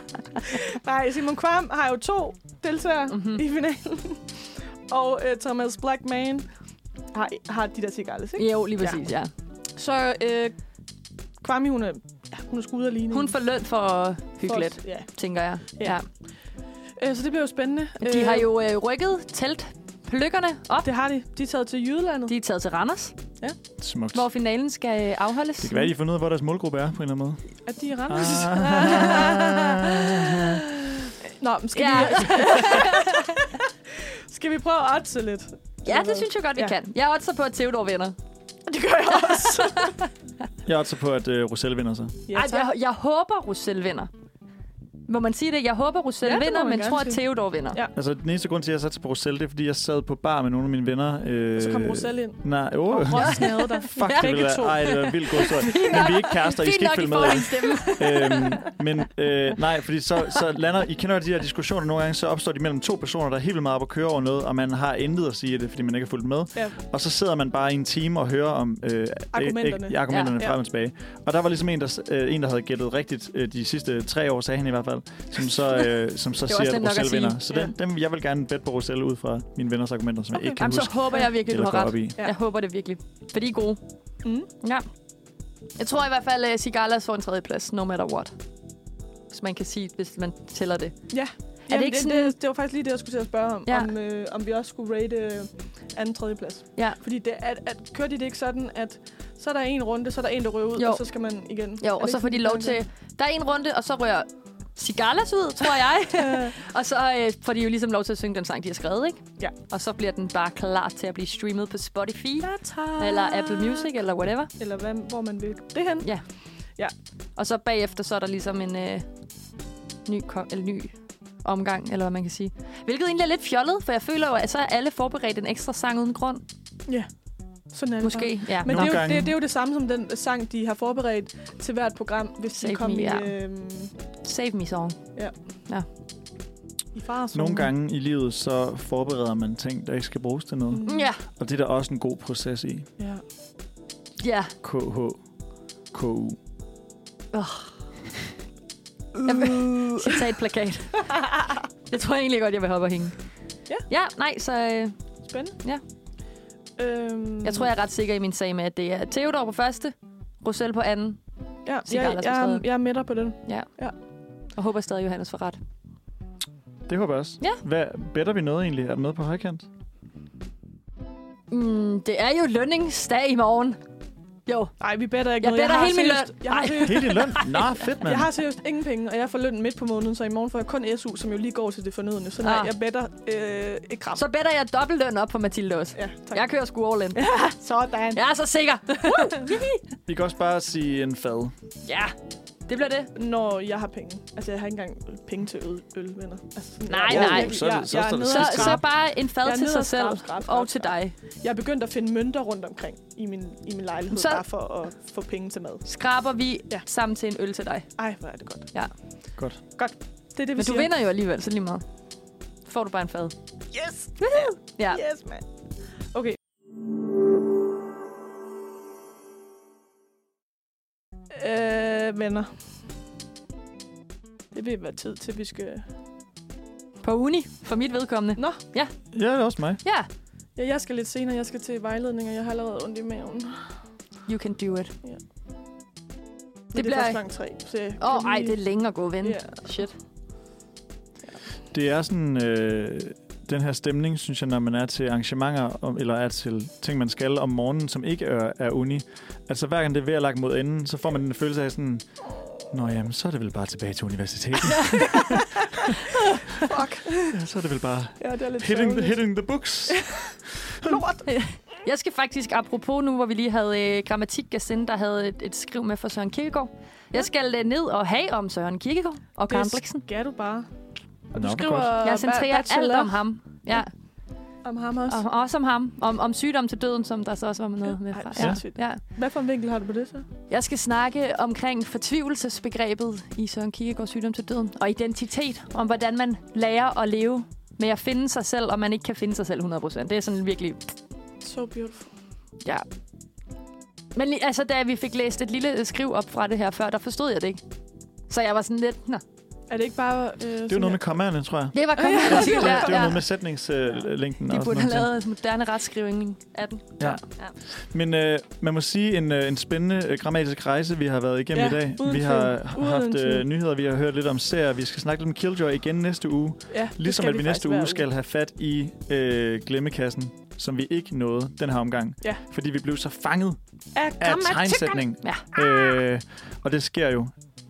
Speaker 5: Nej, Simon Kvam har jo to deltagere
Speaker 4: Mhm.
Speaker 5: mm-hmm.
Speaker 4: Mm.
Speaker 5: i finalen. Og øh, Thomas Blackman har, har de der cigarettes, ikke?
Speaker 4: Jo, lige præcis, ja.
Speaker 5: Så øh, Kwame, hun er, ja, hun er skudt af ligningen.
Speaker 4: Hun får løn for at hygge
Speaker 5: For-
Speaker 4: lidt,
Speaker 5: Ja.
Speaker 4: tænker jeg.
Speaker 5: Ja.
Speaker 4: Ja.
Speaker 5: Øh, så det bliver jo spændende.
Speaker 4: De
Speaker 5: Øh,
Speaker 4: har jo øh, rykket teltpløkkerne op.
Speaker 5: Det har de. De er taget til Jyllandet.
Speaker 4: De er taget til Randers,
Speaker 2: Smukt.
Speaker 4: hvor finalen skal øh, afholdes.
Speaker 2: Det kan være, de har fundet ud af, hvor deres målgruppe er, på en eller anden måde.
Speaker 5: At de er Randers.
Speaker 2: Ah.
Speaker 5: Nå, men skal,
Speaker 4: Ja.
Speaker 5: ja. vi, skal vi prøve at odse lidt?
Speaker 4: ja, det synes jeg godt, vi
Speaker 5: Ja.
Speaker 4: kan. Jeg er også på, at Theodor vinder.
Speaker 5: Det gør jeg også.
Speaker 2: Jeg er også på, at uh, øh, Roselle vinder sig.
Speaker 4: Ja, Ej, jeg, jeg håber, Rosel vinder. Må man sige det? Jeg håber, Roselle
Speaker 5: Ja,
Speaker 4: ja,
Speaker 5: det må
Speaker 4: vinder,
Speaker 5: man
Speaker 4: men
Speaker 5: gerne
Speaker 4: tror, at
Speaker 5: sige.
Speaker 4: Theodor vinder.
Speaker 5: Ja.
Speaker 4: Ja.
Speaker 2: Altså, den eneste grund til, at jeg satte til Bruxelles, det er, fordi jeg sad på bar med nogle af mine venner. Øh,
Speaker 5: Så kom Roselle ind.
Speaker 2: Nej, åh. Oh.
Speaker 5: Og Ross nede der.
Speaker 2: Fuck, det ville
Speaker 5: Begge
Speaker 2: være,
Speaker 5: to.
Speaker 2: ej, det var en vild god historie. Men vi er ikke kærester, I
Speaker 4: Fint
Speaker 2: skal ikke
Speaker 4: nok, I
Speaker 2: følge med.
Speaker 4: får din stemme.
Speaker 2: øhm, men øh, nej, fordi så, så lander... I kender jo de her diskussioner nogle gange, så opstår de mellem to personer, der er helt vildt meget op at køre over noget, og man har intet at sige i det, fordi man ikke har fulgt med.
Speaker 5: Ja.
Speaker 2: Og så sidder man bare i en time og hører om øh,
Speaker 5: Argumenterne.
Speaker 2: Øh, argumenterne
Speaker 5: Ja.
Speaker 2: ja. frem og tilbage. Og der var ligesom en, der, s- øh, en, der havde gættet rigtigt øh, de sidste tre år, sagde han i hvert fald, som så, øh, som så
Speaker 4: Det var også
Speaker 2: siger,
Speaker 4: nemt
Speaker 2: at
Speaker 4: nok at
Speaker 2: Roselle
Speaker 4: sige.
Speaker 2: vinder. Så den, den, jeg vil gerne bet på Roselle ud fra mine venners argumenter, som okay.
Speaker 5: Okay.
Speaker 2: jeg ikke kan
Speaker 4: Jamen, så
Speaker 2: huske.
Speaker 4: håber jeg virkelig, du
Speaker 2: eller
Speaker 4: har
Speaker 2: går op
Speaker 4: ret.
Speaker 2: i.
Speaker 5: Ja.
Speaker 4: Jeg håber det virkelig. For de er gode.
Speaker 5: Mm.
Speaker 4: Ja. Jeg tror i hvert fald, at Sigalas får en tredjeplads, no matter what. Hvis man kan sige, hvis man tæller det.
Speaker 5: Jamen,
Speaker 4: ikke
Speaker 5: det,
Speaker 4: sådan-
Speaker 5: det, det var faktisk lige det, jeg skulle til at spørge om.
Speaker 4: Ja.
Speaker 5: Ja. Om, øh, om vi også skulle rate øh, anden tredje plads.
Speaker 4: Ja.
Speaker 5: Fordi det, at, at, kører de det ikke sådan, at så er der en runde, så er der en, der ryger ud,
Speaker 4: Jo.
Speaker 5: jo. og så skal man igen? Er
Speaker 4: Jo,
Speaker 5: det
Speaker 4: og så
Speaker 5: ikke
Speaker 4: får de
Speaker 5: sådan,
Speaker 4: lov
Speaker 5: man-
Speaker 4: til... Der er en runde, og så rører Sigalas ud, tror jeg. og så øh, får de jo ligesom lov til at synge den sang, de har skrevet, ikke?
Speaker 5: Ja.
Speaker 4: Og så bliver den bare klar til at blive streamet på Spotify.
Speaker 5: Ja, tak.
Speaker 4: Eller Apple Music, eller whatever.
Speaker 5: Eller hvad, hvor man vil det hen.
Speaker 4: Og så bagefter, så er der ligesom en øh, ny, ko- eller ny omgang, eller hvad man kan sige. Hvilket egentlig er lidt fjollet, for jeg føler jo, at så er alle forberedt en ekstra sang uden grund.
Speaker 5: Sådan er det bare.
Speaker 4: Måske, ja.
Speaker 5: Men
Speaker 2: Nogle
Speaker 5: det er, jo,
Speaker 2: gange-
Speaker 5: det, det er jo det samme som den sang, de har forberedt til hvert program, hvis
Speaker 4: Save
Speaker 5: de kom
Speaker 4: me,
Speaker 5: i,
Speaker 4: ja.
Speaker 5: øh,
Speaker 4: Save me song.
Speaker 5: i farezonen.
Speaker 2: Nogle gange i livet, så forbereder man ting, der ikke skal bruges til noget.
Speaker 5: Mm.
Speaker 4: Ja.
Speaker 2: Og det er der også en god proces i.
Speaker 5: ja.
Speaker 4: Ja.
Speaker 2: KH. KU.
Speaker 4: Uh. Citat plakat. det tror jeg egentlig godt, jeg vil hoppe og hænge.
Speaker 5: Ja.
Speaker 4: Ja, nej, så øh,
Speaker 5: Spændende.
Speaker 4: Ja.
Speaker 5: Øhm,
Speaker 4: jeg tror, jeg er ret sikker i min sag med, at det er Theodor på første, Rosel på anden,
Speaker 5: ja,
Speaker 4: Cigar,
Speaker 5: jeg,
Speaker 4: lad os få
Speaker 5: jeg,
Speaker 4: skrevet.
Speaker 5: jeg er med dig på den.
Speaker 4: og håber stadig, Johannes får ret.
Speaker 2: Det håber jeg også.
Speaker 4: Ja.
Speaker 2: Hvad, better vi noget egentlig? Er der noget på højkant?
Speaker 4: Mm, det er jo lønningsdag i morgen. Jo,
Speaker 5: Nej, vi better ikke
Speaker 4: Jeg
Speaker 5: noget.
Speaker 4: better
Speaker 5: har
Speaker 4: hele min
Speaker 5: seriøst-
Speaker 4: løn.
Speaker 5: Jeg har
Speaker 4: Ej.
Speaker 5: seriøst
Speaker 2: Hele din løn? Nå, fedt, mand.
Speaker 5: Jeg har seriøst ingen penge, og jeg får løn midt på måneden, så i morgen får jeg kun SU, som jo lige går til det fornødende. Så nej,
Speaker 4: Ah.
Speaker 5: jeg better øh, et kram.
Speaker 4: så bedder jeg dobbelt løn op på Mathilde også.
Speaker 5: Ja, tak.
Speaker 4: Jeg kører sgu all in.
Speaker 5: Sådan.
Speaker 4: Jeg er så sikker.
Speaker 2: Vi kan også bare sige en fad.
Speaker 4: Ja, det bliver det.
Speaker 5: Når jeg har penge. Altså, jeg har ikke engang penge til øl, øl venner. Altså, sådan-
Speaker 4: Nej,
Speaker 5: jeg,
Speaker 4: nej.
Speaker 5: Jeg,
Speaker 2: Så er det-
Speaker 5: jeg,
Speaker 2: så
Speaker 5: jeg, er
Speaker 2: står det
Speaker 5: nede
Speaker 4: Så,
Speaker 5: og
Speaker 2: sidst.
Speaker 4: så
Speaker 5: skrabe.
Speaker 4: bare en fad
Speaker 5: Jeg er
Speaker 4: til
Speaker 5: nede
Speaker 4: sig
Speaker 5: og
Speaker 4: selv
Speaker 5: skrab, skrab, skrab,
Speaker 4: og til
Speaker 5: skrab.
Speaker 4: dig.
Speaker 5: jeg er begyndt at finde mønter rundt omkring i min, i min lejlighed,
Speaker 4: Så-
Speaker 5: så... bare for at få penge til mad.
Speaker 4: Skraber vi
Speaker 5: Ja.
Speaker 4: sammen til en øl til dig.
Speaker 5: Ej, hvor er det godt.
Speaker 4: Ja.
Speaker 2: Godt.
Speaker 5: Godt. Det er det, vi
Speaker 4: Men du
Speaker 5: siger.
Speaker 4: vinder jo alligevel, så lige meget. Får du bare en fad.
Speaker 5: Yes!
Speaker 4: Ja.
Speaker 5: Yes, man. Okay. Øh, venner. Det vil være tid til, vi skal...
Speaker 4: På uni, for mit vedkommende.
Speaker 5: Nå,
Speaker 2: Ja, det er også mig.
Speaker 4: Ja,
Speaker 5: ja, jeg skal lidt senere. Jeg skal til vejledning, og jeg har allerede ondt i maven. Men
Speaker 4: you can do it.
Speaker 5: det,
Speaker 4: bliver-
Speaker 5: er først langt tre, så jeg
Speaker 4: Åh,
Speaker 5: kan
Speaker 4: oh, ej,
Speaker 5: lige-
Speaker 4: det er længe at gå og vente.
Speaker 5: Ja.
Speaker 4: Shit.
Speaker 2: Det er sådan... Øh, den her stemning, synes jeg, når man er til arrangementer, om- eller er til ting, man skal om morgenen, som ikke er, er uni. Altså, hver gang det er ved at lagt mod enden, så får man en følelse af sådan... Nå jamen, så er det vel bare tilbage til universitetet.
Speaker 5: Fuck.
Speaker 2: Ja, så er det vel bare
Speaker 5: Ja, det er lidt
Speaker 2: hitting the,
Speaker 5: sørgeligt.
Speaker 2: hitting the books.
Speaker 5: Lort.
Speaker 4: Jeg skal faktisk, apropos nu, hvor vi lige havde øh, grammatikgassin, der havde et, et skriv med for Søren Kierkegaard. Jeg skal øh, ned og have om Søren Kierkegaard og Karen Bliksen.
Speaker 5: Skal du bare. Og
Speaker 2: Nå,
Speaker 5: du
Speaker 2: hvor
Speaker 5: skriver
Speaker 2: godt.
Speaker 4: Jeg centrerer alt
Speaker 5: bachelor
Speaker 4: om ham. Ja,
Speaker 5: om ham også.
Speaker 4: og også om ham. Om, om sygdom til døden, som der så også var noget med
Speaker 5: Ej,
Speaker 4: fra.
Speaker 5: sindssygt.
Speaker 4: ja.
Speaker 5: Hvad for en vinkel har du på det så?
Speaker 4: Jeg skal snakke omkring fortvivlelsesbegrebet i Søren Kierkegaards sygdom til døden, og identitet, om hvordan man lærer at leve med at finde sig selv, og man ikke kan finde sig selv 100%. Det er sådan virkelig...
Speaker 5: So beautiful.
Speaker 4: Men lige- altså, da vi fik læst et lille skriv op fra det her før, der forstod jeg det ikke. Så jeg var sådan lidt... Nå.
Speaker 5: Er det ikke bare... Øh,
Speaker 2: Det er jo noget med kommaerne, tror jeg.
Speaker 4: Det var kommet.
Speaker 2: Ja, det, er- det er jo
Speaker 4: ja,
Speaker 2: noget med sætningslængden.
Speaker 4: De
Speaker 2: og
Speaker 4: burde
Speaker 2: sådan
Speaker 4: have
Speaker 2: noget.
Speaker 4: lavet en moderne retskrivning af den.
Speaker 2: Ja.
Speaker 4: Ja.
Speaker 2: Men øh, man må sige, en, øh, en spændende øh, grammatisk rejse, vi har været igennem
Speaker 5: Ja,
Speaker 2: i dag.
Speaker 5: uden
Speaker 2: Vi
Speaker 5: tvivl.
Speaker 2: har
Speaker 5: Uden
Speaker 2: haft øh,
Speaker 5: tvivl.
Speaker 2: nyheder, vi har hørt lidt om serier. Vi skal snakke lidt om Killjoy igen næste uge.
Speaker 5: Ja,
Speaker 2: Ligesom at vi næste uge skal have fat i øh, glemmekassen, som vi ikke nåede den her omgang.
Speaker 5: Ja.
Speaker 2: Fordi vi blev så fanget
Speaker 5: Ja,
Speaker 2: af tegnsætning.
Speaker 4: Ja.
Speaker 2: Øh, og det sker jo.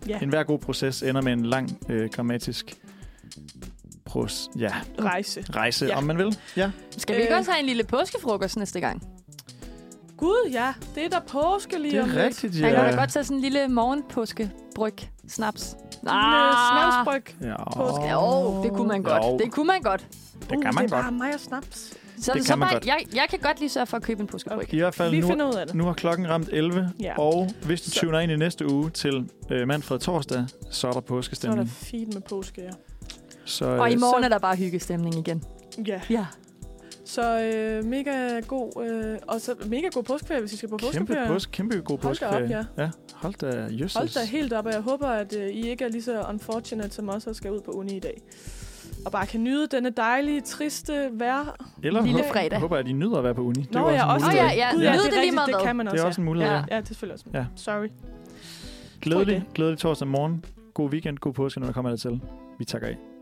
Speaker 5: Ja.
Speaker 2: En hver god proces ender med en lang øh, grammatisk pros, ja,
Speaker 5: rejse.
Speaker 2: rejse,
Speaker 5: Ja.
Speaker 2: om man vil. Ja.
Speaker 4: Skal vi ikke
Speaker 5: Øh.
Speaker 4: også have en lille påskefrokost næste gang?
Speaker 5: Gud, ja. Det er der påske lige
Speaker 2: Det
Speaker 5: om
Speaker 2: er
Speaker 5: lidt.
Speaker 2: rigtigt, ja.
Speaker 4: Man kan da godt tage sådan en lille morgenpåskebryg snaps. Ah.
Speaker 5: med snapsbryg.
Speaker 2: Ja,
Speaker 5: Påske.
Speaker 4: Jo, det kunne man godt.
Speaker 2: Jo.
Speaker 4: Det kunne man godt.
Speaker 2: det kan man
Speaker 5: det er
Speaker 2: godt.
Speaker 5: bare Ah, mig og snaps.
Speaker 4: Så,
Speaker 2: Det
Speaker 4: så
Speaker 2: kan man
Speaker 4: bare,
Speaker 2: godt.
Speaker 4: Jeg, jeg kan godt lige sørge for at købe en påskebryg.
Speaker 2: I hvert fald
Speaker 5: Vi
Speaker 2: nu,
Speaker 5: finder ud af det.
Speaker 2: nu har klokken ramt 11,
Speaker 5: Ja.
Speaker 2: og hvis du
Speaker 5: Så-
Speaker 2: tuner ind i næste uge til øh, mandfred torsdag, så er der
Speaker 5: Så er der
Speaker 2: påskestemning.
Speaker 5: fint med påske, ja.
Speaker 2: Så,
Speaker 4: Og i
Speaker 2: øh,
Speaker 4: morgen er der bare hyggestemning igen.
Speaker 5: Ja,
Speaker 4: Ja.
Speaker 5: så øh, mega god, øh, og så mega god påskeferie, hvis I skal på
Speaker 2: kæmpe,
Speaker 5: påskeferie.
Speaker 2: påske, kæmpe god
Speaker 5: Hold da op,
Speaker 2: påskeferie.
Speaker 5: ja.
Speaker 2: ja. Hold da, jøsses.
Speaker 5: Hold da helt op, og jeg håber, at øh, I ikke er lige så unfortunate, som os, og skal ud på uni i dag. Og bare kan nyde denne dejlige, triste vejr.
Speaker 2: Eller
Speaker 4: Lille
Speaker 2: håb-
Speaker 4: fredag.
Speaker 2: håber, at I nyder at være på uni. Det er
Speaker 5: Nå,
Speaker 2: jo
Speaker 5: ja,
Speaker 2: en
Speaker 5: også
Speaker 4: Åh,
Speaker 2: mulighed.
Speaker 4: ja, ja.
Speaker 5: Gud,
Speaker 4: Nyd det
Speaker 5: er
Speaker 4: lige
Speaker 5: rigtigt,
Speaker 4: meget
Speaker 5: Det
Speaker 4: hvad.
Speaker 5: kan man også,
Speaker 2: Det er også en mulighed.
Speaker 5: ja.
Speaker 2: Ja.
Speaker 5: Ja, det er selvfølgelig også.
Speaker 2: Ja.
Speaker 5: Ja. Sorry.
Speaker 2: Glædelig, glædelig torsdag morgen. God weekend, god påske, når der kommer der til. Vi takker af.